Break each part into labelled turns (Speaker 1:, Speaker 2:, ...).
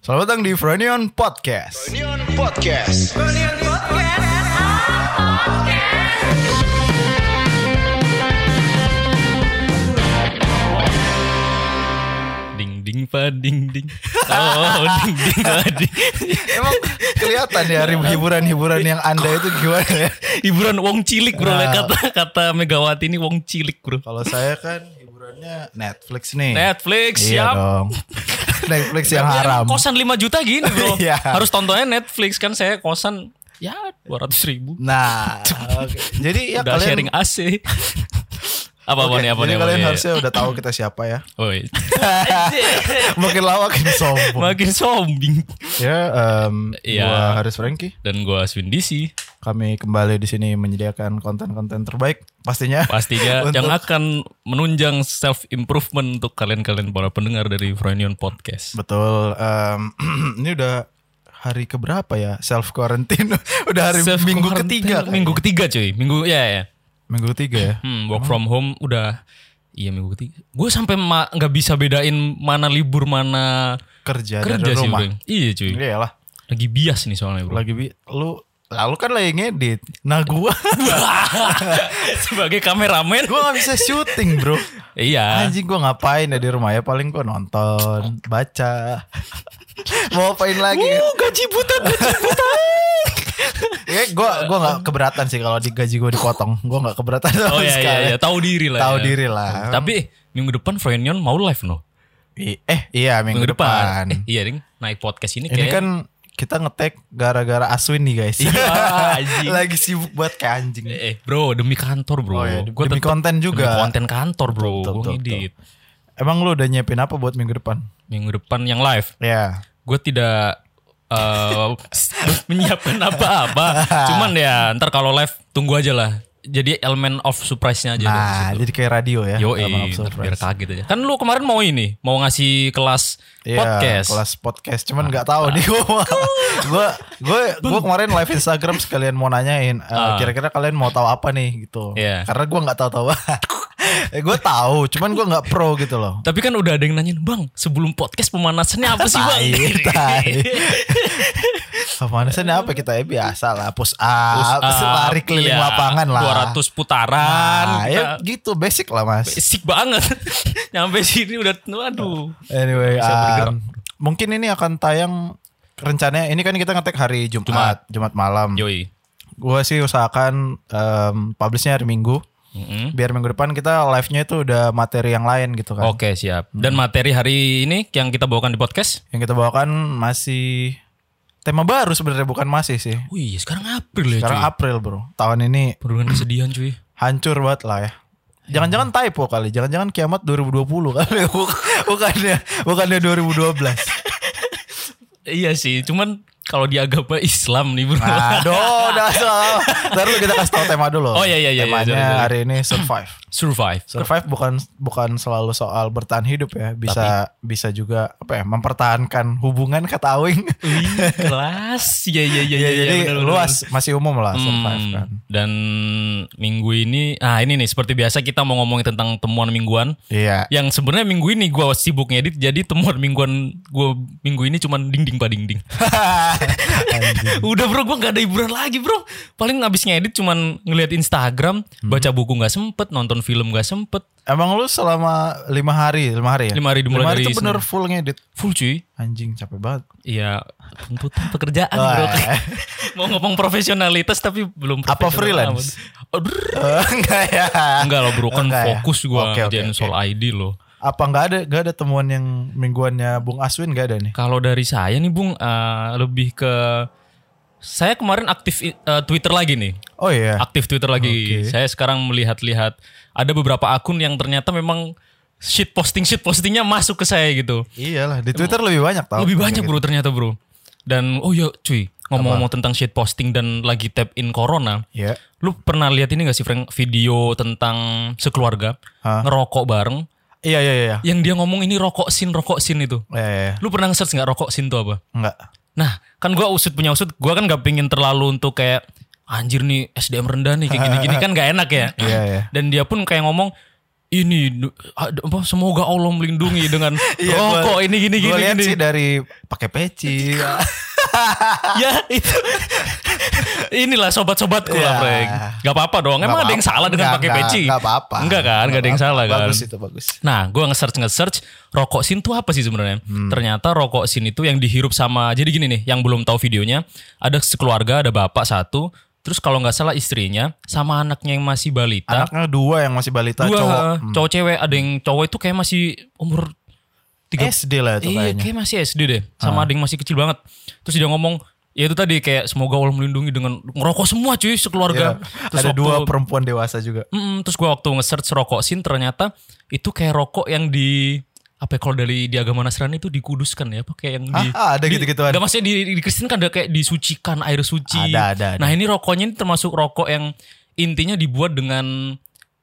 Speaker 1: Selamat datang di Frenion Podcast.
Speaker 2: Union Podcast.
Speaker 3: Ding ding pa ding ding. Oh, ding ding pa ding.
Speaker 1: Emang kelihatan ya hiburan-hiburan yang Anda itu gimana ya?
Speaker 3: Hiburan wong cilik bro
Speaker 1: Nah.
Speaker 3: kata kata Megawati ini wong cilik bro.
Speaker 1: Kalau saya kan hiburannya Netflix nih.
Speaker 3: Netflix
Speaker 1: Iya
Speaker 3: siap.
Speaker 1: dong. Netflix yang
Speaker 3: Yang
Speaker 1: haram.
Speaker 3: Kosan 5 juta gini bro.
Speaker 1: Iya.
Speaker 3: Harus tontonnya Netflix kan saya kosan ya 200 ribu.
Speaker 1: Nah, oke. jadi ya
Speaker 3: Udah
Speaker 1: kalian
Speaker 3: sharing AC. apa apa
Speaker 1: Oke,
Speaker 3: nih apa
Speaker 1: jadi
Speaker 3: nih? apa
Speaker 1: kalian
Speaker 3: nih?
Speaker 1: harusnya udah tahu kita siapa ya.
Speaker 3: Oi,
Speaker 1: Makin lawak makin sombong.
Speaker 3: makin sombing.
Speaker 1: ya, em,
Speaker 3: Iya.
Speaker 1: gua Haris Franky.
Speaker 3: Dan gua Aswin DC
Speaker 1: Kami kembali di sini menyediakan konten-konten terbaik pastinya.
Speaker 3: pastinya
Speaker 1: Untuk-
Speaker 3: yang akan menunjang self improvement untuk kalian-kalian para pendengar dari Frenion Podcast.
Speaker 1: Betul. em, ini udah hari keberapa ya self quarantine? udah hari
Speaker 3: Self
Speaker 1: minggu
Speaker 3: quarantine,
Speaker 1: ketiga. kayaknya.
Speaker 3: minggu ketiga cuy minggu ya ya
Speaker 1: minggu ketiga ya.
Speaker 3: hmm, work from home udah iya minggu ketiga gue sampai ma- nggak bisa bedain mana libur mana
Speaker 1: Kerja,
Speaker 3: kerja
Speaker 1: Ya, dari
Speaker 3: sih
Speaker 1: rumah.
Speaker 3: bro. iya cuy
Speaker 1: Iya lah.
Speaker 3: lagi bias nih soalnya bro
Speaker 1: Lagi bi lu lalu kan lagi ngedit. Nah, gua
Speaker 3: sebagai kameramen
Speaker 1: gua nggak bisa syuting, Bro.
Speaker 3: iya
Speaker 1: Anjing gua ngapain ya di rumah ya paling gua nonton, baca. Mau apain lagi? kan?
Speaker 3: uh, gaji buta gaji
Speaker 1: Ya gua gua nggak keberatan sih kalau digaji gua dipotong. Gua nggak keberatan sama
Speaker 3: oh iya iya,
Speaker 1: sekali.
Speaker 3: iya. tahu diri lah
Speaker 1: Tahu
Speaker 3: ya.
Speaker 1: diri lah.
Speaker 3: tapi minggu depan Frenion mau live no
Speaker 1: I- eh iya minggu, depan.
Speaker 3: Eh, iya ding naik podcast ini,
Speaker 1: Ini
Speaker 3: kayak
Speaker 1: kan kita ngetek gara-gara Aswin nih guys.
Speaker 3: Iya, anjing.
Speaker 1: Lagi sibuk buat kayak anjing.
Speaker 3: eh, eh, bro demi kantor bro
Speaker 1: Oh, iya.
Speaker 3: Gua
Speaker 1: Demi
Speaker 3: tetep-
Speaker 1: konten juga.
Speaker 3: demi konten kantor bro
Speaker 1: Betul,
Speaker 3: gue
Speaker 1: betul,
Speaker 3: ngedit
Speaker 1: Emang lu udah nyiapin apa buat minggu depan?
Speaker 3: minggu depan yang live
Speaker 1: Ya.
Speaker 3: gue tidak eh, menyiapkan apa-apa. Cuman ya ntar kalau live tunggu aja lah. Jadi elemen of surprise-nya aja. Ya, dari
Speaker 1: Nah,
Speaker 3: situ.
Speaker 1: jadi kayak radio ya.
Speaker 3: Yo,
Speaker 1: Abang
Speaker 3: eh,
Speaker 1: Absurd
Speaker 3: ntar biar
Speaker 1: Friends.
Speaker 3: kaget aja. Kan lu kemarin mau ini, mau ngasih kelas
Speaker 1: Iya,
Speaker 3: podcast. Ah,
Speaker 1: kelas podcast. Cuman nggak tahu nih gua. gua gua gua kemarin live Instagram sekalian mau nanyain eh, kira-kira kalian mau tahu apa nih gitu.
Speaker 3: Ah. Iya.
Speaker 1: Karena gua nggak tahu-tahu. eh, gua tahu, cuman gua nggak pro gitu loh.
Speaker 3: Tapi kan udah ada yang nanyain, Bang, sebelum podcast pemanasannya apa sih, Bang?
Speaker 1: Tai, tai. Pemanasan apa kita ya biasa lah push up, lari keliling
Speaker 3: iya,
Speaker 1: lapangan lah.
Speaker 3: 200 putaran.
Speaker 1: Nah, ya
Speaker 3: kita
Speaker 1: gitu basic lah mas.
Speaker 3: Sick banget. Nyampe sini udah aduh.
Speaker 1: Anyway,
Speaker 3: Bisa
Speaker 1: um,
Speaker 3: bergerak.
Speaker 1: mungkin ini akan tayang rencananya. Ini kan kita ngetek hari Jumat, Jumat, malam.
Speaker 3: Yoi.
Speaker 1: Gue sih usahakan em, publishnya hari Minggu.
Speaker 3: Mm-mm.
Speaker 1: Biar minggu depan kita live-nya itu udah materi yang lain gitu kan.
Speaker 3: Oke siap. Dan materi hari ini yang kita bawakan di podcast?
Speaker 1: Yang kita bawakan masih tema baru sebenarnya bukan masih sih.
Speaker 3: Wih sekarang April ya
Speaker 1: Sekarang
Speaker 3: cuy.
Speaker 1: April bro. Tahun ini
Speaker 3: Perluan kesedihan cuy.
Speaker 1: hancur banget lah ya. Jangan-jangan
Speaker 3: Iya.
Speaker 1: typo kali, jangan-jangan kiamat 2020 kali, Buk- bukannya bukannya 2012.
Speaker 3: Iya sih. Cuman kalau di agama Islam nih bro.
Speaker 1: Aduh, udah salah. Ntar dulu kita kasih tau tema dulu.
Speaker 3: Oh, iya, iya, iya,
Speaker 1: Temanya
Speaker 3: sorry, sorry.
Speaker 1: hari ini survive.
Speaker 3: Survive.
Speaker 1: Survive bukan bukan selalu soal bertahan hidup ya, bisa bisa juga apa ya mempertahankan hubungan kata Awing.
Speaker 3: Wih, kelas. Iya iya iya.
Speaker 1: Iya,
Speaker 3: iya,
Speaker 1: jadi
Speaker 3: bener, bener,
Speaker 1: luas masih umum lah
Speaker 3: bener.
Speaker 1: survive
Speaker 3: Hmm,
Speaker 1: kan.
Speaker 3: Dan minggu ini, ah ini nih seperti biasa kita mau ngomongin tentang temuan mingguan.
Speaker 1: Iya.
Speaker 3: Yang sebenarnya minggu ini gue sibuk ngedit, jadi temuan mingguan gue minggu ini cuman dinding pa dinding.
Speaker 1: Anjing.
Speaker 3: Udah bro, gue nggak ada hiburan lagi bro. Paling abis ngedit cuman ngeliat Instagram, baca buku nggak sempet, nonton film nggak sempet.
Speaker 1: Emang lu selama lima hari, lima hari ya?
Speaker 3: Lima hari dimulai
Speaker 1: Lima hari
Speaker 3: dari
Speaker 1: itu bener full ngedit.
Speaker 3: Full cuy.
Speaker 1: Anjing capek banget.
Speaker 3: Iya, tuntutan pekerjaan bro.
Speaker 1: Wah.
Speaker 3: Mau ngomong profesionalitas tapi belum
Speaker 1: Apa
Speaker 3: profesional
Speaker 1: freelance?
Speaker 3: amat. Aduh,
Speaker 1: Eh, enggak ya.
Speaker 3: Enggak lo bro, kan
Speaker 1: Enggak ya?
Speaker 3: fokus gue
Speaker 1: Oke, oke,
Speaker 3: kerjain
Speaker 1: oke.
Speaker 3: soal ID lo.
Speaker 1: Apa nggak ada nggak ada temuan yang mingguannya Bung Aswin nggak ada nih?
Speaker 3: Kalau dari saya nih bung, eh, lebih ke... Saya kemarin aktif eh, Twitter lagi nih.
Speaker 1: Oh iya.
Speaker 3: aktif Twitter lagi.
Speaker 1: Oke.
Speaker 3: Saya sekarang melihat-lihat ada beberapa akun yang ternyata memang shit posting shit postingnya masuk ke saya gitu.
Speaker 1: Iyalah di Twitter lebih banyak tau. Gitu.
Speaker 3: Lebih banyak bro ternyata bro. Dan oh ya cuy ngomong-ngomong tentang shit posting dan lagi tap in corona.
Speaker 1: Iya.
Speaker 3: Lu pernah lihat ini gak sih Frank video tentang sekeluarga
Speaker 1: Hah?
Speaker 3: ngerokok bareng
Speaker 1: Iya iya iya.
Speaker 3: yang dia ngomong ini rokok sin rokok sin itu.
Speaker 1: Iya iya. iya.
Speaker 3: Lu pernah nge-search nggak rokok sin itu apa?
Speaker 1: Enggak.
Speaker 3: Nah, kan gua usut punya usut, gua kan gak pingin terlalu untuk kayak anjir nih SDM rendah nih kayak gini-gini kan gak enak ya.
Speaker 1: Iya, iya.
Speaker 3: Dan dia pun kayak ngomong ini du- ada apa, semoga Allah melindungi dengan
Speaker 1: Iya, gua-
Speaker 3: rokok ini gini
Speaker 1: Gue
Speaker 3: gini
Speaker 1: lihat
Speaker 3: gini.
Speaker 1: sih dari pakai peci.
Speaker 3: ya itu inilah sobat-sobatku lah
Speaker 1: Ya.
Speaker 3: Frank gak apa-apa dong emang
Speaker 1: Nggak
Speaker 3: ada yang
Speaker 1: apa-apa.
Speaker 3: salah dengan
Speaker 1: Nggak,
Speaker 3: pakai
Speaker 1: nggak,
Speaker 3: peci
Speaker 1: nggak apa-apa.
Speaker 3: enggak kan gak ada yang
Speaker 1: apa-apa.
Speaker 3: salah kan
Speaker 1: Bagus itu bagus.
Speaker 3: nah gue nge-search nge-search rokok sin itu apa sih sebenarnya
Speaker 1: Hmm.
Speaker 3: ternyata rokok sin itu yang dihirup sama jadi gini nih yang belum tahu videonya ada sekeluarga ada bapak satu terus kalau nggak salah istrinya sama anaknya yang masih balita
Speaker 1: Anaknya dua yang masih balita
Speaker 3: dua
Speaker 1: cowok. Hmm.
Speaker 3: cowok, cewek ada yang cowok itu kayak masih umur tiga
Speaker 1: SD lah itu
Speaker 3: Iya,
Speaker 1: kayaknya. Ah.
Speaker 3: kayak masih SD deh. Sama ada yang masih kecil banget. Terus dia ngomong, ya itu tadi kayak semoga Allah melindungi dengan ngerokok semua cuy sekeluarga.
Speaker 1: Iya.
Speaker 3: Terus
Speaker 1: Ada
Speaker 3: waktu-
Speaker 1: dua perempuan dewasa juga.
Speaker 3: Mm-mm, terus gua waktu nge-search rokok sin ternyata itu kayak rokok yang di apa ya, kalau dari di agama Nasrani itu dikuduskan ya apa kayak yang di
Speaker 1: Ah, ah, ada
Speaker 3: di-
Speaker 1: gitu-gituan.
Speaker 3: Nggak, maksudnya di, di Kristen kan ada kayak disucikan air suci.
Speaker 1: Ada, ada, ada.
Speaker 3: Nah, ini rokoknya ini termasuk rokok yang intinya dibuat dengan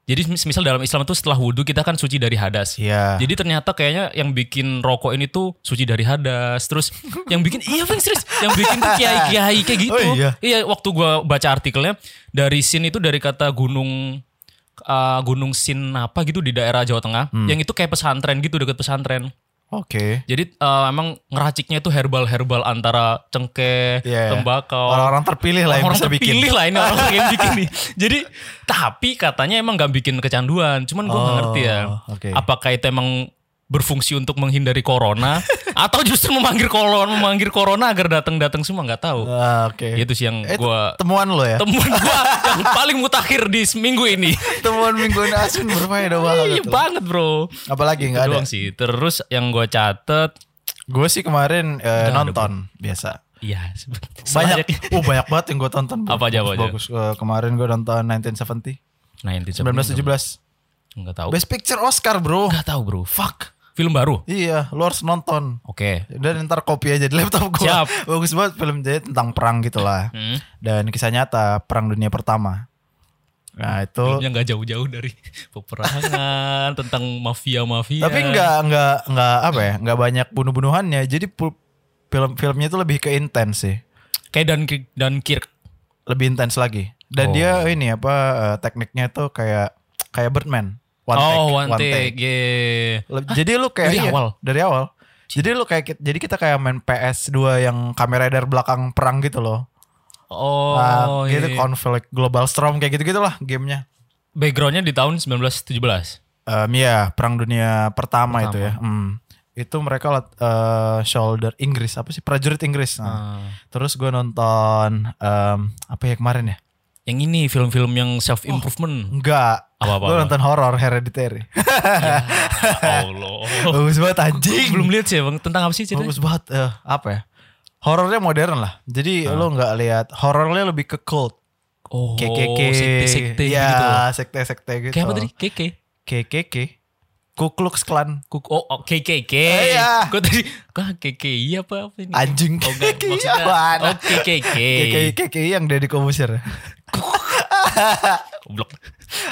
Speaker 3: jadi misal dalam Islam itu setelah wudhu kita kan suci dari hadas.
Speaker 1: Iya.
Speaker 3: Jadi ternyata kayaknya yang bikin rokok ini tuh suci dari hadas. Terus yang bikin iya Bang serius, yang bikin tuh kiai-kiai kayak gitu.
Speaker 1: Oh, iya.
Speaker 3: waktu gua baca artikelnya dari sin itu dari kata gunung uh, gunung sin apa gitu di daerah Jawa Tengah.
Speaker 1: Hmm.
Speaker 3: Yang itu kayak pesantren gitu deket pesantren.
Speaker 1: Oke.
Speaker 3: Jadi uh, emang ngeraciknya itu herbal-herbal antara cengkeh,
Speaker 1: Iya.
Speaker 3: tembakau,
Speaker 1: Orang-orang terpilih lah yang
Speaker 3: Oh. orang
Speaker 1: bisa bikin.
Speaker 3: terpilih lah ini orang yang bikin nih. Jadi tapi katanya emang nggak bikin kecanduan. Cuman gue nggak
Speaker 1: Oh,
Speaker 3: ngerti ya.
Speaker 1: oke.
Speaker 3: Apakah itu emang berfungsi untuk menghindari corona atau justru memanggil corona memanggil corona agar datang-datang semua nggak tahu.
Speaker 1: Ah, Oke.
Speaker 3: Itu Gitu sih yang
Speaker 1: Eh,
Speaker 3: gue
Speaker 1: temuan lo ya.
Speaker 3: temuan gue yang paling mutakhir di seminggu ini.
Speaker 1: temuan minggu ini asin berfaedah
Speaker 3: Iya
Speaker 1: banget. tuh.
Speaker 3: banget bro.
Speaker 1: Apalagi nggak
Speaker 3: Itu
Speaker 1: ada.
Speaker 3: doang sih. Terus yang gue catet,
Speaker 1: Gue sih kemarin eh, nonton biasa.
Speaker 3: ya
Speaker 1: Banyak, oh banyak banget yang gue tonton. bro.
Speaker 3: Apa aja, apa aja?
Speaker 1: Bagus. Eh, kemarin gue nonton 1970,
Speaker 3: 1917
Speaker 1: 1917.
Speaker 3: nggak tahu.
Speaker 1: Best Picture Oscar bro.
Speaker 3: Nggak tahu bro. Fuck. Film baru.
Speaker 1: Iya, lu harus nonton.
Speaker 3: Oke.
Speaker 1: Dan ntar copy aja di laptop gue.
Speaker 3: Siap.
Speaker 1: Bagus banget film jadi tentang perang gitulah.
Speaker 3: Hmm.
Speaker 1: Dan kisah nyata perang dunia pertama. Nah itu.
Speaker 3: Filmnya nggak jauh-jauh dari peperangan tentang mafia-mafia.
Speaker 1: Tapi nggak nggak nggak apa ya? Nggak banyak bunuh-bunuhannya. Jadi pu- film-filmnya itu lebih ke intens sih.
Speaker 3: kayak dan dan Kirk.
Speaker 1: lebih intens lagi. Dan
Speaker 3: Oh.
Speaker 1: dia ini apa eh, tekniknya tuh kayak kayak Birdman. One
Speaker 3: oh,
Speaker 1: take,
Speaker 3: one take. yeah.
Speaker 1: Le- Jadi lu kayak
Speaker 3: dari
Speaker 1: iya,
Speaker 3: awal?
Speaker 1: Dari awal. Jadi lu kayak ki- jadi kita kayak main PS2 yang kamera dari belakang perang gitu loh.
Speaker 3: Oh,
Speaker 1: Nah,
Speaker 3: iya,
Speaker 1: gitu
Speaker 3: iya.
Speaker 1: konflik global storm kayak gitu-gitu lah gamenya.
Speaker 3: backgroundnya di tahun 1917.
Speaker 1: Em, ya perang dunia pertama, itu ya. Hmm. Itu mereka lat- eh, shoulder Inggris apa sih prajurit Inggris. Nah,
Speaker 3: Ah.
Speaker 1: Terus gue nonton em, apa ya kemarin ya?
Speaker 3: Yang ini film-film yang self
Speaker 1: Oh.
Speaker 3: improvement.
Speaker 1: Enggak.
Speaker 3: Apa-apa,
Speaker 1: Gue
Speaker 3: apa?
Speaker 1: nonton horor Hereditary.
Speaker 3: Ya Allah.
Speaker 1: bagus banget anjing
Speaker 3: Oh. Belum lihat sih, Bang. Tentang apa sih ceritanya?
Speaker 1: bagus banget eh, apa ya horornya modern lah jadi lo nggak lihat horornya lebih ke cult
Speaker 3: Ah. Oh,
Speaker 1: KKK
Speaker 3: sekte-sekte
Speaker 1: ya
Speaker 3: gitu.
Speaker 1: sekte sekte gitu
Speaker 3: Kayak apa tadi? KK.
Speaker 1: KKK Ku Klux Klan
Speaker 3: Kuk oh, oh, KKK.
Speaker 1: Iya.
Speaker 3: Kok tadi kok KKI apa apa ini?
Speaker 1: anjing
Speaker 3: Oh, enggak,
Speaker 1: KKK
Speaker 3: maksudnya.
Speaker 1: apaan?
Speaker 3: Oh, KKK.
Speaker 1: KKK KKK yang dari Komusir
Speaker 3: Oh. Goblok.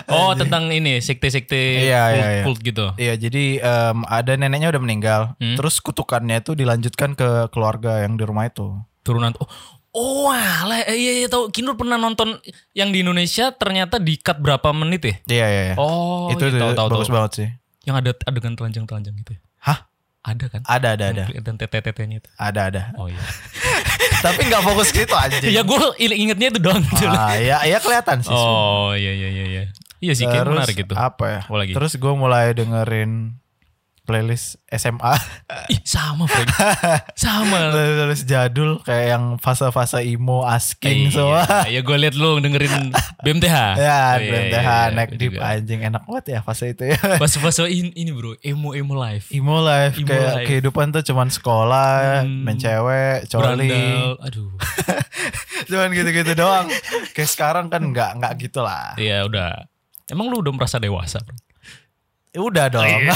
Speaker 3: Oh, tentang ini sekte-sekte
Speaker 1: Iya,
Speaker 3: kult,
Speaker 1: iya, iya.
Speaker 3: kult gitu.
Speaker 1: Iya jadi em, ada neneknya udah meninggal
Speaker 3: Hmm.
Speaker 1: terus kutukannya itu dilanjutkan ke keluarga yang di rumah itu
Speaker 3: Turunan oh, oh alah, eh, iya iya tahu Kinur pernah nonton yang di Indonesia ternyata di cut berapa menit ya?
Speaker 1: iya iya, iya.
Speaker 3: Oh,
Speaker 1: itu,
Speaker 3: iya,
Speaker 1: itu
Speaker 3: tahu tahu
Speaker 1: bagus
Speaker 3: tahu.
Speaker 1: banget sih
Speaker 3: Yang ada adegan telanjang-telanjang gitu ya.
Speaker 1: hah
Speaker 3: Ada kan?
Speaker 1: ada ada ada
Speaker 3: Dan tete-tetenya itu.
Speaker 1: ada ada
Speaker 3: Oh iya.
Speaker 1: tapi nggak fokus gitu anjing
Speaker 3: ya gue ingetnya itu doang. gitu
Speaker 1: ah, ya ya kelihatan sih
Speaker 3: oh iya iya iya iya. Iya sih kayak menarik gitu.
Speaker 1: apa ya?
Speaker 3: Apa lagi?
Speaker 1: Terus gue mulai dengerin playlist SMA,
Speaker 3: Ih, sama, Frank. sama.
Speaker 1: playlist jadul kayak yang fase-fase emo, asking semua.
Speaker 3: Iya, gue liat lu dengerin BMTH.
Speaker 1: Ya,
Speaker 3: Oh, iya,
Speaker 1: BMTH,
Speaker 3: iya, iya,
Speaker 1: neck
Speaker 3: gua
Speaker 1: deep
Speaker 3: juga.
Speaker 1: anjing enak banget ya fase itu ya.
Speaker 3: Fase-fase ini, ini bro, emo emo life.
Speaker 1: Emo life
Speaker 3: Emo
Speaker 1: kayak
Speaker 3: life. Hmm.
Speaker 1: kehidupan tuh cuman sekolah, main cewek, coli,
Speaker 3: Berandal, aduh.
Speaker 1: cuman gitu-gitu doang. Kayak sekarang kan nggak nggak gitu lah.
Speaker 3: Iya udah. Emang lu udah merasa dewasa? Bro?
Speaker 1: Ya Udah
Speaker 3: Oh,
Speaker 1: dong.
Speaker 3: iya.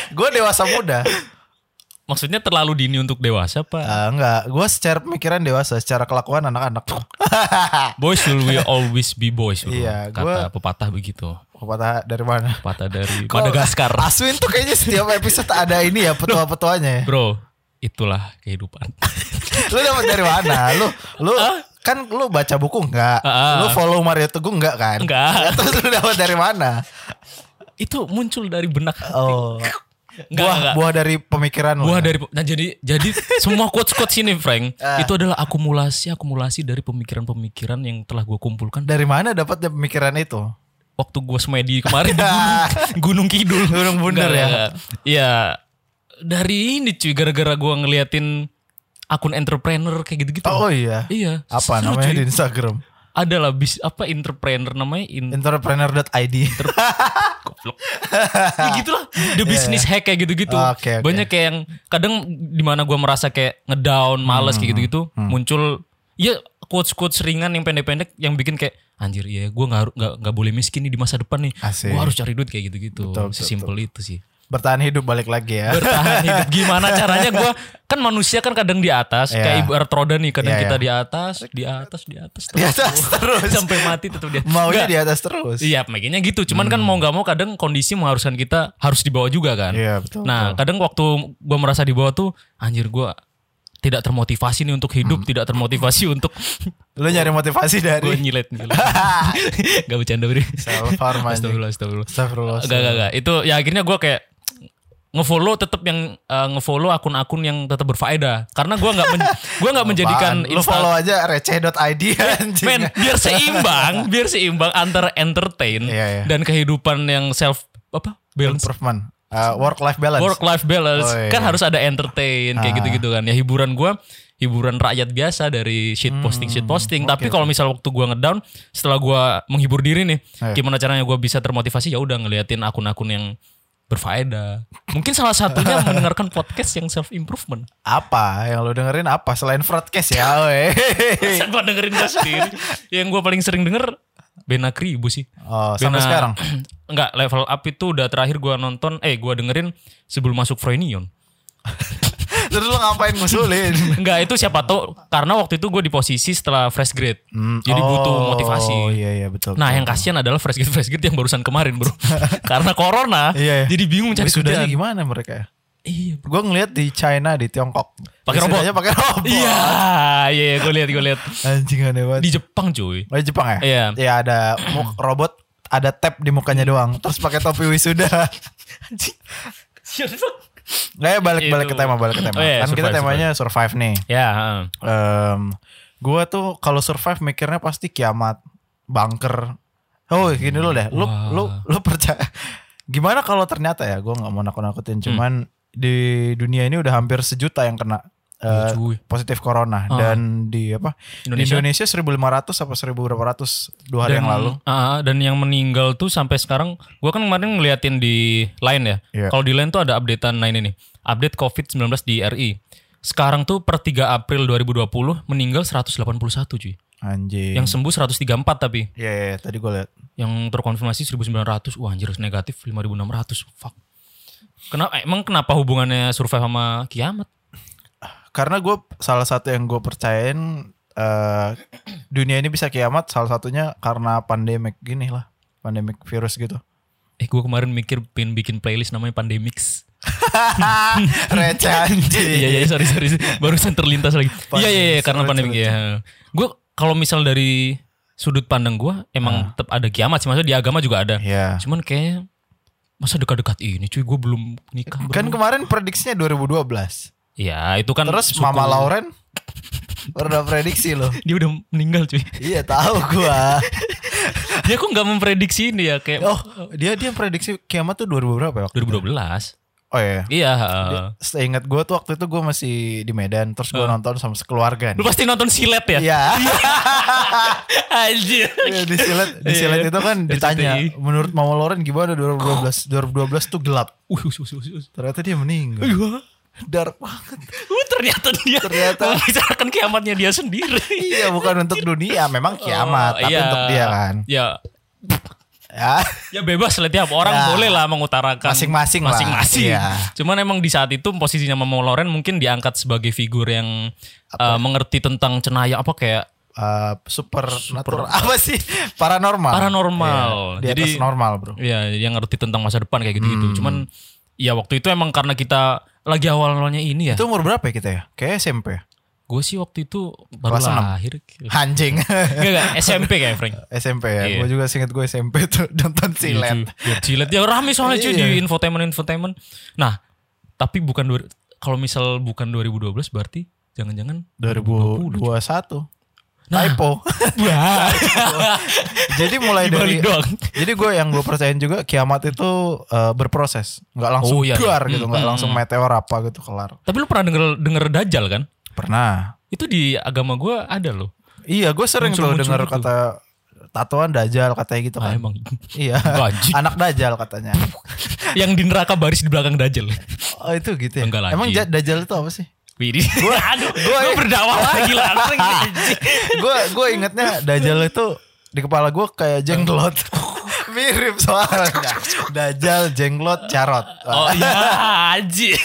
Speaker 1: gue dewasa muda.
Speaker 3: Maksudnya terlalu dini untuk dewasa pak?
Speaker 1: Ah, enggak, gue secara pemikiran dewasa, secara kelakuan anak-anak.
Speaker 3: Boys will we always be boys, bro.
Speaker 1: Iya,
Speaker 3: kata pepatah begitu.
Speaker 1: Pepatah dari mana?
Speaker 3: Pepatah dari
Speaker 1: Kok- Ah.
Speaker 3: Madagaskar,
Speaker 1: Aswin tuh kayaknya setiap episode ada ini ya petua-petuanya ya.
Speaker 3: bro. Itulah kehidupan.
Speaker 1: Lu dapat dari mana? Lu lu kan lu baca buku enggak?
Speaker 3: Ah, ah.
Speaker 1: Lu follow Mario Teguh enggak kan?
Speaker 3: Enggak.
Speaker 1: Ya, Terus lu dapat dari mana?
Speaker 3: itu muncul dari benak hati.
Speaker 1: Oh.
Speaker 3: Enggak,
Speaker 1: buah
Speaker 3: enggak.
Speaker 1: buah dari pemikiran lu. ya?
Speaker 3: Buah dari nah jadi jadi semua quotes quotes ini Frank
Speaker 1: iya. Ah.
Speaker 3: itu adalah akumulasi akumulasi dari pemikiran-pemikiran yang telah gue kumpulkan
Speaker 1: dari mana dapat dia pemikiran itu?
Speaker 3: waktu gue semedi kemarin di Gunung, Gunung Kidul
Speaker 1: Gunung Bunder
Speaker 3: Enggak,
Speaker 1: ya?
Speaker 3: enggak. Iya dari ini cuy gara-gara gue ngeliatin akun entrepreneur kayak gitu-gitu.
Speaker 1: Oh, iya.
Speaker 3: Iya.
Speaker 1: Apa
Speaker 3: seru,
Speaker 1: namanya
Speaker 3: cuy.
Speaker 1: di Instagram?
Speaker 3: Adalah bis apa entrepreneur namanya in,
Speaker 1: entrepreneur.id.
Speaker 3: goblok. ya gitulah, the business hack kayak gitu-gitu.
Speaker 1: Iya, Oke, oke.
Speaker 3: Banyak kayak yang kadang di mana gua merasa kayak ngedown, males
Speaker 1: Hmm,
Speaker 3: kayak gitu-gitu, muncul ya quotes-quotes ringan yang pendek-pendek yang bikin kayak anjir ya gua nggak haru- nggak nggak boleh miskin nih di masa depan nih.
Speaker 1: Asik.
Speaker 3: Gua harus cari duit kayak gitu-gitu.
Speaker 1: Betul, betul,
Speaker 3: Sesimpel itu sih.
Speaker 1: Bertahan hidup balik lagi ya.
Speaker 3: Bertahan hidup gimana caranya gua kan manusia kan kadang di atas
Speaker 1: Iya.
Speaker 3: kayak ibarat roda nih kadang
Speaker 1: Iya,
Speaker 3: kita
Speaker 1: iya.
Speaker 3: di atas, di atas, di atas
Speaker 1: Di atas terus.
Speaker 3: sampai mati tetap di atas.
Speaker 1: Maunya
Speaker 3: Nggak,
Speaker 1: di atas Hmm. terus.
Speaker 3: Iya, makanya gitu. Cuman kan mau nggak mau kadang kondisi mengharuskan kita harus dibawa juga kan.
Speaker 1: Iya, betul,
Speaker 3: Nah, kadang waktu gua merasa dibawa tuh anjir gua tidak termotivasi nih untuk
Speaker 1: Hmm.
Speaker 3: hidup, tidak termotivasi untuk
Speaker 1: Lu nyari motivasi
Speaker 3: gue
Speaker 1: dari
Speaker 3: nyilet nyilet. gak bercanda bro.
Speaker 1: self harm anjing.
Speaker 3: Astagfirullah, astagfirullah.
Speaker 1: Astagfirullah.
Speaker 3: Gak, gak, gak. Itu ya akhirnya gua kayak ngefollow tetap yang eh, ngefollow akun-akun yang tetap berfaedah karena gua nggak men- gua nggak menjadikan
Speaker 1: Apaan? lu
Speaker 3: Insta-
Speaker 1: follow aja receh.id anjing.
Speaker 3: Men, biar seimbang, biar seimbang antara entertain
Speaker 1: Iya, iya.
Speaker 3: dan kehidupan yang self apa balance
Speaker 1: improvement. Uh, work life balance.
Speaker 3: work life balance
Speaker 1: Oh, iya. Ah.
Speaker 3: kan harus ada entertain kayak gitu-gitu kan ya hiburan gua hiburan rakyat biasa
Speaker 1: Hmm,
Speaker 3: dari shit posting shit posting tapi kalau misal waktu gua ngedown setelah gua menghibur diri nih
Speaker 1: Eh.
Speaker 3: gimana caranya gua bisa termotivasi ya udah ngeliatin akun-akun yang berfaedah mungkin salah satunya mendengarkan podcast yang self improvement
Speaker 1: Apa yang lu dengerin apa selain broadcast ya? weh.
Speaker 3: Masa gua dengerin gua sendiri yang gua paling sering denger Benakri ibu sih
Speaker 1: oh, sampai
Speaker 3: Bena-
Speaker 1: sekarang.
Speaker 3: Enggak, level up itu udah terakhir gua nonton, eh gua dengerin sebelum masuk Froynion.
Speaker 1: Terus lu ngapain ngusulin?
Speaker 3: Enggak, itu siapa tahu karena waktu itu gue di posisi setelah fresh grade. jadi butuh
Speaker 1: Oh,
Speaker 3: motivasi.
Speaker 1: iya iya betul.
Speaker 3: Nah,
Speaker 1: betul.
Speaker 3: yang kasihan adalah fresh grade fresh grade yang barusan kemarin, Bro. karena corona,
Speaker 1: Iya, iya.
Speaker 3: jadi bingung cari
Speaker 1: Wisudanya
Speaker 3: kerjaan.
Speaker 1: gimana mereka ya?
Speaker 3: Iya. bro.
Speaker 1: Gue ngeliat di China di Tiongkok.
Speaker 3: Pakai robot.
Speaker 1: Wisudanya pakai robot.
Speaker 3: Iya, iya, gue lihat gue lihat
Speaker 1: Anjing aneh banget.
Speaker 3: di Jepang, cuy.
Speaker 1: Oh, di Jepang ya?
Speaker 3: Iya.
Speaker 1: Ya ada mu- robot ada tap di mukanya doang. Terus pakai topi wisuda. Nggak ya balik balik ke
Speaker 3: Itu.
Speaker 1: tema balik ke tema.
Speaker 3: Oh, iya,
Speaker 1: kan kita
Speaker 3: survive,
Speaker 1: temanya survive, nih.
Speaker 3: ya, heeh.
Speaker 1: Em, gua tuh kalau survive mikirnya pasti kiamat, bunker. Oh gini dulu deh. Lu
Speaker 3: Wah.
Speaker 1: lu lu percaya? Gimana kalau ternyata ya? Gue nggak mau nakut-nakutin.
Speaker 3: Hmm.
Speaker 1: Cuman di dunia ini udah hampir sejuta yang kena. eh,
Speaker 3: Iya, cuy.
Speaker 1: positif corona
Speaker 3: Ah.
Speaker 1: dan di apa
Speaker 3: Indonesia.
Speaker 1: di Indonesia 1500 apa 1000 berapa ratus dua hari yang
Speaker 3: Dan-
Speaker 1: lalu
Speaker 3: ah, dan yang meninggal tuh sampai sekarang, gua kan kemarin ngeliatin di Line ya.
Speaker 1: Iya.
Speaker 3: Kalau di Line tuh ada updatean nah ini nih, update COVID-19 di RI. Sekarang tuh per 3 April 2020 meninggal 181
Speaker 1: Iya.
Speaker 3: cuy.
Speaker 1: anjing
Speaker 3: Yang sembuh 134 tapi
Speaker 1: Iya, iya, iya, tadi gue liat.
Speaker 3: yang terkonfirmasi 1900. Wah anjir negatif 5600. Fuck. Kenapa emang kenapa hubungannya survive sama kiamat?
Speaker 1: Karena gue salah satu yang gue percayain eh dunia ini bisa kiamat salah satunya karena pandemik gini lah, pandemik virus gitu.
Speaker 3: Eh gua kemarin mikir pin bikin playlist namanya Pandemics.
Speaker 1: Receh anjing.
Speaker 3: Iya iya sorry sorry barusan terlintas lagi. Iya iya iya karena
Speaker 1: Sorry,
Speaker 3: pandemi
Speaker 1: sorry.
Speaker 3: ya. Gue kalau misal dari sudut pandang gue
Speaker 1: Ah.
Speaker 3: emang tetap ada kiamat sih maksudnya di agama juga ada.
Speaker 1: Iya.
Speaker 3: Cuman kayaknya masa dekat-dekat ini cuy gue belum nikah. bro.
Speaker 1: Kan kemarin prediksinya 2012.
Speaker 3: ya itu kan
Speaker 1: Terus
Speaker 3: suku-
Speaker 1: Mama Lauren udah prediksi loh.
Speaker 3: dia udah meninggal cuy.
Speaker 1: Iya tahu gua.
Speaker 3: Dia kok nggak memprediksi ini ya kayak
Speaker 1: Oh, dia dia prediksi kiamat tuh 2000 berapa ya? waktu itu?
Speaker 3: 2012.
Speaker 1: Oh iya.
Speaker 3: Iya. eh.
Speaker 1: Seingat gue tuh waktu itu gue masih di Medan terus gue nonton sama sekeluarga nih.
Speaker 3: Lu pasti nonton silet ya?
Speaker 1: Iya.
Speaker 3: Anjir.
Speaker 1: Iya, di silat di silat
Speaker 3: Iya,
Speaker 1: itu kan
Speaker 3: RCTI.
Speaker 1: ditanya menurut Mama Loren gimana 2012 2012 tuh gelap
Speaker 3: Wih, wih, wih, wih, wih.
Speaker 1: ternyata dia meninggal
Speaker 3: Wah.
Speaker 1: dark banget
Speaker 3: uhuh. Uh, ternyata dia
Speaker 1: Ternyata.
Speaker 3: membicarakan kiamatnya dia sendiri.
Speaker 1: iya bukan untuk dunia memang
Speaker 3: Oh,
Speaker 1: kiamat tapi
Speaker 3: iya.
Speaker 1: untuk dia kan
Speaker 3: Ya,
Speaker 1: ya
Speaker 3: ya bebas lah tiap orang
Speaker 1: Ya.
Speaker 3: boleh lah mengutarakan
Speaker 1: Masing-masing lah,
Speaker 3: Kan masing-masing.
Speaker 1: iya.
Speaker 3: Cuman emang di saat itu posisinya Mama Loren mungkin diangkat sebagai figur yang
Speaker 1: ya?
Speaker 3: eh, mengerti tentang cenayang apa kayak
Speaker 1: eh, super, natural apa sih paranormal
Speaker 3: Paranormal.
Speaker 1: Iya, di atas
Speaker 3: Jadi-
Speaker 1: normal bro
Speaker 3: ya yang ngerti tentang masa depan kayak gitu-gitu.
Speaker 1: Hmm.
Speaker 3: Cuman ya waktu itu emang karena kita lagi awal-awalnya ini ya.
Speaker 1: itu umur berapa ya kita ya kayak SMP ya?
Speaker 3: Gue sih waktu itu baru
Speaker 1: Kelas enam.
Speaker 3: lahir. Enggak,
Speaker 1: Anjing.
Speaker 3: enggak, SMP kayak Frank.
Speaker 1: SMP ya.
Speaker 3: Iya.
Speaker 1: Gue juga singkat gue SMP tuh nonton silet.
Speaker 3: Iya, cuy. Ya, Cilet ya rame soalnya cuy
Speaker 1: Iya.
Speaker 3: di infotainment infotainment. Nah, tapi bukan dua- kalau misal bukan 2012 berarti jangan-jangan
Speaker 1: 2021.
Speaker 3: Nah.
Speaker 1: Typo.
Speaker 3: Wah,
Speaker 1: jadi mulai dari
Speaker 3: dibalik doang.
Speaker 1: Jadi gue yang gue percayain juga kiamat itu eh, berproses, nggak langsung
Speaker 3: Oh, iya, iya.
Speaker 1: duar gitu,
Speaker 3: Hmm,
Speaker 1: nggak
Speaker 3: hmm,
Speaker 1: langsung meteor apa gitu kelar.
Speaker 3: Tapi lu pernah denger denger dajal kan?
Speaker 1: Pernah.
Speaker 3: Itu di agama gua ada loh.
Speaker 1: Iya, gue sering tuh
Speaker 3: Muncul-muncul
Speaker 1: dengar
Speaker 3: gitu.
Speaker 1: kata tatoan dajal katanya gitu
Speaker 3: Ah,
Speaker 1: kan.
Speaker 3: emang
Speaker 1: Iya.
Speaker 3: Gaji.
Speaker 1: Anak dajal katanya.
Speaker 3: yang di neraka baris di belakang dajal.
Speaker 1: Oh, itu gitu ya.
Speaker 3: Enggak lagi.
Speaker 1: Emang ja- dajal itu apa sih?
Speaker 3: Widih. Aduh, gua, berdakwah lagi langsung.
Speaker 1: Gue gue ingetnya dajal itu di kepala gue kayak jenglot. Mirip soalnya. Dajal, jenglot, carot.
Speaker 3: Oh iya, Haji.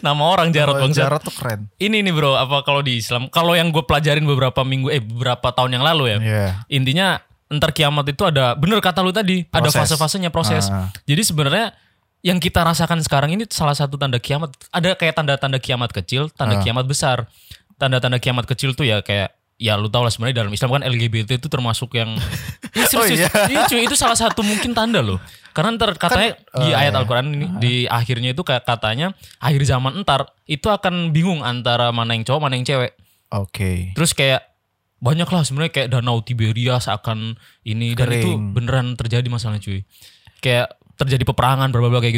Speaker 3: Nama orang Jarot Bang
Speaker 1: Jarot
Speaker 3: Jarot.
Speaker 1: Oh, tuh keren.
Speaker 3: Ini nih bro, apa kalau di Islam? Kalau yang gue pelajarin beberapa minggu, eh beberapa tahun yang lalu ya.
Speaker 1: Iya.
Speaker 3: Intinya entar kiamat itu ada, bener kata lu tadi, ada
Speaker 1: Proses.
Speaker 3: fase-fasenya proses.
Speaker 1: Ah.
Speaker 3: Jadi sebenarnya yang kita rasakan sekarang ini salah satu tanda kiamat. Ada kayak tanda-tanda kiamat kecil, tanda
Speaker 1: Ah.
Speaker 3: kiamat besar. Tanda-tanda kiamat kecil tuh ya kayak, ya lu tau lah sebenarnya dalam Islam kan LGBT itu termasuk yang... Ih, serius,
Speaker 1: Oh
Speaker 3: serius.
Speaker 1: iya.
Speaker 3: Iya, cuy, itu salah satu mungkin tanda loh. Karena ntar
Speaker 1: Kan,
Speaker 3: katanya di
Speaker 1: eh,
Speaker 3: ayat Al-Quran ini, di akhirnya itu kayak katanya akhir zaman entar itu akan bingung antara mana yang cowok mana yang cewek.
Speaker 1: Oke.
Speaker 3: Terus kayak banyak lah sebenarnya kayak Danau Tiberias akan ini dan itu
Speaker 1: Kering.
Speaker 3: beneran terjadi masalahnya cuy. Kayak terjadi peperangan berbagai kayak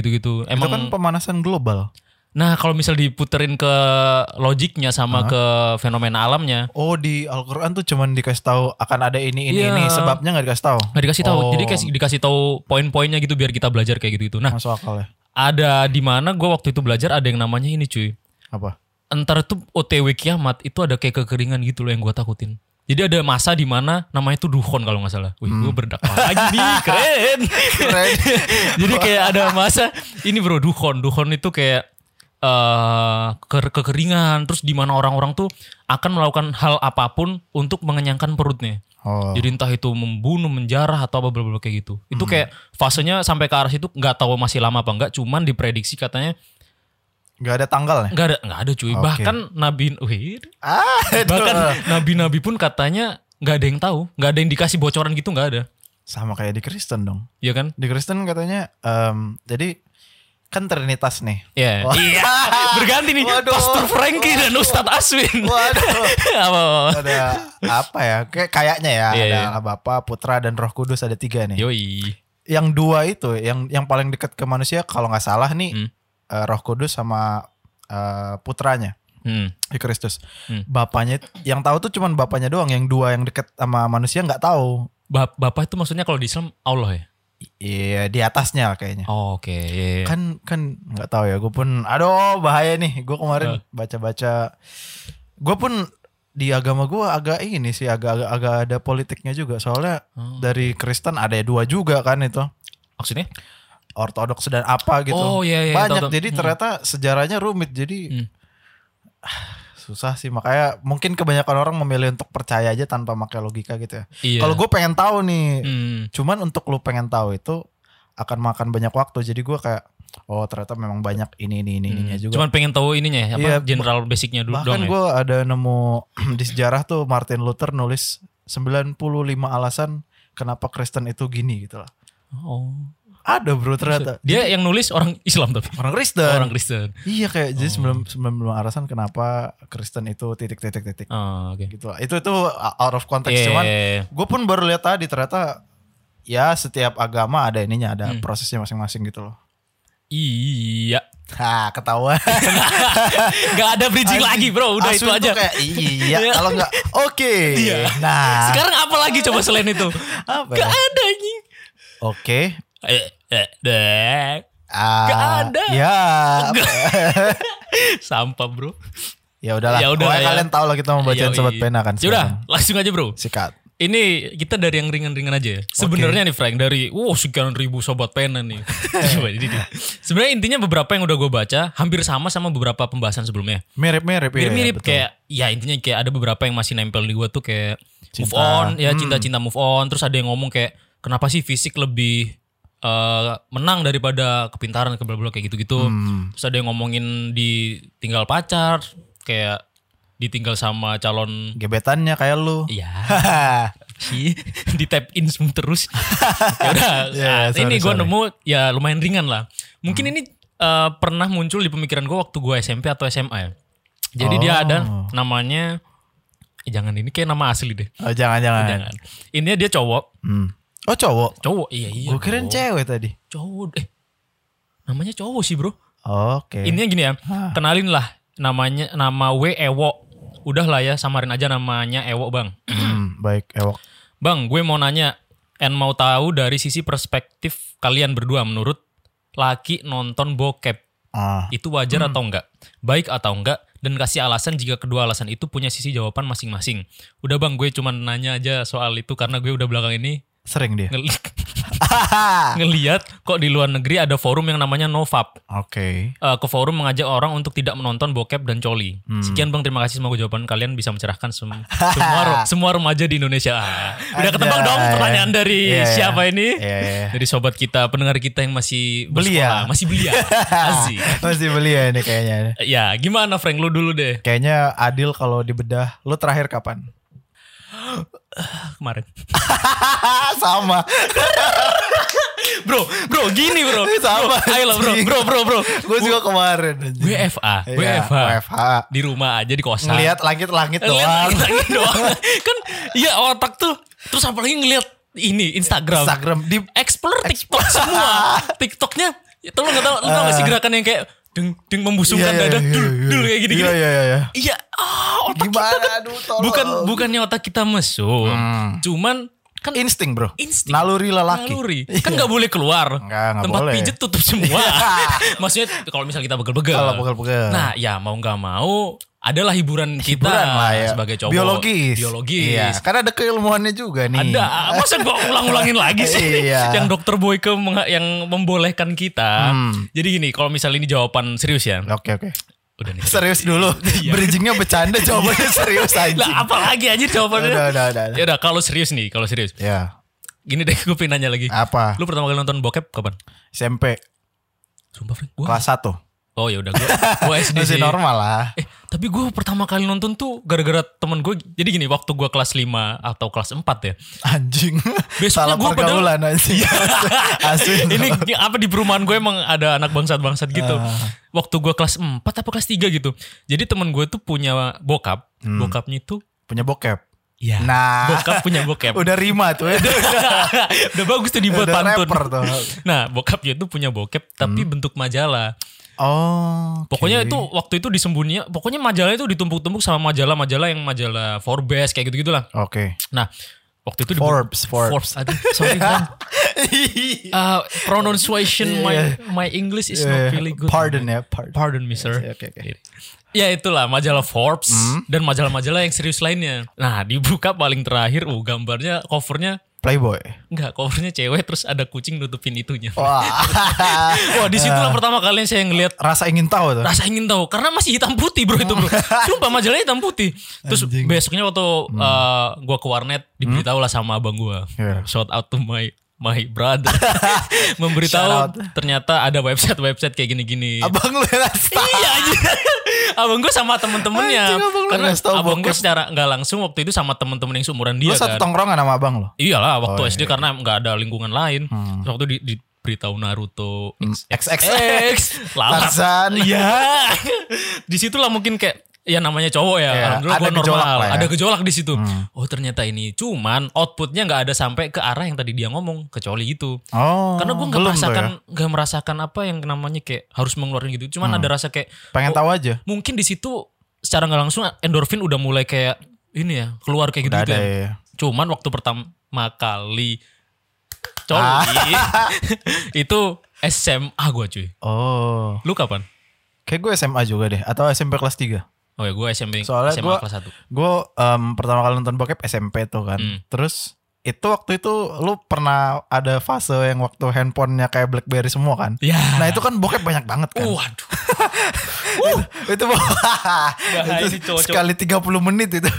Speaker 1: Itu
Speaker 3: gitu-gitu. Emang
Speaker 1: kan pemanasan global.
Speaker 3: nah kalau misal diputerin ke logiknya sama ke fenomena alamnya
Speaker 1: Oh di Al-Quran tuh cuman dikasih tahu akan ada ini ini
Speaker 3: Iya.
Speaker 1: ini sebabnya nggak dikasih tahu.
Speaker 3: nggak dikasih tahu.
Speaker 1: Oh.
Speaker 3: Jadi kayak dikasih tahu poin-poinnya gitu biar kita belajar kayak gitu-gitu. Nah,
Speaker 1: Masuk akal ya.
Speaker 3: ada di mana gue waktu itu belajar ada yang namanya ini cuy
Speaker 1: Apa?
Speaker 3: entar tuh OTW kiamat itu ada kayak kekeringan gitu loh yang gue takutin jadi ada masa di mana namanya tuh duhon kalau nggak salah. Wih, gue berdakwah lagi nih, keren. Jadi kayak ada masa ini bro duhon, duhon itu kayak eh ke- kekeringan, terus di mana orang-orang tuh akan melakukan hal apapun untuk mengenyangkan perutnya.
Speaker 1: Oh.
Speaker 3: Jadi entah itu membunuh, menjarah atau apa blablabla kayak gitu. Itu kayak fasenya sampai ke arah situ nggak tahu masih lama apa enggak, cuman diprediksi katanya
Speaker 1: Gak ada tanggalnya.
Speaker 3: nggak ada nggak ada cuy.
Speaker 1: Oke.
Speaker 3: Bahkan nabi wih,
Speaker 1: Ah, itu.
Speaker 3: bahkan nabi-nabi pun katanya nggak ada yang tahu, nggak ada yang dikasih bocoran gitu nggak ada.
Speaker 1: sama kayak di Kristen dong.
Speaker 3: Iya kan?
Speaker 1: Di Kristen katanya em, jadi kan Trinitas nih.
Speaker 3: Iya.
Speaker 1: Wah.
Speaker 3: Iya. Berganti nih
Speaker 1: Waduh.
Speaker 3: Pastor Frankie dan Ustadz Aswin.
Speaker 1: Waduh.
Speaker 3: Apa, apa, apa.
Speaker 1: ada apa ya? Kayak kayaknya ya
Speaker 3: Iya,
Speaker 1: ada
Speaker 3: iya.
Speaker 1: Allah Bapa, Putra dan Roh Kudus ada tiga nih.
Speaker 3: Yoi.
Speaker 1: Yang dua itu yang yang paling dekat ke manusia kalau nggak salah nih
Speaker 3: Hmm.
Speaker 1: eh, Roh Kudus sama eh, putranya.
Speaker 3: Hmm.
Speaker 1: di Kristus.
Speaker 3: Hmm.
Speaker 1: Bapaknya yang tahu tuh cuman bapaknya doang, yang dua yang deket sama manusia nggak tahu.
Speaker 3: Bap- Bapak itu maksudnya kalau di Islam Allah ya?
Speaker 1: Iya, di atasnya lah kayaknya.
Speaker 3: Oh, oke. Iya, iya.
Speaker 1: Kan kan nggak tahu ya, gue pun aduh bahaya nih. Gue kemarin baca-baca gue pun di agama gue agak ini sih agak agak, agak ada politiknya juga soalnya
Speaker 3: Oh.
Speaker 1: dari Kristen ada dua juga kan itu
Speaker 3: Maksudnya?
Speaker 1: ortodoks dan apa gitu
Speaker 3: Oh, iya, iya,
Speaker 1: banyak
Speaker 3: tahu, tahu.
Speaker 1: jadi
Speaker 3: Hmm.
Speaker 1: ternyata sejarahnya rumit jadi
Speaker 3: Hmm.
Speaker 1: ah, susah sih makanya mungkin kebanyakan orang memilih untuk percaya aja tanpa pakai logika gitu ya
Speaker 3: Iya.
Speaker 1: Kalau gue pengen tahu nih,
Speaker 3: Hmm.
Speaker 1: cuman untuk lu pengen tahu itu akan makan banyak waktu. Jadi gue kayak, oh ternyata memang banyak ini ini ini ininya juga.
Speaker 3: Hmm. Cuman pengen tahu ininya ya, apa
Speaker 1: Iya,
Speaker 3: general basicnya dulu dong
Speaker 1: Bahkan
Speaker 3: ya.
Speaker 1: gue ada nemu di sejarah tuh Martin Luther nulis 95 alasan kenapa Kristen itu gini gitu lah.
Speaker 3: Oh.
Speaker 1: Ada bro ternyata.
Speaker 3: Dia yang nulis orang Islam tapi
Speaker 1: Orang Kristen.
Speaker 3: orang Kristen.
Speaker 1: Iya kayak jadi
Speaker 3: Oh.
Speaker 1: sebelum sebelum alasan kenapa Kristen itu titik-titik-titik
Speaker 3: Oh, oke.
Speaker 1: gitu. lah. Itu itu out of context
Speaker 3: Iya,
Speaker 1: cuman
Speaker 3: iya, iya.
Speaker 1: gue pun baru lihat tadi ternyata ya setiap agama ada ininya
Speaker 3: Hmm.
Speaker 1: ada prosesnya masing-masing gitu loh.
Speaker 3: Iya.
Speaker 1: Hah ketawa.
Speaker 3: Gak ada bridging lagi bro, udah itu aja. Iya.
Speaker 1: Kayak, iya kalau nggak oke. Nah
Speaker 3: Sekarang apa lagi coba selain itu?
Speaker 1: apa? ya?
Speaker 3: Gak ada anjing.
Speaker 1: Oke.
Speaker 3: Eh, eh, deh.
Speaker 1: Ah,
Speaker 3: Nggak ada.
Speaker 1: Ya,
Speaker 3: Sampah bro.
Speaker 1: ya udahlah.
Speaker 3: Ya udah,
Speaker 1: Pokoknya
Speaker 3: ya. iya.
Speaker 1: kalian tahu lah kita mau bacain
Speaker 3: Yoi.
Speaker 1: sobat pena kan. sekarang.
Speaker 3: Yaudah, Ya langsung aja bro.
Speaker 1: Sikat.
Speaker 3: Ini kita dari yang ringan-ringan aja ya. Sebenarnya nih Frank dari wow sekian ribu sobat pena nih. Coba ini dia. Sebenarnya intinya beberapa yang udah gue baca hampir sama sama beberapa pembahasan sebelumnya.
Speaker 1: Mirip-mirip. iya,
Speaker 3: Mirip-mirip
Speaker 1: betul.
Speaker 3: kayak ya intinya kayak ada beberapa yang masih nempel di gue tuh kayak move
Speaker 1: Cinta. Hmm.
Speaker 3: on ya cinta-cinta move on terus ada yang ngomong kayak kenapa sih fisik lebih eh, menang daripada kepintaran ke kayak gitu-gitu.
Speaker 1: Hmm.
Speaker 3: Terus ada yang ngomongin ditinggal pacar kayak ditinggal sama calon
Speaker 1: Gebetannya kayak lu.
Speaker 3: ya sih di tap in semua terus. ya udah,
Speaker 1: Ya,
Speaker 3: nah,
Speaker 1: sorry,
Speaker 3: ini gue
Speaker 1: sorry. Hmm.
Speaker 3: nemu ya lumayan ringan lah. Mungkin ini eh, pernah muncul di pemikiran gue waktu gue SMP atau SMA ya. Jadi dia
Speaker 1: Oh.
Speaker 3: ada namanya eh, jangan ini kayak nama asli deh.
Speaker 1: Oh, jangan-jangan.
Speaker 3: Jangan. Ini dia cowok,
Speaker 1: Hmm. Oh cowok.
Speaker 3: cowok. Iya iya.
Speaker 1: Gue keren
Speaker 3: cowok.
Speaker 1: cewek tadi.
Speaker 3: Cowok. Eh, namanya cowok sih bro.
Speaker 1: Oke.
Speaker 3: Intinya gini ya,
Speaker 1: Eh. Hah.
Speaker 3: kenalin lah namanya nama W Ewo. Udah lah ya samarin aja namanya Ewo bang.
Speaker 1: Hmm, baik ewok.
Speaker 3: Bang, gue mau nanya, and mau tahu dari sisi perspektif kalian berdua menurut laki nonton bokep
Speaker 1: Ah.
Speaker 3: itu wajar atau enggak, baik atau enggak, dan kasih alasan jika kedua alasan itu punya sisi jawaban masing-masing. Udah bang, gue cuma nanya aja soal itu karena gue udah belakang ini
Speaker 1: Sering dia.
Speaker 3: ngel- Nah.
Speaker 1: Oke.
Speaker 3: ngeliat kok di luar negeri ada forum yang namanya Novap. Eh, ke forum mengajak orang untuk tidak menonton bokep dan coli.
Speaker 1: Hmm.
Speaker 3: Sekian bang, terima kasih semoga jawaban kalian bisa mencerahkan sem- semua ro- semua remaja di Indonesia. Ah, Udah ketebak dong
Speaker 1: Anjay.
Speaker 3: pertanyaan dari
Speaker 1: Iya, iya.
Speaker 3: siapa ini?
Speaker 1: Iya, iya.
Speaker 3: Dari sobat kita, pendengar kita yang masih bersekolah,
Speaker 1: Belia.
Speaker 3: masih belia. Asik.
Speaker 1: Masih beli ya ini kayaknya.
Speaker 3: Ya, gimana Frank lu dulu deh
Speaker 1: Kayaknya adil kalau dibedah. Lu terakhir kapan?
Speaker 3: kemarin.
Speaker 1: Ah, sama.
Speaker 3: Bro, bro, gini bro.
Speaker 1: Sama,
Speaker 3: Bro, ayo lah, bro,
Speaker 1: anjing.
Speaker 3: bro, bro, bro.
Speaker 1: Gue juga kemarin. anjing.
Speaker 3: WFA,
Speaker 1: Iya,
Speaker 3: WFA.
Speaker 1: WFH.
Speaker 3: Di rumah aja di kosan. Eh,
Speaker 1: Ngelihat langit-langit
Speaker 3: Ngeliat
Speaker 1: doang.
Speaker 3: lagi doang. kan ya otak tuh terus apalagi ngeliat ini Instagram.
Speaker 1: Instagram di
Speaker 3: Explore TikTok semua. TikToknya itu lo gak tau, lo tau gak sih gerakan yang kayak deng deng membusungkan
Speaker 1: Ah. Iya, iya,
Speaker 3: dada,
Speaker 1: iya,
Speaker 3: dul
Speaker 1: iya.
Speaker 3: dul kayak gini-gini.
Speaker 1: Iya iya iya, iya.
Speaker 3: Iya, ah, otak
Speaker 1: Gimana
Speaker 3: kita kan
Speaker 1: aduh tolong.
Speaker 3: bukan bukannya otak kita mesum.
Speaker 1: Hmm.
Speaker 3: Cuman kan
Speaker 1: insting, Bro.
Speaker 3: Insting.
Speaker 1: Naluri lelaki.
Speaker 3: naluri. Kan nggak boleh keluar.
Speaker 1: Iya. Nggak, nggak
Speaker 3: Tempat
Speaker 1: boleh. Iya.
Speaker 3: pijet tutup semua. Maksudnya kalau misal kita begel-begel.
Speaker 1: Kalau pegel-pegel.
Speaker 3: Nah, ya mau nggak mau adalah hiburan kita
Speaker 1: Hiburan lah ya.
Speaker 3: Nah, sebagai cowok.
Speaker 1: Biologis.
Speaker 3: Biologis.
Speaker 1: Iya, karena ada keilmuannya juga nih.
Speaker 3: Ada, masa gua ulang-ulangin lagi sih
Speaker 1: Hmm. Iya.
Speaker 3: yang dokter Boyke mengha- yang membolehkan kita.
Speaker 1: Hmm.
Speaker 3: Jadi gini, kalau misalnya ini jawaban serius ya.
Speaker 1: Oke oke.
Speaker 3: Udah nih.
Speaker 1: Serius dulu. Bridgingnya bercanda, jawabannya serius aja.
Speaker 3: Iya. Lah, apalagi aja jawabannya.
Speaker 1: Udah, udah, udah, udah.
Speaker 3: Ya udah, kalau serius nih, kalau serius.
Speaker 1: Ya,
Speaker 3: Gini deh, gue pengen nanya lagi.
Speaker 1: apa?
Speaker 3: Lu pertama kali nonton bokep kapan?
Speaker 1: SMP
Speaker 3: Sumpah, Frank. Gua
Speaker 1: kelas 1.
Speaker 3: Oh ya udah gue gue SD
Speaker 1: Masih
Speaker 3: sih.
Speaker 1: normal lah.
Speaker 3: Eh, tapi gue pertama kali nonton tuh gara-gara temen gue. Jadi gini, waktu gue kelas 5 atau kelas 4 ya.
Speaker 1: Anjing. Salah
Speaker 3: Eh, gua padahal- Iya.
Speaker 1: pergaulan anjing. Asli.
Speaker 3: Ini ini apa di perumahan gue emang ada anak bangsat-bangsat gitu.
Speaker 1: Ah.
Speaker 3: Waktu gue kelas 4 apa kelas 3 gitu. Jadi temen gue tuh punya bokap.
Speaker 1: Hmm.
Speaker 3: Bokapnya itu
Speaker 1: punya bokep.
Speaker 3: ya.
Speaker 1: Nah,
Speaker 3: Bokap punya bokep.
Speaker 1: udah rima tuh ya.
Speaker 3: Udah bagus tuh dibuat
Speaker 1: Udah
Speaker 3: pantun.
Speaker 1: rapper Hmm. tuh.
Speaker 3: Nah, bokapnya itu punya bokep tapi bentuk majalah.
Speaker 1: Oh.
Speaker 3: Pokoknya itu waktu itu disembunyinya, pokoknya majalah itu ditumpuk-tumpuk sama majalah-majalah yang majalah Forbes kayak gitu-gitulah.
Speaker 1: Oke.
Speaker 3: Nah, waktu itu di
Speaker 1: Forbes, Forbes.
Speaker 3: Forbes. Aduh, sorry Bang. Uh, pronunciation my my English is not really good.
Speaker 1: Pardon ya, pardon.
Speaker 3: Pardon me sir.
Speaker 1: Oke, oke. Hmm.
Speaker 3: Ya itulah majalah Forbes dan majalah-majalah yang serius lainnya. Nah, dibuka paling terakhir uh gambarnya covernya
Speaker 1: Playboy.
Speaker 3: enggak, covernya cewek terus ada kucing nutupin itunya.
Speaker 1: Oh. Wah.
Speaker 3: Wah,
Speaker 1: Eh.
Speaker 3: disitulah pertama kali saya ngelihat
Speaker 1: Rasa ingin tahu tuh.
Speaker 3: rasa ingin tahu karena masih hitam putih bro itu bro sumpah majalahnya hitam putih terus besoknya waktu
Speaker 1: Hmm.
Speaker 3: uh, gua ke warnet diberitahu lah sama abang gua
Speaker 1: Iya.
Speaker 3: shout out to my my brother
Speaker 1: Shout
Speaker 3: memberitahu ternyata ada website website kayak gini-gini
Speaker 1: Abang lu rasa
Speaker 3: iya anjing. abang gua sama temen-temennya
Speaker 1: Anjing, abang lu
Speaker 3: karena
Speaker 1: ngasih tahu
Speaker 3: abang gua
Speaker 1: bokep.
Speaker 3: secara nggak langsung waktu itu sama temen-temen yang seumuran
Speaker 1: Lu
Speaker 3: dia
Speaker 1: satu Oh, iya,
Speaker 3: kan
Speaker 1: tongkrongan sama abang lo.
Speaker 3: iyalah waktu SD karena nggak ada lingkungan lain
Speaker 1: Hmm.
Speaker 3: Terus waktu di, diberitahu Naruto
Speaker 1: XXX.
Speaker 3: X lalat.
Speaker 1: Tarzan.
Speaker 3: Ya. di situlah mungkin kayak ya namanya cowok ya.
Speaker 1: Ya,
Speaker 3: Alhamdulillah
Speaker 1: ada
Speaker 3: gua normal.
Speaker 1: gejolak lah ya. Hmm.
Speaker 3: Ada gejolak di situ. Oh, ternyata ini cuman outputnya nggak ada sampai ke arah yang tadi dia ngomong kecuali itu.
Speaker 1: Oh.
Speaker 3: Karena gue nggak
Speaker 1: belum tuh
Speaker 3: merasakan
Speaker 1: ya. Hmm.
Speaker 3: nggak merasakan apa yang namanya kayak harus mengeluarkan gitu. Cuman ada rasa kayak
Speaker 1: Pengen
Speaker 3: oh,
Speaker 1: tahu aja.
Speaker 3: mungkin di situ secara nggak langsung endorfin udah mulai kayak ini ya, keluar kayak gitu,
Speaker 1: Udah ada
Speaker 3: ya.
Speaker 1: ya.
Speaker 3: Cuman waktu pertama kali coli itu SMA gue cuy.
Speaker 1: Oh.
Speaker 3: Lu kapan?
Speaker 1: Kayak gue SMA juga deh atau SMP kelas 3.
Speaker 3: Oh ya gue SMP
Speaker 1: Soalnya
Speaker 3: SMA
Speaker 1: gua-
Speaker 3: kelas 1
Speaker 1: Gue em, pertama kali nonton bokep SMP tuh kan.
Speaker 3: Hmm.
Speaker 1: Terus itu waktu itu lu pernah ada fase yang waktu handphonenya kayak BlackBerry semua kan?
Speaker 3: Ya
Speaker 1: Nah itu kan bokep banyak banget kan?
Speaker 3: Waduh
Speaker 1: Itu itu
Speaker 3: ini cowok-cowok.
Speaker 1: sekali 30 menit itu.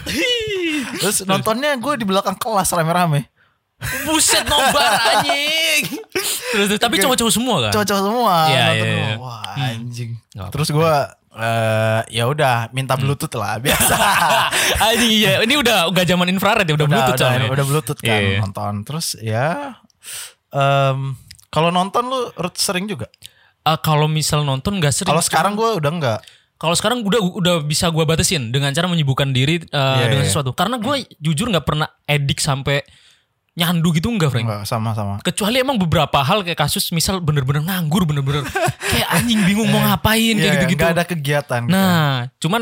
Speaker 1: Terus nontonnya gue di belakang kelas rame-rame.
Speaker 3: Buset nobar anjing terus, terus, Tapi cowok-cowok semua kan
Speaker 1: Cowok-cowok semua
Speaker 3: Iya,
Speaker 1: nonton
Speaker 3: iya,
Speaker 1: gua.
Speaker 3: iya.
Speaker 1: Wah anjing.
Speaker 3: Nggak apa-apa. Hmm.
Speaker 1: Terus gue eh ya udah minta bluetooth lah biasa
Speaker 3: Anjing iya, ini udah gak zaman infrared ya, udah,
Speaker 1: udah,
Speaker 3: bluetooth
Speaker 1: udah,
Speaker 3: soalnya.
Speaker 1: udah bluetooth kan
Speaker 3: Iya.
Speaker 1: nonton terus ya em, kalau nonton lu Ruth, sering juga
Speaker 3: Ah, kalau misal nonton gak sering.
Speaker 1: kalau sekarang gue udah enggak
Speaker 3: Kalau sekarang udah udah bisa gua batasin dengan cara menyibukkan diri eh, dengan
Speaker 1: iya.
Speaker 3: sesuatu. Karena gua jujur nggak pernah edik sampai nyandu gitu enggak, Frank.
Speaker 1: enggak sama-sama
Speaker 3: Kecuali emang beberapa hal kayak kasus misal bener-bener nganggur, bener-bener kayak anjing bingung mau ngapain
Speaker 1: Iya,
Speaker 3: kayak
Speaker 1: iya,
Speaker 3: gitu-gitu.
Speaker 1: nggak ada kegiatan gitu.
Speaker 3: Nah, cuman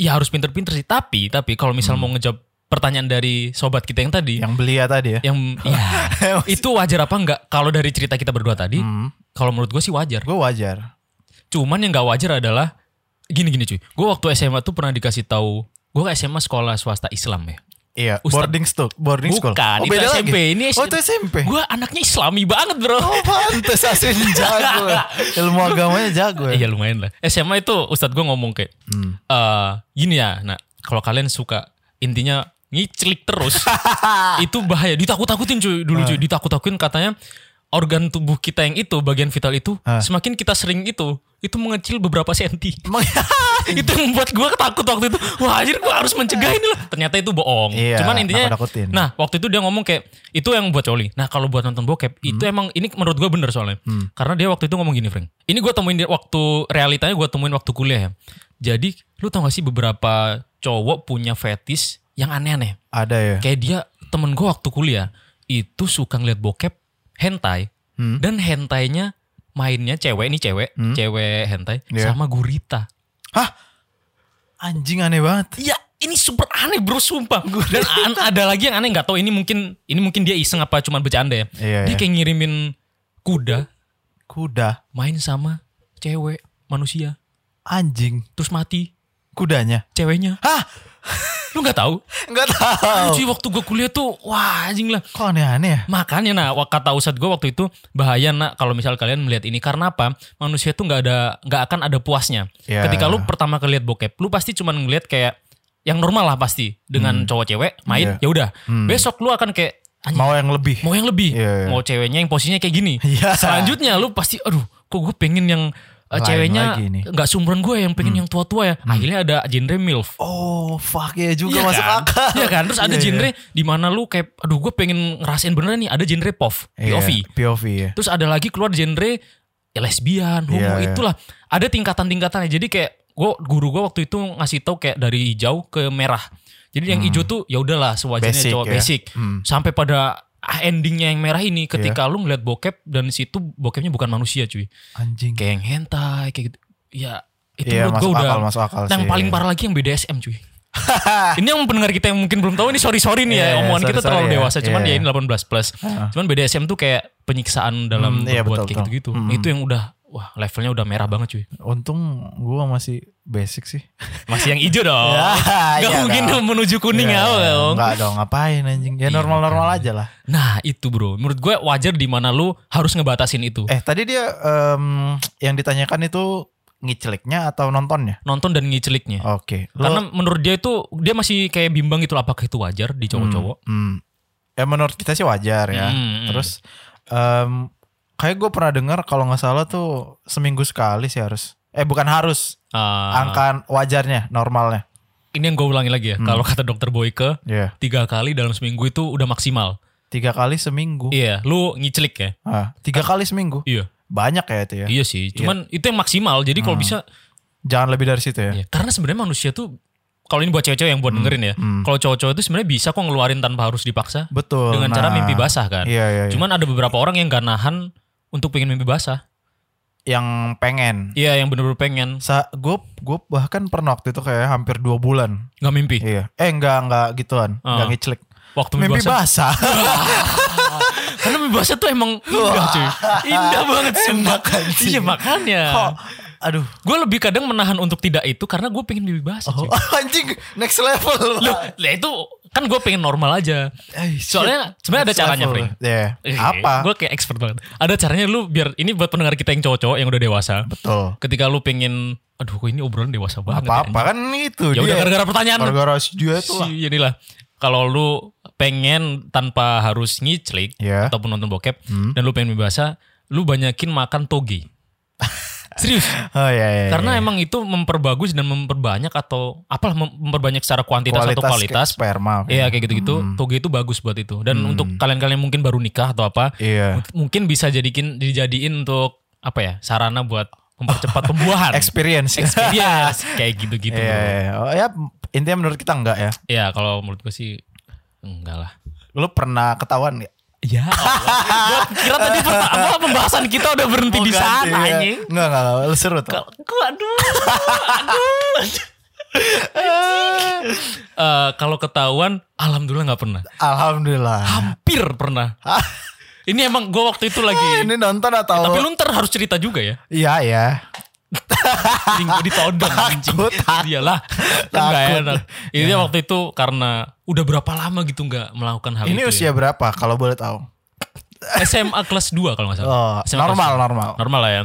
Speaker 3: ya harus pinter-pinter sih. Tapi tapi kalau misal
Speaker 1: Hmm.
Speaker 3: mau ngejawab pertanyaan dari sobat kita yang tadi,
Speaker 1: yang belia tadi ya
Speaker 3: yang ya, itu wajar apa enggak? Kalau dari cerita kita berdua tadi,
Speaker 1: Hmm.
Speaker 3: kalau menurut gue sih wajar.
Speaker 1: gue wajar
Speaker 3: Cuman yang nggak wajar adalah gini-gini cuy. Gue waktu SMA tuh pernah dikasih tahu gue SMA sekolah swasta Islam ya.
Speaker 1: iya
Speaker 3: Ustaz-
Speaker 1: boarding school boarding school
Speaker 3: Bukan,
Speaker 1: oh,
Speaker 3: itu
Speaker 1: beda
Speaker 3: SMP.
Speaker 1: lagi.
Speaker 3: Ini
Speaker 1: oh itu SMP
Speaker 3: Gue anaknya Islami banget bro.
Speaker 1: oh pantes asin jago ilmu agamanya jago ya
Speaker 3: Iya lumayan lah. SMA itu Ustadz gue ngomong kayak eh, gini ya. Nah kalau kalian suka intinya ngiclik terus itu bahaya. Ditakut-takutin cuy dulu cuy. Ditakut-takutin katanya organ tubuh kita yang itu bagian vital itu semakin kita sering itu itu mengecil beberapa senti.
Speaker 1: Emang-
Speaker 3: itu yang membuat gue takut waktu itu. Wah anjir gue harus mencegah ini lah. Ternyata itu bohong.
Speaker 1: Iya,
Speaker 3: Cuman intinya.
Speaker 1: nakut-nakutin.
Speaker 3: Nah waktu itu dia ngomong kayak. Itu yang buat coli. Nah kalau buat nonton bokep. Itu
Speaker 1: Hmm.
Speaker 3: emang ini menurut gue bener soalnya. Karena dia waktu itu ngomong gini Frank. Ini gue temuin dia waktu realitanya gue temuin waktu kuliah ya. Jadi lu tau gak sih beberapa cowok punya fetish yang aneh-aneh.
Speaker 1: ada ya
Speaker 3: Kayak dia temen gue waktu kuliah. Itu suka ngeliat bokep hentai.
Speaker 1: Hmm.
Speaker 3: Dan hentainya mainnya cewek ini cewek. Cewek hentai.
Speaker 1: Iya.
Speaker 3: Sama gurita.
Speaker 1: hah anjing aneh banget
Speaker 3: Iya, ini super aneh bro, sumpah. Dan an- ada lagi yang aneh nggak tahu ini mungkin ini mungkin dia iseng apa cuman bercanda ya.
Speaker 1: Iya, iya.
Speaker 3: dia kayak ngirimin kuda
Speaker 1: kuda
Speaker 3: main sama cewek manusia
Speaker 1: anjing
Speaker 3: terus mati
Speaker 1: kudanya
Speaker 3: ceweknya.
Speaker 1: hah Oh.
Speaker 3: Lu nggak tahu?
Speaker 1: nggak tahu
Speaker 3: Cuy, waktu gue kuliah tuh wah anjing lah.
Speaker 1: kok aneh-aneh ya
Speaker 3: Makanya nah wa- kata ustadz gue waktu itu bahaya nak kalau misal kalian melihat ini karena apa manusia tuh nggak ada nggak akan ada puasnya.
Speaker 1: Ya.
Speaker 3: Ketika lu pertama kali lihat bokep, lu pasti cuman ngelihat kayak yang normal lah pasti dengan cowok cewek main
Speaker 1: Hmm. Iya.
Speaker 3: ya udah. Besok lu akan kayak "Anjing,
Speaker 1: mau yang lebih
Speaker 3: mau yang lebih,
Speaker 1: Iya, iya.
Speaker 3: mau ceweknya yang posisinya kayak gini.
Speaker 1: Iya.
Speaker 3: Selanjutnya lu pasti aduh kok gue pengen yang eh,
Speaker 1: Lain
Speaker 3: ceweknya
Speaker 1: lagi nih. Hmm.
Speaker 3: nggak sumuran gue yang pengen yang tua-tua ya. Akhirnya ada genre milf.
Speaker 1: oh fuck ya juga
Speaker 3: Iya
Speaker 1: masuk
Speaker 3: kan?
Speaker 1: akal
Speaker 3: Iya kan? Terus ada
Speaker 1: Iya, iya.
Speaker 3: genre di mana lu kayak aduh gue pengen ngerasain beneran nih, ada genre POV,
Speaker 1: Iya,
Speaker 3: POV.
Speaker 1: POV ya
Speaker 3: Terus ada lagi keluar genre ya lesbian, homo
Speaker 1: Iya, iya.
Speaker 3: itulah. Ada tingkatan-tingkatannya. Jadi kayak gua guru gua waktu itu ngasih tahu kayak dari hijau ke merah. Jadi yang hijau tuh ya udahlah sewajarnya
Speaker 1: Hmm. Basic
Speaker 3: cowok
Speaker 1: ya.
Speaker 3: basic. Sampai pada ah, endingnya yang merah ini ketika
Speaker 1: Iya.
Speaker 3: lu ngeliat bokep dan situ bokepnya bukan manusia cuy.
Speaker 1: anjing
Speaker 3: Kayak yang hentai kayak gitu. Ya itu
Speaker 1: Iya,
Speaker 3: menurut gua
Speaker 1: masuk
Speaker 3: udah
Speaker 1: akal, masuk akal
Speaker 3: yang
Speaker 1: sih.
Speaker 3: paling parah lagi yang BDSM cuy. ini yang pendengar kita yang mungkin belum tahu ini sorry sorry nih
Speaker 1: Iya,
Speaker 3: ya omongan
Speaker 1: sorry,
Speaker 3: kita terlalu
Speaker 1: sorry ya.
Speaker 3: dewasa cuman
Speaker 1: Iya.
Speaker 3: ya ini 18 plus. Cuman BDSM tuh kayak penyiksaan dalam
Speaker 1: Hmm, iya,
Speaker 3: berbuat
Speaker 1: betul,
Speaker 3: kayak
Speaker 1: betul.
Speaker 3: gitu-gitu. Itu yang udah wah levelnya udah merah banget cuy.
Speaker 1: untung gua masih basic sih
Speaker 3: Masih yang hijau dong.
Speaker 1: Ya,
Speaker 3: Gak
Speaker 1: iya
Speaker 3: mungkin
Speaker 1: dong. Iya,
Speaker 3: dong menuju kuning ya. dong. Iya,
Speaker 1: Enggak dong, ngapain anjing? Ya normal-normal aja lah.
Speaker 3: Nah itu bro, menurut gue wajar di mana lu harus ngebatasin itu.
Speaker 1: Eh, tadi dia em, yang ditanyakan itu ngicliknya atau nontonnya?
Speaker 3: Nonton dan ngiciliknya.
Speaker 1: Oke. Lo-
Speaker 3: Karena menurut dia itu dia masih kayak bimbang gitu lah, apakah itu wajar di cowok-cowok.
Speaker 1: hmm, ya menurut kita sih wajar ya.
Speaker 3: Hmm, hmm.
Speaker 1: Terus em, kayak gue pernah dengar kalau nggak salah tuh seminggu sekali sih harus. Eh bukan harus,
Speaker 3: Ah,
Speaker 1: angka wajarnya, normalnya.
Speaker 3: ini yang gue ulangi lagi
Speaker 1: Hmm.
Speaker 3: ya. Kalau kata dokter Boyke,
Speaker 1: Iya.
Speaker 3: tiga kali dalam seminggu itu udah maksimal.
Speaker 1: Tiga kali seminggu.
Speaker 3: Iya, lu ngicilik ya.
Speaker 1: Ah, tiga kali seminggu.
Speaker 3: Iya,
Speaker 1: Banyak ya itu ya.
Speaker 3: iya sih. Cuman itu yang maksimal. Jadi kalau bisa,
Speaker 1: Jangan lebih dari situ ya. Hmm.
Speaker 3: ya, karena sebenarnya manusia tuh kalau ini buat cewek-cewek yang buat dengerin ya, kalau cowok-cowok itu sebenarnya bisa kok ngeluarin tanpa harus dipaksa
Speaker 1: Betul.
Speaker 3: dengan cara
Speaker 1: nah,
Speaker 3: mimpi basah kan.
Speaker 1: Iya, iya, iya.
Speaker 3: Cuman ada beberapa orang yang gak nahan untuk pengen mimpi basah.
Speaker 1: yang pengen.
Speaker 3: Iya, yang bener-bener pengen
Speaker 1: Sa gue gue bahkan pernah waktu itu kayak hampir dua bulan.
Speaker 3: nggak mimpi.
Speaker 1: Iya. Eh enggak enggak gituan, enggak
Speaker 3: Ah.
Speaker 1: ngiclik.
Speaker 3: Waktu mimpi,
Speaker 1: Mimpi
Speaker 3: basah.
Speaker 1: basah.
Speaker 3: Karena mimpi basah tuh emang indah cuy. Indah banget sumpah. Iya makanya.
Speaker 1: Kok- Aduh.
Speaker 3: Gue lebih kadang menahan untuk tidak itu karena gue pengen mimpi basah
Speaker 1: Oh,
Speaker 3: cuy.
Speaker 1: anjing next level.
Speaker 3: Loh, lah itu kan gue pengen normal aja.
Speaker 1: Eh,
Speaker 3: Soalnya sebenarnya ada caranya, Iya. Frank.
Speaker 1: Ya. Apa?
Speaker 3: Gue kayak expert banget. Ada caranya lu biar ini buat pendengar kita yang cowok-cowok yang udah dewasa.
Speaker 1: Betul.
Speaker 3: Ketika lu pengen, aduh kok ini obrolan dewasa banget.
Speaker 1: Apa-apa kan itu
Speaker 3: Ya udah gara-gara pertanyaan lu.
Speaker 1: Gara-gara si dia itu lah.
Speaker 3: Si ya inilah. Kalau lu pengen tanpa harus ngiclik
Speaker 1: Ya. Hmm.
Speaker 3: ataupun nonton bokep dan lu pengen bebasa, lu banyakin makan toge. Serius.
Speaker 1: Oh iya, iya, iya.
Speaker 3: Karena emang itu memperbagus dan memperbanyak atau apalah mem- memperbanyak secara kuantitas atau
Speaker 1: kayak
Speaker 3: kualitas.
Speaker 1: sperma.
Speaker 3: Iya kayak gitu-gitu.
Speaker 1: Hmm.
Speaker 3: Toge itu bagus buat itu. Dan untuk kalian-kalian yang mungkin baru nikah atau apa,
Speaker 1: Iya.
Speaker 3: mung- mungkin bisa jadikin dijadiin untuk apa ya? sarana buat mempercepat pembuahan.
Speaker 1: Experience. Iya,
Speaker 3: gitu. Experience kayak gitu-gitu.
Speaker 1: Iya. iya. Oh, ya intinya menurut kita enggak ya.
Speaker 3: Ya kalau menurut gue sih enggak lah.
Speaker 1: Lu pernah ketahuan nggak?
Speaker 3: Ya Allah. Gua kira tadi perta- apa, pembahasan kita udah berhenti
Speaker 1: Mau
Speaker 3: di
Speaker 1: ganti,
Speaker 3: sana
Speaker 1: iya.
Speaker 3: anjing.
Speaker 1: Enggak, enggak, enggak. Lu seru tuh.
Speaker 3: Gua aduh. aduh. Eh, kalau ketahuan alhamdulillah nggak pernah.
Speaker 1: Ah. Alhamdulillah.
Speaker 3: Hampir pernah. Ini emang gue waktu itu lagi
Speaker 1: Ah. Ini nonton atau?
Speaker 3: Iya. Tapi lu ntar harus cerita juga ya.
Speaker 1: Iya, iya.
Speaker 3: Anjing gue ditodong anjing.
Speaker 1: Takut, takut.
Speaker 3: Iyalah. Kan gak
Speaker 1: Takut. Iya.
Speaker 3: enak. Ini waktu itu karena udah berapa lama gitu nggak melakukan hal
Speaker 1: Ini
Speaker 3: itu.
Speaker 1: usia
Speaker 3: ya.
Speaker 1: berapa kalau boleh tahu?
Speaker 3: SMA kelas 2 kalau nggak
Speaker 1: Oh,
Speaker 3: salah. SMA kelas
Speaker 1: normal,
Speaker 3: dua.
Speaker 1: normal. Hmm.
Speaker 3: Normal lah ya.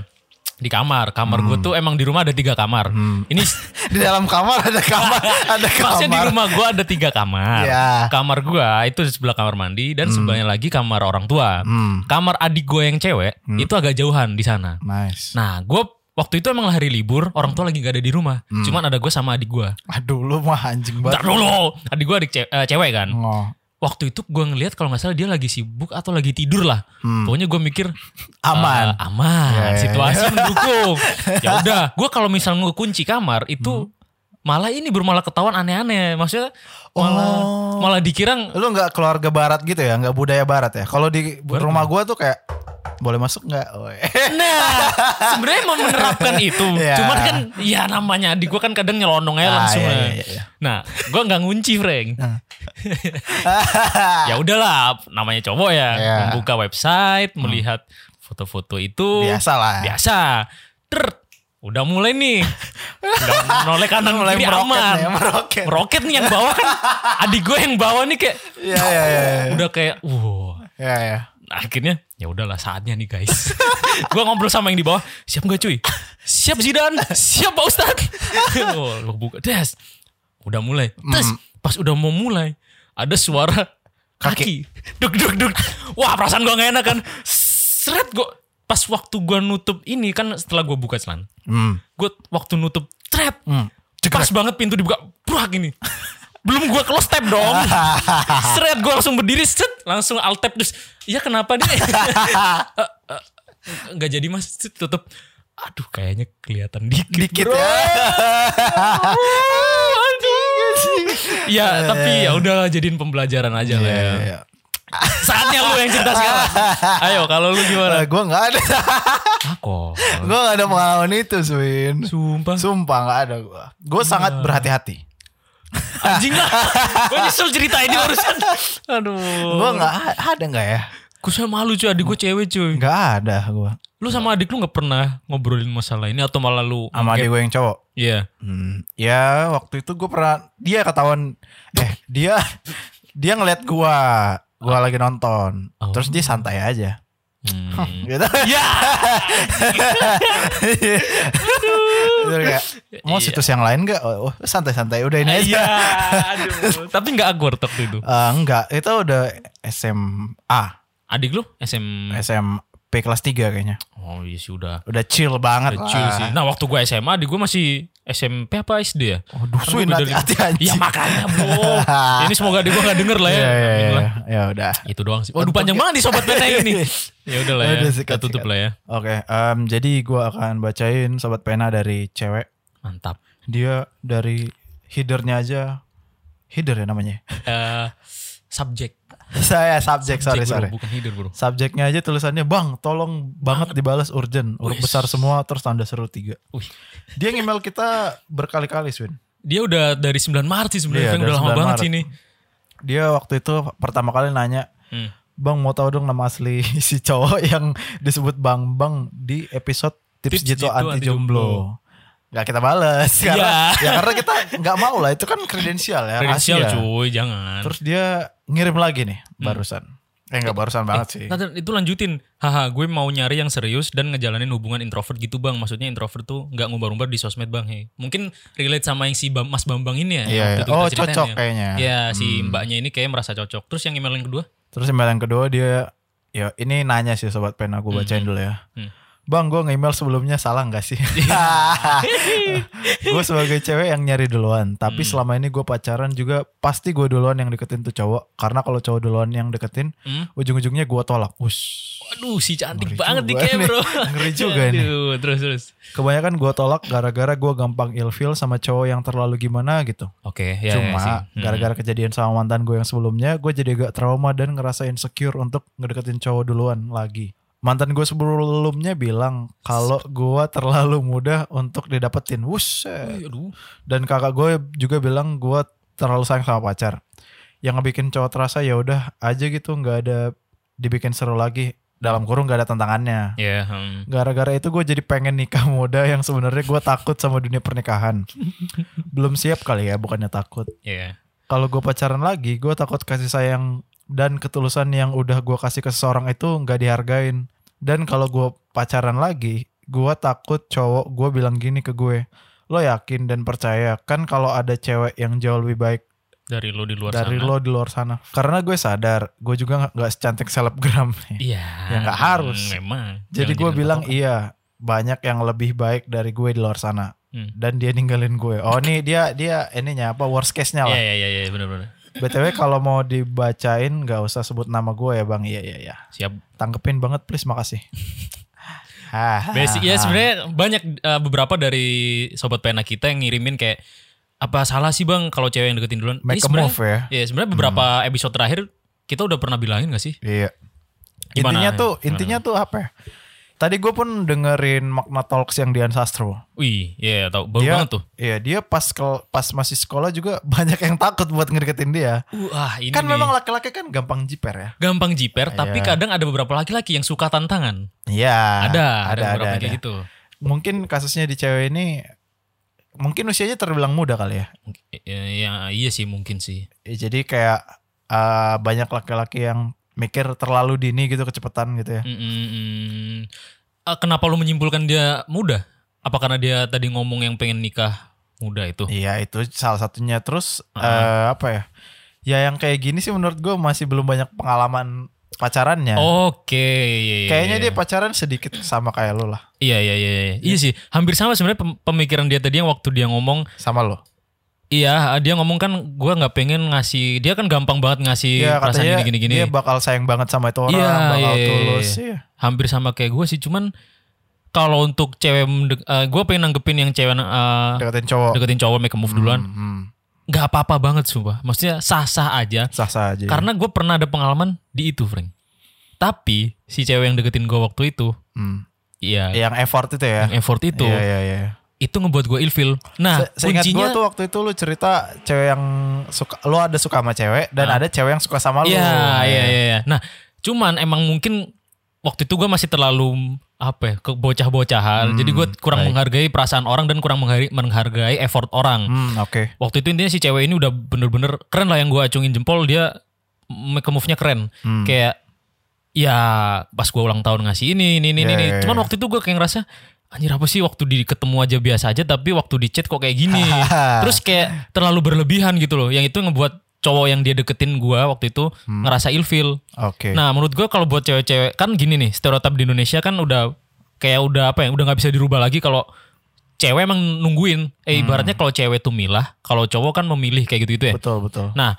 Speaker 3: Di kamar. Kamar gue tuh emang di rumah ada tiga kamar. Ini
Speaker 1: Di dalam kamar ada kamar, ada
Speaker 3: maksudnya di
Speaker 1: kamar.
Speaker 3: rumah gue ada tiga kamar.
Speaker 1: Iya. Hmm.
Speaker 3: Kamar gue itu di sebelah kamar mandi. Dan sebelahnya lagi kamar orang tua. Kamar adik gue yang cewek
Speaker 1: Hmm.
Speaker 3: itu agak jauhan di sana.
Speaker 1: Nice.
Speaker 3: Nah, gue waktu itu emang hari libur, orang tua lagi gak ada di rumah.
Speaker 1: Hmm.
Speaker 3: Cuman ada gue sama adik gue.
Speaker 1: Aduh, lu mah anjing
Speaker 3: Nah. Bentar
Speaker 1: banget.
Speaker 3: dulu, adik gue adik ce- eh, cewek kan.
Speaker 1: Oh,
Speaker 3: Waktu itu gue ngelihat kalau nggak salah dia lagi sibuk atau lagi tidur lah. Pokoknya gue mikir
Speaker 1: Hmm. aman.
Speaker 3: eh, aman,
Speaker 1: Ya, ya,
Speaker 3: situasi mendukung. ya udah, gue kalau misal ngekunci kamar
Speaker 1: Hmm.
Speaker 3: itu malah ini bermalah ketahuan aneh-aneh. Maksudnya malah
Speaker 1: Oh.
Speaker 3: malah dikira
Speaker 1: Lu nggak keluarga barat gitu ya, nggak budaya barat ya. Kalau di rumah gua tuh kayak boleh masuk nggak? Woy.
Speaker 3: Nah, sebenarnya mau menerapkan itu.
Speaker 1: Iya.
Speaker 3: Cuman kan ya namanya adik gue kan kadang nyelonong aja
Speaker 1: Ah,
Speaker 3: langsung.
Speaker 1: iya,
Speaker 3: lah.
Speaker 1: iya, iya.
Speaker 3: Nah, gue nggak ngunci, Frank. ya udahlah, namanya cowok ya.
Speaker 1: Ah. Iya. Hmm.
Speaker 3: Membuka website, melihat foto-foto itu.
Speaker 1: Biasa lah.
Speaker 3: Biasa. Ter, udah mulai nih. Udah noleh kanan mulai
Speaker 1: Mulai
Speaker 3: kiri
Speaker 1: meroket
Speaker 3: aman.
Speaker 1: nih, meroket.
Speaker 3: Meroket nih yang bawah kan. adik gue yang bawah nih kayak
Speaker 1: Iya, iya, iya.
Speaker 3: udah kayak wow.
Speaker 1: Iya, iya.
Speaker 3: Nah, akhirnya ya udahlah saatnya nih guys. gua ngobrol sama yang di bawah, siap nggak cuy? Siap Zidan, siap Pak Ustad. oh, lu buka des. Udah mulai. Terus pas udah mau mulai ada suara kaki. Duk duk duk. Wah, perasaan gua nggak enak kan. Seret gua pas waktu gua nutup ini kan setelah gua buka celana.
Speaker 1: Hmm.
Speaker 3: Gua waktu nutup trap.
Speaker 1: Hmm.
Speaker 3: Pas banget pintu dibuka, brak ini. Belum gua close tab dong. Seret gua langsung berdiri, set, langsung alt tab terus. Iya kenapa nih? Eh, eh, Nggak jadi mas, set, tutup. Aduh kayaknya kelihatan dikit.
Speaker 1: Dikit
Speaker 3: bro.
Speaker 1: ya.
Speaker 3: Ya tapi ya udahlah jadiin pembelajaran aja lah ya.
Speaker 1: Iya, iya.
Speaker 3: Saatnya lu yang cerita sekarang. Ayo kalau lu gimana?
Speaker 1: Eh, gua nggak ada,
Speaker 3: Aku.
Speaker 1: gua nggak ada pengalaman itu, Swin.
Speaker 3: Sumpah. Iya.
Speaker 1: Sumpah nggak ada gua. Gua sangat berhati-hati.
Speaker 3: Anjing lah. Gue nyesel cerita ini barusan. Aduh.
Speaker 1: Gua nggak a- ada nggak ya?
Speaker 3: Gue sama malu cuy, adik gue cewek cuy.
Speaker 1: Nggak ada gua.
Speaker 3: Lu sama adik lu gak pernah ngobrolin masalah ini atau malah lu
Speaker 1: Sama adik gue yang cowok.
Speaker 3: Iya.
Speaker 1: Hmm, ya waktu itu gue pernah dia ketahuan eh dia dia ngeliat gua gua lagi nonton
Speaker 3: Oh.
Speaker 1: terus dia santai aja
Speaker 3: Hmm.
Speaker 1: gitu
Speaker 3: Ya.
Speaker 1: Terus kayak, mau situs yang lain gak oh, oh, santai-santai udah ini aja
Speaker 3: Iya. Aduh. Tapi gak awkward waktu itu.
Speaker 1: Eh, enggak itu udah SMA
Speaker 3: Adik lu SM
Speaker 1: Hmm. SMP kelas 3 kayaknya
Speaker 3: Oh iya sih udah.
Speaker 1: udah chill banget
Speaker 3: Udah
Speaker 1: lah.
Speaker 3: chill sih. Nah waktu gue SMA adik gue masih SMP apa SD ya?
Speaker 1: Waduh,
Speaker 3: Kan
Speaker 1: Swin,
Speaker 3: gua beda
Speaker 1: hati-hati,
Speaker 3: lima-
Speaker 1: anjing.
Speaker 3: Iya makanya bro. ini semoga adik gue gak denger lah ya.
Speaker 1: ya ya
Speaker 3: Amin
Speaker 1: ya,
Speaker 3: lah.
Speaker 1: ya udah
Speaker 3: Itu doang sih. Waduh panjang banget nih sobat beta ini. Ya udah lah ya.
Speaker 1: Udah,
Speaker 3: Kita
Speaker 1: sikat,
Speaker 3: tutup
Speaker 1: sikat.
Speaker 3: lah ya.
Speaker 1: oke em, jadi gua akan bacain sobat pena dari cewek
Speaker 3: Mantap.
Speaker 1: dia dari headernya aja header ya namanya
Speaker 3: Eh subjek.
Speaker 1: saya subjek sorry
Speaker 3: Subjek, bro,
Speaker 1: sorry
Speaker 3: Bukan hider bro.
Speaker 1: subjeknya aja tulisannya bang tolong banget dibalas urgent huruf
Speaker 3: Wes.
Speaker 1: besar semua terus tanda seru tiga
Speaker 3: Wih.
Speaker 1: dia ngemail kita berkali-kali Swin
Speaker 3: Dia udah dari 9 Maret sih
Speaker 1: Iya,
Speaker 3: sebenarnya. Frank.
Speaker 1: dari
Speaker 3: udah lama
Speaker 1: 9
Speaker 3: banget
Speaker 1: Maret.
Speaker 3: sih ini.
Speaker 1: dia waktu itu pertama kali nanya
Speaker 3: Hmm.
Speaker 1: bang mau tahu dong nama asli si cowok yang disebut bang bang di episode tips,
Speaker 3: Tips
Speaker 1: jitu
Speaker 3: Jito
Speaker 1: anti
Speaker 3: Anti Jomblo.
Speaker 1: jomblo Gak kita balas karena,
Speaker 3: Iya.
Speaker 1: ya karena kita nggak mau lah itu kan kredensial ya
Speaker 3: Kredensial
Speaker 1: rahasia.
Speaker 3: cuy, Hmm. jangan.
Speaker 1: Terus dia ngirim lagi nih barusan. Eh enggak barusan banget sih.
Speaker 3: Nah, itu lanjutin. Haha, gue mau nyari yang serius dan ngejalanin hubungan introvert gitu, Bang. Maksudnya introvert tuh nggak ngumbar-ngumbar di sosmed, Bang. Hei. Mungkin relate sama yang si Bam- Mas Bambang ini ya. yang
Speaker 1: Iya, iya.
Speaker 3: waktu itu kita
Speaker 1: Oh,
Speaker 3: ceritain
Speaker 1: cocok
Speaker 3: ya.
Speaker 1: kayaknya. Hmm.
Speaker 3: Iya, si mbaknya ini kayak merasa cocok. Terus yang email yang kedua?
Speaker 1: Terus email yang kedua dia ya ini nanya sih sobat pena aku bacain dulu ya.
Speaker 3: Hmm.
Speaker 1: Bang, gue nge-email sebelumnya salah nggak sih?
Speaker 3: Iya.
Speaker 1: gue sebagai cewek yang nyari duluan. Tapi
Speaker 3: Hmm.
Speaker 1: selama ini gue pacaran juga pasti gue duluan yang deketin tuh cowok. Karena kalau cowok duluan yang deketin,
Speaker 3: Hmm.
Speaker 1: ujung-ujungnya gue tolak. Ush,
Speaker 3: Waduh, si cantik
Speaker 1: Ngeri
Speaker 3: banget di
Speaker 1: juga nih.
Speaker 3: bro.
Speaker 1: Ngeri juga nih.
Speaker 3: Aduh, terus terus.
Speaker 1: kebanyakan gue tolak gara-gara gue gampang ilfeel sama cowok yang terlalu gimana gitu.
Speaker 3: Oke, ya, ya,
Speaker 1: Cuma
Speaker 3: sih. Hmm.
Speaker 1: gara-gara kejadian sama mantan gue yang sebelumnya, gue jadi agak trauma dan ngerasa insecure untuk ngedeketin cowok duluan lagi. Mantan gue sebelumnya bilang kalau gue terlalu mudah untuk didapetin. Wuset.
Speaker 3: Wih, aduh.
Speaker 1: Dan kakak gue juga bilang gue terlalu sayang sama pacar. Yang ngebikin cowok terasa ya udah aja gitu, nggak ada dibikin seru lagi. Dalam kurung nggak ada tantangannya.
Speaker 3: Ya, hmm.
Speaker 1: Gara-gara itu gue jadi pengen nikah muda yang sebenarnya gue takut sama dunia pernikahan. Belum siap kali ya, bukannya takut.
Speaker 3: ya.
Speaker 1: Kalau gue pacaran lagi, gue takut kasih sayang dan ketulusan yang udah gue kasih ke seseorang itu nggak dihargain. Dan kalau gue pacaran lagi, gue takut cowok gue bilang gini ke gue, lo yakin dan percaya kan kalau ada cewek yang jauh lebih baik
Speaker 3: Dari lo di luar
Speaker 1: dari
Speaker 3: sana.
Speaker 1: lo di luar sana. Karena gue sadar, gue juga nggak- nggak secantik selebgram.
Speaker 3: Iya. Hmm,
Speaker 1: Ya, nggak harus.
Speaker 3: Memang.
Speaker 1: Jadi gue bilang iya banyak yang lebih baik dari gue di luar sana
Speaker 3: Hmm.
Speaker 1: dan dia ninggalin gue. Oh nih dia dia ininya apa worst case nya lah.
Speaker 3: Iya, iya, iya, ya, benar-benar.
Speaker 1: btw kalau mau dibacain nggak usah sebut nama gue ya bang. Iya iya iya.
Speaker 3: Siap.
Speaker 1: Tanggepin banget please makasih. Hah.
Speaker 3: Basic ya sebenarnya banyak eh, beberapa dari sobat pena kita yang ngirimin kayak apa salah sih bang kalau cewek yang deketin duluan.
Speaker 1: Make a
Speaker 3: sebenarnya-
Speaker 1: move ya.
Speaker 3: Iya, sebenarnya beberapa episode terakhir kita udah pernah bilangin gak sih?
Speaker 1: Iya.
Speaker 3: Gimana?
Speaker 1: Intinya tuh intinya tuh apa? ya? Tadi gue pun dengerin makna talks yang Dian Sastro.
Speaker 3: Wih, iya tahu baru
Speaker 1: Dia-
Speaker 3: banget tuh.
Speaker 1: Iya dia pas kel- pas masih sekolah juga banyak yang takut buat ngedeketin dia.
Speaker 3: Wah, ini
Speaker 1: Kan
Speaker 3: nih.
Speaker 1: memang laki-laki kan gampang jiper ya.
Speaker 3: gampang jiper, tapi
Speaker 1: Iya.
Speaker 3: kadang ada beberapa laki-laki yang suka tantangan.
Speaker 1: Iya.
Speaker 3: ada, ada,
Speaker 1: ada,
Speaker 3: beberapa
Speaker 1: ada.
Speaker 3: kayak gitu.
Speaker 1: Mungkin kasusnya di cewek ini mungkin usianya terbilang muda kali ya.
Speaker 3: Eh, Ya, iya sih mungkin sih.
Speaker 1: Ya, Jadi kayak eh, banyak laki-laki yang mikir terlalu dini gitu kecepatan gitu ya.
Speaker 3: Mm, mm, mm. Ah, Kenapa lu menyimpulkan dia muda? Apa karena dia tadi ngomong yang pengen nikah muda itu?
Speaker 1: Iya itu salah satunya. Terus eh
Speaker 3: Heeh.
Speaker 1: apa ya? Ya yang kayak gini sih menurut gue masih belum banyak pengalaman pacarannya.
Speaker 3: Oke, Oh, iya, iya,
Speaker 1: Kayaknya
Speaker 3: iya.
Speaker 1: dia pacaran sedikit sama kayak lo lah,
Speaker 3: Iya, iya, iya, iya. Iya sih, hampir sama sebenarnya pem- pemikiran dia tadi yang waktu dia ngomong
Speaker 1: sama lo.
Speaker 3: Iya, dia ngomong kan gue nggak pengen ngasih. Dia kan gampang banget ngasih
Speaker 1: Iya
Speaker 3: perasaan
Speaker 1: katanya
Speaker 3: gini-gini-gini.
Speaker 1: dia bakal sayang banget sama itu orang,
Speaker 3: Iya,
Speaker 1: bakal
Speaker 3: iya, iya,
Speaker 1: tulus.
Speaker 3: iya.
Speaker 1: Iya.
Speaker 3: Hampir sama kayak gue sih, cuman kalau untuk cewek, gue pengen nanggepin yang cewek eh,
Speaker 1: Deketin cowok.
Speaker 3: deketin cowok make a move duluan,
Speaker 1: Hmm, hmm. Iya.
Speaker 3: nggak apa-apa banget sumpah. Maksudnya sah-sah aja.
Speaker 1: Sah-sah aja.
Speaker 3: Karena gue pernah ada pengalaman di itu, Frank. Tapi si cewek yang deketin gue waktu itu,
Speaker 1: Hmm.
Speaker 3: iya,
Speaker 1: yang effort itu ya.
Speaker 3: effort itu,
Speaker 1: Iya iya iya.
Speaker 3: itu ngebuat gue ilfil. Nah,
Speaker 1: Se- Seingat gue
Speaker 3: kuncinya,
Speaker 1: tuh waktu itu lu cerita cewek yang suka, lu ada suka sama cewek dan ada cewek yang suka sama lu.
Speaker 3: Ah. Iya, iya, iya. iya. Nah, cuman emang mungkin waktu itu gue masih terlalu apa ya, ke
Speaker 1: Hmm,
Speaker 3: bocah-bocahan. jadi gue kurang
Speaker 1: baik.
Speaker 3: menghargai perasaan orang dan kurang menghargai, menghargai effort orang.
Speaker 1: Hmm, oke.
Speaker 3: Waktu itu intinya si cewek ini udah bener-bener keren lah yang gue acungin jempol dia make a move-nya keren.
Speaker 1: Hmm.
Speaker 3: Kayak ya pas gue ulang tahun ngasih ini, ini, ini,
Speaker 1: Iya,
Speaker 3: ini.
Speaker 1: iya,
Speaker 3: Cuman waktu itu gue kayak ngerasa anjir apa sih waktu di ketemu aja biasa aja tapi waktu di chat kok kayak gini. Terus kayak terlalu berlebihan gitu loh. Yang itu ngebuat cowok yang dia deketin gua waktu itu
Speaker 1: Hmm.
Speaker 3: ngerasa ilfil.
Speaker 1: Oke.
Speaker 3: Nah, menurut gua kalau buat cewek-cewek kan gini nih, stereotip di Indonesia kan udah kayak udah apa ya, udah nggak bisa dirubah lagi kalau cewek emang nungguin.
Speaker 1: Hmm.
Speaker 3: Eh ibaratnya kalau cewek tuh milah, kalau cowok kan memilih kayak gitu-gitu ya.
Speaker 1: Betul betul.
Speaker 3: Nah,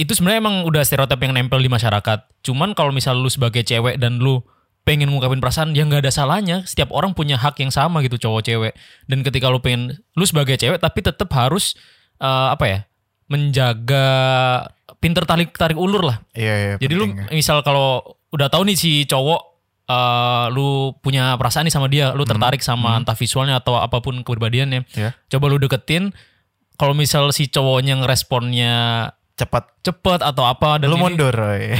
Speaker 3: itu sebenarnya emang udah stereotip yang nempel di masyarakat. Cuman kalau misal lu sebagai cewek dan lu pengen ngungkapin perasaan ya nggak ada salahnya setiap orang punya hak yang sama gitu cowok cewek dan ketika lu pengen lu sebagai cewek tapi tetap harus eh, apa ya menjaga pinter tarik tarik ulur lah
Speaker 1: Iya iya.
Speaker 3: jadi lu
Speaker 1: penting ya.
Speaker 3: misal kalau udah tahu nih si cowok eh, lu punya perasaan nih sama dia
Speaker 1: Hmm.
Speaker 3: lu tertarik sama entah visualnya atau apapun kepribadiannya
Speaker 1: Iya.
Speaker 3: coba lu deketin kalau misal si cowoknya ngeresponnya
Speaker 1: cepat.
Speaker 3: cepet atau apa dan
Speaker 1: Lu
Speaker 3: ini-
Speaker 1: mundur. iya.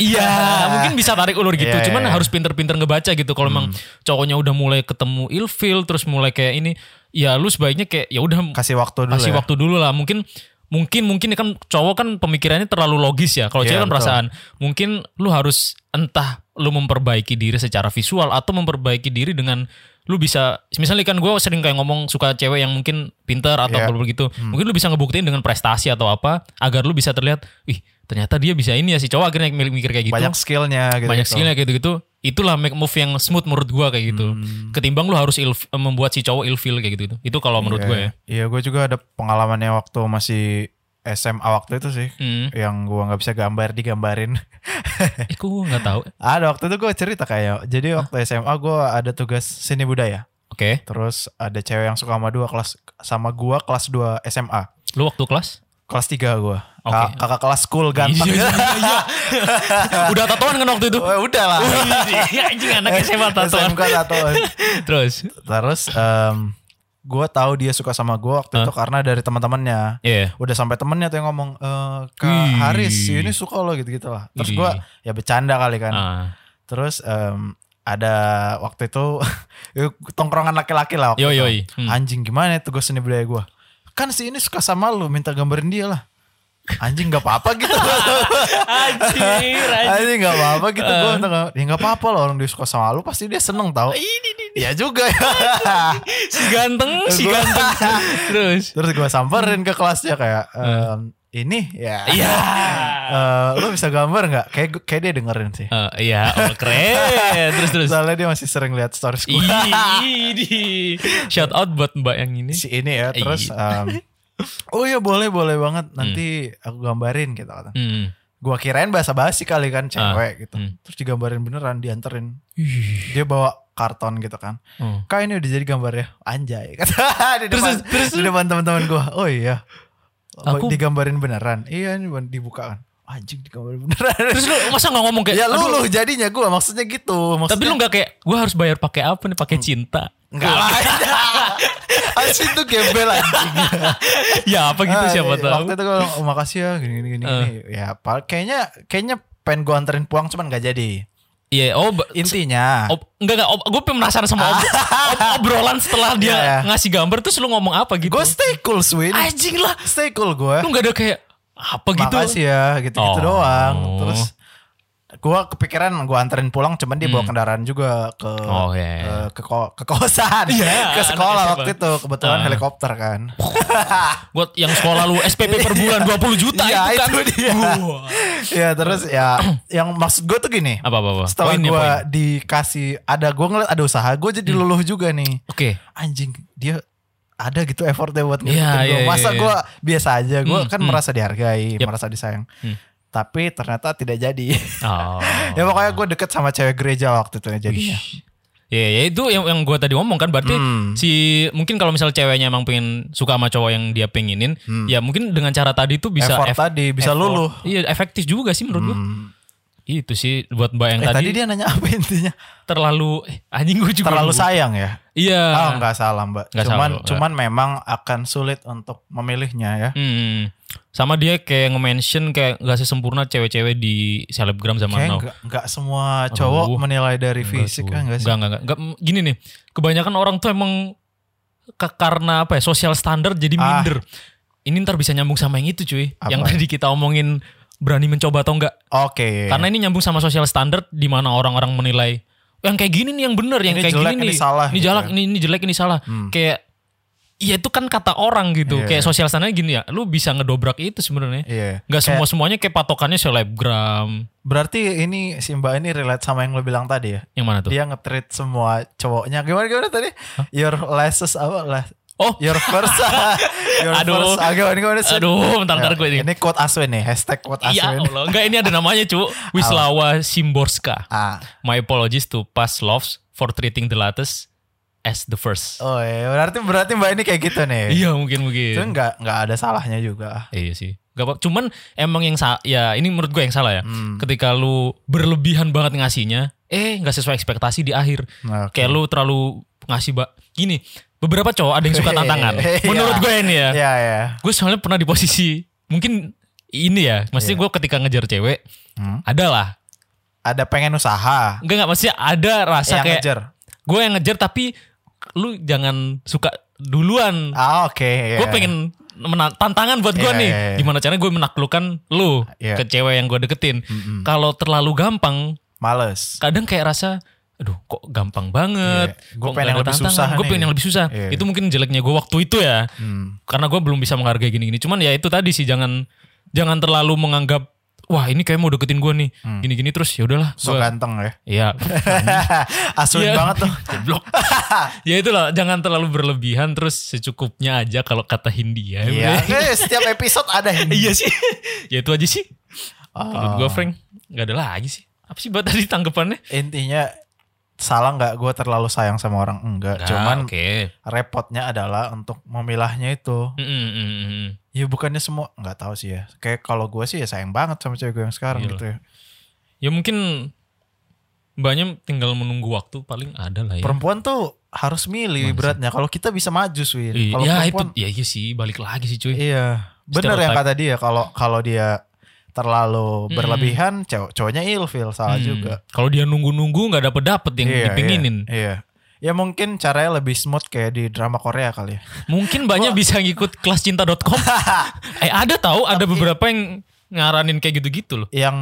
Speaker 3: iya mungkin bisa tarik ulur gitu
Speaker 1: Iya, iya, Hmm.
Speaker 3: cuman
Speaker 1: iya.
Speaker 3: harus pinter-pinter ngebaca gitu kalau emang cowoknya udah mulai ketemu ilfil terus mulai kayak ini ya lu sebaiknya kayak ya udah
Speaker 1: Kasih waktu dulu.
Speaker 3: kasih
Speaker 1: ya.
Speaker 3: waktu dulu lah mungkin mungkin mungkin kan cowok kan pemikirannya terlalu logis ya kalau
Speaker 1: Iya,
Speaker 3: cewek kan
Speaker 1: betul.
Speaker 3: perasaan mungkin lu harus entah lu memperbaiki diri secara visual atau memperbaiki diri dengan lu bisa misalnya kan gue sering kayak ngomong suka cewek yang mungkin pinter atau
Speaker 1: Iya.
Speaker 3: apa gitu mungkin lu bisa ngebuktiin dengan prestasi atau apa agar lu bisa terlihat ih ternyata dia bisa ini ya si cowok akhirnya mikir kayak gitu
Speaker 1: Banyak skillnya gitu.
Speaker 3: banyak skillnya kayak gitu gitu itulah make move yang smooth menurut gua kayak gitu
Speaker 1: Hmm.
Speaker 3: ketimbang lu harus ilf- membuat si cowok ilfil kayak gitu itu kalau menurut gua ya
Speaker 1: Iya, gue juga ada pengalamannya waktu masih SMA waktu itu sih.
Speaker 3: Hmm.
Speaker 1: Yang gua nggak bisa gambar digambarin.
Speaker 3: eh gua nggak tahu oke
Speaker 1: ada waktu itu gue cerita kayak. Jadi waktu SMA gua ada tugas seni budaya. Terus ada cewek yang suka sama dua kelas sama gua kelas 2 SMA.
Speaker 3: lu waktu kelas
Speaker 1: Kelas 3 gua.
Speaker 3: Oke.
Speaker 1: Ka- kakak kelas school ganteng.
Speaker 3: Iya, iya, iya. udah tatoan kan waktu itu
Speaker 1: Wah, udah lah.
Speaker 3: iya, anjing
Speaker 1: Eh,
Speaker 3: anak SMA tatoan
Speaker 1: SMK tatoan.
Speaker 3: terus
Speaker 1: Terus em gue tahu dia suka sama gue waktu itu karena dari teman-temannya.
Speaker 3: Iya.
Speaker 1: Udah sampai temennya tuh yang ngomong eh Kak
Speaker 3: Wih.
Speaker 1: Haris ini suka lo gitu-gitu lah. Terus
Speaker 3: Wih.
Speaker 1: gue ya bercanda kali kan.
Speaker 3: Ah.
Speaker 1: Terus em ada waktu itu tongkrongan laki-laki lah waktu
Speaker 3: Yoi,
Speaker 1: itu.
Speaker 3: yoi. Hmm.
Speaker 1: Anjing gimana itu gue seni budaya gue. Kan si ini suka sama lu minta gambarin dia lah. Anjing gak apa-apa gitu.
Speaker 3: Anjir, anjir.
Speaker 1: Anjing gak apa-apa gitu gue.
Speaker 3: Eh.
Speaker 1: Ya gak apa-apa lah orang dia suka sama lu pasti dia seneng tau.
Speaker 3: Ini, ini, ini.
Speaker 1: Ya juga ya.
Speaker 3: Si ganteng,
Speaker 1: Eh,
Speaker 3: si ganteng. Terus.
Speaker 1: Terus gue samperin ke kelasnya kayak ehm, ini ya.
Speaker 3: Hmm. Iya.
Speaker 1: Eh, lu bisa gambar nggak? Kayak gu- kayak dia dengerin sih.
Speaker 3: Eh, Iya, oh, keren. Terus, terus. Iya.
Speaker 1: Soalnya dia masih sering lihat stories gue.
Speaker 3: Ih, di- Shout out buat mbak yang ini.
Speaker 1: si ini ya. Terus em, oh iya boleh boleh banget. Nanti aku gambarin gitu kata.
Speaker 3: Hmm.
Speaker 1: Gua kirain bahasa basi kali kan cewek gitu.
Speaker 3: hmm.
Speaker 1: Terus digambarin beneran dianterin. Dia bawa karton gitu kan.
Speaker 3: Oh.
Speaker 1: Kak ini udah jadi gambarnya anjay. Kata di
Speaker 3: Terus,
Speaker 1: depan,
Speaker 3: terus,
Speaker 1: di depan teman-teman gue. Oh iya.
Speaker 3: Aku-
Speaker 1: digambarin beneran. Iya ini dibuka kan. Anjing digambarin beneran.
Speaker 3: Terus lu masa nggak ngomong kayak
Speaker 1: ya lu lu
Speaker 3: "Aduh,
Speaker 1: jadinya gue maksudnya gitu. Maksudnya,
Speaker 3: tapi lu nggak kayak gue harus bayar pakai apa nih
Speaker 1: Hmm.
Speaker 3: pakai cinta
Speaker 1: Enggak lah. Anjing tuh gembel anjing.
Speaker 3: ya apa gitu
Speaker 1: Ah,
Speaker 3: siapa
Speaker 1: iya,
Speaker 3: tahu Eh.
Speaker 1: Waktu itu gue oh, makasih ya gini gini gini. gini. Ya pal- kayaknya kayaknya pengen gue anterin pulang cuman gak jadi.
Speaker 3: iya oh ba-
Speaker 1: Intinya.
Speaker 3: Ob, enggak enggak, gue penasaran sama ob- ob- obrolan setelah dia
Speaker 1: Iya, iya.
Speaker 3: ngasih gambar terus lu ngomong apa gitu.
Speaker 1: Gue stay cool Swin.
Speaker 3: Anjing lah.
Speaker 1: Stay cool gue.
Speaker 3: Lu enggak ada kayak apa gitu.
Speaker 1: Makasih ya gitu-gitu
Speaker 3: Oh.
Speaker 1: doang. Terus gua kepikiran gua anterin pulang cuman dia bawa kendaraan juga ke
Speaker 3: Hmm. Oh, iya, iya.
Speaker 1: eh, ke, ko- ke kosan,
Speaker 3: Iya,
Speaker 1: ke sekolah
Speaker 3: anak
Speaker 1: waktu itu kebetulan
Speaker 3: Ah.
Speaker 1: helikopter kan.
Speaker 3: Buat yang sekolah lu SPP per bulan 20 juta
Speaker 1: Iya,
Speaker 3: itu kan.
Speaker 1: itu dia.
Speaker 3: Wah.
Speaker 1: Iya, terus ya yang maksud gua tuh gini.
Speaker 3: Apa apa apa.
Speaker 1: Setelah
Speaker 3: Poinnya,
Speaker 1: gua
Speaker 3: poin. Hmm.
Speaker 1: dikasih ada gua ngeliat ada usaha, gua jadi luluh juga nih.
Speaker 3: Oke.
Speaker 1: Anjing, dia ada gitu effortnya buat
Speaker 3: Iya,
Speaker 1: ngikutin gua.
Speaker 3: iya,
Speaker 1: Masa
Speaker 3: iya,
Speaker 1: gua biasa aja, gua
Speaker 3: Hmm,
Speaker 1: kan
Speaker 3: hmm.
Speaker 1: merasa dihargai,
Speaker 3: Yap.
Speaker 1: merasa disayang.
Speaker 3: Hmm.
Speaker 1: Tapi ternyata tidak jadi.
Speaker 3: Oh.
Speaker 1: Ya pokoknya gue deket sama cewek gereja waktu itu ya jadinya.
Speaker 3: Ya, ya itu yang yang gue tadi ngomong kan berarti
Speaker 1: Hmm.
Speaker 3: si mungkin kalau misal ceweknya emang pengen suka sama cowok yang dia pengenin, ya mungkin dengan cara tadi tuh bisa
Speaker 1: Hmm. Effort
Speaker 3: eff-
Speaker 1: tadi, bisa
Speaker 3: effort.
Speaker 1: luluh. Hmm.
Speaker 3: Iya efektif juga sih menurut gua. Itu sih buat mbak yang
Speaker 1: Eh, tadi,
Speaker 3: tadi,
Speaker 1: dia nanya apa intinya?
Speaker 3: terlalu eh, anjing gue juga
Speaker 1: Terlalu
Speaker 3: lupa.
Speaker 1: sayang ya?
Speaker 3: Iya.
Speaker 1: Oh nggak salah mbak.
Speaker 3: Nggak
Speaker 1: cuman
Speaker 3: salah, Mbak.
Speaker 1: cuman memang akan sulit untuk memilihnya ya.
Speaker 3: Hmm. Sama dia kayak nge-mention kayak gak sesempurna cewek-cewek di selebgram zaman
Speaker 1: Kayak
Speaker 3: now.
Speaker 1: nggak nggak semua cowok
Speaker 3: Aduh.
Speaker 1: menilai dari fisik
Speaker 3: Enggak,
Speaker 1: kan nggak sih?
Speaker 3: enggak, enggak, enggak. Gini nih, kebanyakan orang tuh emang ke- karena apa ya, sosial standar jadi
Speaker 1: Ah.
Speaker 3: minder. Ini ntar bisa nyambung sama yang itu cuy.
Speaker 1: Apa?
Speaker 3: Yang tadi kita omongin berani mencoba atau enggak.
Speaker 1: Oke.
Speaker 3: Karena ini nyambung sama sosial standar di mana orang-orang menilai yang kayak gini nih yang bener, yang
Speaker 1: Ini
Speaker 3: kayak
Speaker 1: jelek,
Speaker 3: gini
Speaker 1: ini
Speaker 3: nih.
Speaker 1: salah
Speaker 3: Ini
Speaker 1: gitu
Speaker 3: jelek,
Speaker 1: ya. Hmm.
Speaker 3: ini, ini jelek, ini salah. Kayak Iya itu kan kata orang
Speaker 1: Iya.
Speaker 3: gitu. Kayak sosial standar gini ya. Lu bisa ngedobrak itu sebenarnya.
Speaker 1: Iya.
Speaker 3: Gak
Speaker 1: Kayak-
Speaker 3: semua semuanya kayak patokannya selebgram.
Speaker 1: Berarti ini si mbak ini relate sama yang lo bilang tadi ya?
Speaker 3: Yang mana tuh?
Speaker 1: Dia nge-treat semua cowoknya gimana gimana tadi? Your lasses apa lah?
Speaker 3: Oh,
Speaker 1: Your first, your
Speaker 3: Aduh.
Speaker 1: first. Ah, gimana gimana sih?
Speaker 3: aduh, bentar bentar
Speaker 1: Ya,
Speaker 3: gue ini.
Speaker 1: Ini quote Aswin nih, hashtag quote
Speaker 3: Iya,
Speaker 1: Aswin.
Speaker 3: Allah. Enggak ini ada namanya, Cuk. Wislawa Simborska.
Speaker 1: Ah.
Speaker 3: My apologies to past loves for treating the latest as the first.
Speaker 1: Oh iya, berarti berarti mbak ini kayak gitu nih.
Speaker 3: Iya, mungkin
Speaker 1: Itu
Speaker 3: mungkin.
Speaker 1: nggak nggak ada salahnya juga.
Speaker 3: Iya sih. Gak apa. Cuman emang yang sa ya ini menurut gue yang salah
Speaker 1: Hmm.
Speaker 3: ya. Ketika lu berlebihan banget ngasihnya, eh nggak sesuai ekspektasi di akhir.
Speaker 1: Oke.
Speaker 3: Kayak lu terlalu ngasih ba gini. Beberapa cowok ada yang suka tantangan.
Speaker 1: Iya.
Speaker 3: Menurut gue ini ya.
Speaker 1: Iya ya.
Speaker 3: gue soalnya pernah di posisi mungkin ini ya maksudnya gue ketika ngejar cewek
Speaker 1: Iya. Hmm.
Speaker 3: ada lah
Speaker 1: Ada pengen usaha.
Speaker 3: enggak enggak maksudnya ada rasa
Speaker 1: yang
Speaker 3: kayak
Speaker 1: ngejar.
Speaker 3: gue yang ngejar tapi lu jangan suka duluan
Speaker 1: Ah oke. iya.
Speaker 3: gue pengen mena- tantangan buat gue
Speaker 1: Iya,
Speaker 3: nih
Speaker 1: iya, iya.
Speaker 3: gimana caranya gue menaklukkan lu
Speaker 1: Iya.
Speaker 3: ke cewek yang gue deketin kalau terlalu gampang
Speaker 1: Males.
Speaker 3: kadang kayak rasa aduh kok gampang banget
Speaker 1: Iya. Gua pengen yang lebih susah
Speaker 3: gue
Speaker 1: nih.
Speaker 3: pengen yang lebih susah
Speaker 1: Iya.
Speaker 3: itu mungkin jeleknya gue waktu itu ya
Speaker 1: Hmm,
Speaker 3: karena gue belum bisa menghargai gini-gini cuman ya itu tadi sih jangan jangan terlalu menganggap wah ini kayak mau deketin gue nih
Speaker 1: Hmm.
Speaker 3: gini-gini terus ya udahlah
Speaker 1: So
Speaker 3: gua-
Speaker 1: ganteng ya.
Speaker 3: Iya.
Speaker 1: Asli
Speaker 3: Iya.
Speaker 1: banget tuh.
Speaker 3: Goblok. ya itulah jangan terlalu berlebihan terus secukupnya aja kalau kata Hindia.
Speaker 1: Iya. Eh, setiap episode ada ini.
Speaker 3: Iya sih. ya itu aja sih. Menurut
Speaker 1: Oh.
Speaker 3: gue Frank nggak ada lagi sih. Apa sih buat tadi tanggapannya?
Speaker 1: Intinya salah nggak gue terlalu sayang sama orang enggak.
Speaker 3: Nah,
Speaker 1: Cuman
Speaker 3: oke.
Speaker 1: repotnya adalah untuk memilahnya itu.
Speaker 3: Mm, mm, mm, mm, mm.
Speaker 1: Ya bukannya semua nggak tahu sih ya. Kayak kalau gue sih ya sayang banget sama cewek gue yang sekarang
Speaker 3: Iya.
Speaker 1: gitu ya.
Speaker 3: Ya mungkin mbaknya tinggal menunggu waktu paling ada lah ya.
Speaker 1: Perempuan tuh harus milih
Speaker 3: Masa?
Speaker 1: beratnya. Kalau kita bisa maju Swin.
Speaker 3: Iya,
Speaker 1: Kalau
Speaker 3: ya itu
Speaker 1: perempuan
Speaker 3: ya iya sih balik lagi sih cuy.
Speaker 1: iya. Bener yang
Speaker 3: Stereotype.
Speaker 1: kata dia kalau kalau dia terlalu
Speaker 3: Mm-mm.
Speaker 1: berlebihan cowok cowoknya ilfil salah
Speaker 3: Hmm.
Speaker 1: juga.
Speaker 3: Kalau dia nunggu-nunggu nggak dapet dapet yang
Speaker 1: Iya,
Speaker 3: dipinginin.
Speaker 1: Iya. Ya mungkin caranya lebih smooth kayak di drama Korea kali ya.
Speaker 3: Mungkin banyak bisa ngikut kelascinta.com. eh ada tahu ada beberapa yang ngaranin kayak gitu-gitu loh.
Speaker 1: Yang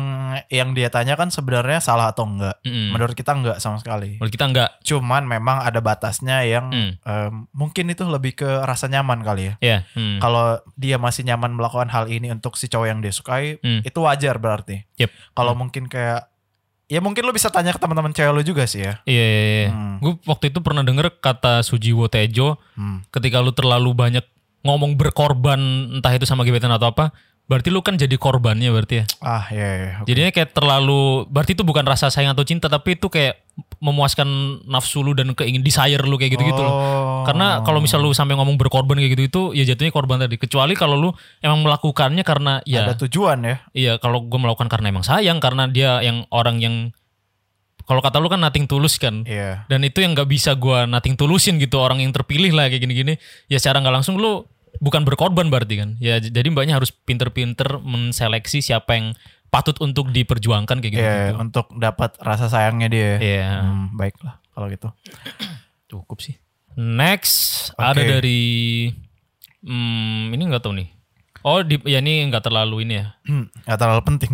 Speaker 1: yang dia tanya kan sebenarnya salah atau enggak.
Speaker 3: Mm-mm.
Speaker 1: Menurut kita enggak sama sekali.
Speaker 3: Hmm. Menurut kita nggak.
Speaker 1: Cuman memang ada batasnya yang
Speaker 3: Mm.
Speaker 1: em, mungkin itu lebih ke rasa nyaman kali ya.
Speaker 3: Ya. mm.
Speaker 1: Kalau dia masih nyaman melakukan hal ini untuk si cowok yang dia sukai,
Speaker 3: Hmm.
Speaker 1: itu wajar berarti.
Speaker 3: Yep. Hmm.
Speaker 1: Kalau mungkin kayak ya mungkin lu bisa tanya ke teman-teman cewek lu juga sih ya.
Speaker 3: Iya, iya, iya.
Speaker 1: Hmm.
Speaker 3: Gue waktu itu pernah denger kata Sujiwo Tejo,
Speaker 1: Hmm.
Speaker 3: ketika lu terlalu banyak ngomong berkorban, entah itu sama gebetan atau apa, berarti lu kan jadi korbannya berarti ya.
Speaker 1: Ah ya. ya, oke.
Speaker 3: Jadinya kayak terlalu, berarti itu bukan rasa sayang atau cinta, tapi itu kayak memuaskan nafsu lu dan keingin desire lu kayak gitu-gitu loh.
Speaker 1: Oh.
Speaker 3: Karena kalau misal lu sampai ngomong berkorban kayak gitu itu ya jatuhnya korban tadi. Kecuali kalau lu emang melakukannya karena ya
Speaker 1: ada tujuan ya.
Speaker 3: Iya, kalau gue melakukan karena emang sayang, karena dia yang orang yang kalau kata lu kan nating tulus kan,
Speaker 1: Iya.
Speaker 3: dan itu yang nggak bisa gua nating tulusin gitu orang yang terpilih lah kayak gini-gini. Ya secara nggak langsung lu bukan berkorban berarti kan. Ya j- jadi mbaknya harus pinter-pinter menseleksi siapa yang patut untuk diperjuangkan kayak gitu.
Speaker 1: Iya, untuk dapat rasa sayangnya dia. ya.
Speaker 3: Iya,
Speaker 1: Hmm, baiklah kalau gitu.
Speaker 3: cukup sih. Next
Speaker 1: Oke.
Speaker 3: ada dari hmm, ini nggak tahu nih. Oh, di, ya ini nggak terlalu ini ya.
Speaker 1: Hmm, gak terlalu penting.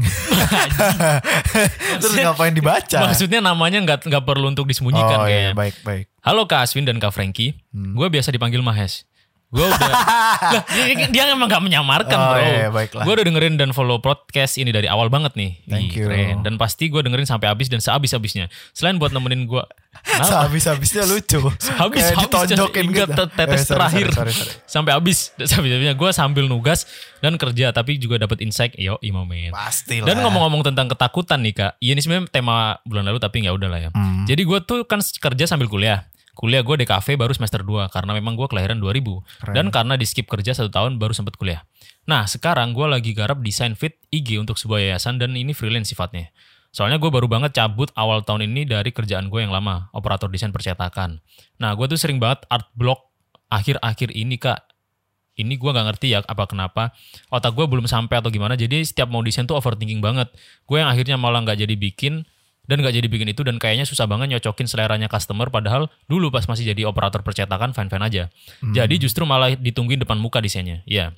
Speaker 1: Terus ngapain dibaca?
Speaker 3: Maksudnya namanya nggak nggak perlu untuk disembunyikan
Speaker 1: oh
Speaker 3: kayaknya.
Speaker 1: iya, baik baik.
Speaker 3: Halo Kak Aswin dan Kak Frankie.
Speaker 1: Hmm.
Speaker 3: Gue biasa dipanggil Mahes. Gue udah Lah, dia, dia emang gak menyamarkan
Speaker 1: Oh,
Speaker 3: bro.
Speaker 1: iya, baiklah.
Speaker 3: Gue udah dengerin dan follow podcast ini dari awal banget nih.
Speaker 1: Thank
Speaker 3: Ih,
Speaker 1: you.
Speaker 3: keren. Dan pasti gue dengerin sampai habis dan sehabis habisnya. Selain buat nemenin gue.
Speaker 1: Sehabis habisnya lucu.
Speaker 3: Habis
Speaker 1: Kayak ditonjokin gitu. Eh,
Speaker 3: tetes
Speaker 1: sorry,
Speaker 3: terakhir
Speaker 1: sorry, sorry, sorry.
Speaker 3: sampai habis sampai habisnya gue sambil nugas dan kerja tapi juga dapat insight yo imamen
Speaker 1: Pasti lah.
Speaker 3: dan ngomong-ngomong tentang ketakutan nih kak, iya ini sebenarnya tema bulan lalu tapi nggak udah lah ya.
Speaker 1: Hmm.
Speaker 3: Jadi gue tuh kan kerja sambil kuliah. Kuliah gue di kafe baru semester 2 karena memang gue kelahiran 2000. Dan karena di skip kerja satu tahun baru sempat kuliah. Nah sekarang gue lagi garap desain fit IG untuk sebuah yayasan dan ini freelance sifatnya. Soalnya gue baru banget cabut awal tahun ini dari kerjaan gue yang lama, operator desain percetakan. Nah gue tuh sering banget art block akhir-akhir ini kak. Ini gue nggak ngerti ya apa kenapa otak gue belum sampai atau gimana jadi setiap mau desain tuh overthinking banget gue yang akhirnya malah nggak jadi bikin dan nggak jadi bikin itu dan kayaknya susah banget nyocokin seleranya customer padahal dulu pas masih jadi operator percetakan fan fan aja jadi justru malah ditungguin depan muka desainnya ya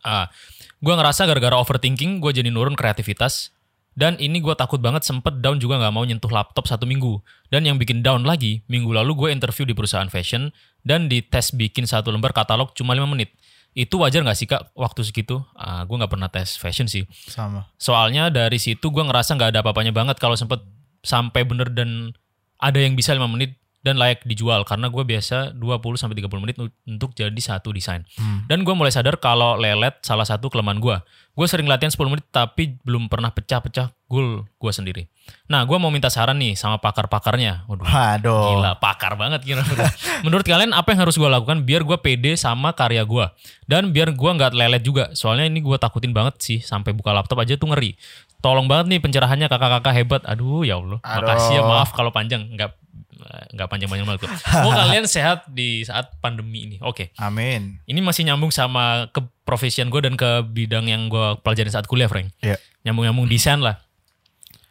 Speaker 3: Ah, gue ngerasa gara-gara overthinking gue jadi nurun kreativitas dan ini gue takut banget sempet down juga nggak mau nyentuh laptop satu minggu. Dan yang bikin down lagi, minggu lalu gue interview di perusahaan fashion dan di tes bikin satu lembar katalog cuma 5 menit. Itu wajar nggak sih kak waktu segitu? Ah, gue nggak pernah tes fashion sih.
Speaker 1: sama.
Speaker 3: Soalnya dari situ gue ngerasa nggak ada apa-apanya banget kalau sempet sampai bener dan ada yang bisa 5 menit dan layak dijual karena gue biasa 20 sampai 30 menit nu- untuk jadi satu desain.
Speaker 1: Hmm.
Speaker 3: Dan gue mulai sadar kalau lelet salah satu kelemahan gue. Gue sering latihan 10 menit tapi belum pernah pecah-pecah goal gue sendiri. Nah, gue mau minta saran nih sama pakar-pakarnya. Waduh.
Speaker 1: Waduh.
Speaker 3: Gila, pakar banget kira Menurut kalian apa yang harus gue lakukan biar gue pede sama karya gue? Dan biar gue nggak lelet juga. Soalnya ini gue takutin banget sih. Sampai buka laptop aja tuh ngeri. Tolong banget nih pencerahannya kakak-kakak hebat. Aduh ya Allah.
Speaker 1: Aduh.
Speaker 3: Makasih ya maaf kalau panjang. Nggak nggak panjang-panjang banget. Mau kalian sehat di saat pandemi ini. Oke.
Speaker 1: Amin.
Speaker 3: Ini masih nyambung sama ke profession gue dan ke bidang yang gue pelajarin saat kuliah, Frank.
Speaker 1: Iya.
Speaker 3: Nyambung-nyambung desain lah.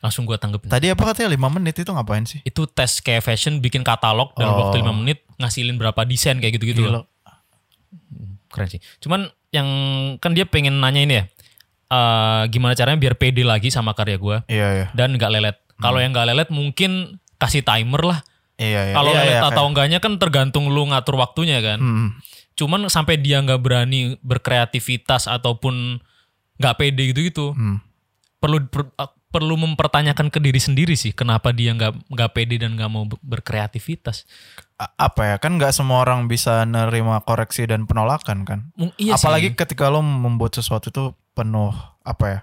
Speaker 3: Langsung gue tanggepin.
Speaker 1: Tadi apa katanya 5 menit itu ngapain sih?
Speaker 3: Itu tes kayak fashion, bikin katalog dalam
Speaker 1: Oh.
Speaker 3: waktu 5 menit, ngasilin berapa desain kayak gitu-gitu loh.
Speaker 1: Gila.
Speaker 3: Keren sih. Cuman yang kan dia pengen nanya ini ya, eh, gimana caranya biar pede lagi sama karya gue
Speaker 1: Iya iya.
Speaker 3: dan nggak lelet. Kalau
Speaker 1: Hmm.
Speaker 3: yang nggak lelet mungkin kasih timer lah.
Speaker 1: Iya iya.
Speaker 3: Kalau
Speaker 1: Iya,
Speaker 3: lelet
Speaker 1: iya,
Speaker 3: atau enggaknya kan tergantung lu ngatur waktunya
Speaker 1: kayak-
Speaker 3: kan.
Speaker 1: Hmm.
Speaker 3: cuman sampai dia nggak berani berkreativitas ataupun nggak pede gitu gitu
Speaker 1: Hmm.
Speaker 3: perlu per- perlu mempertanyakan ke diri sendiri sih kenapa dia nggak nggak pede dan nggak mau ber- berkreativitas.
Speaker 1: A- apa ya kan nggak semua orang bisa nerima koreksi dan penolakan kan
Speaker 3: Mung- iya sih.
Speaker 1: apalagi ketika lo membuat sesuatu itu penuh apa ya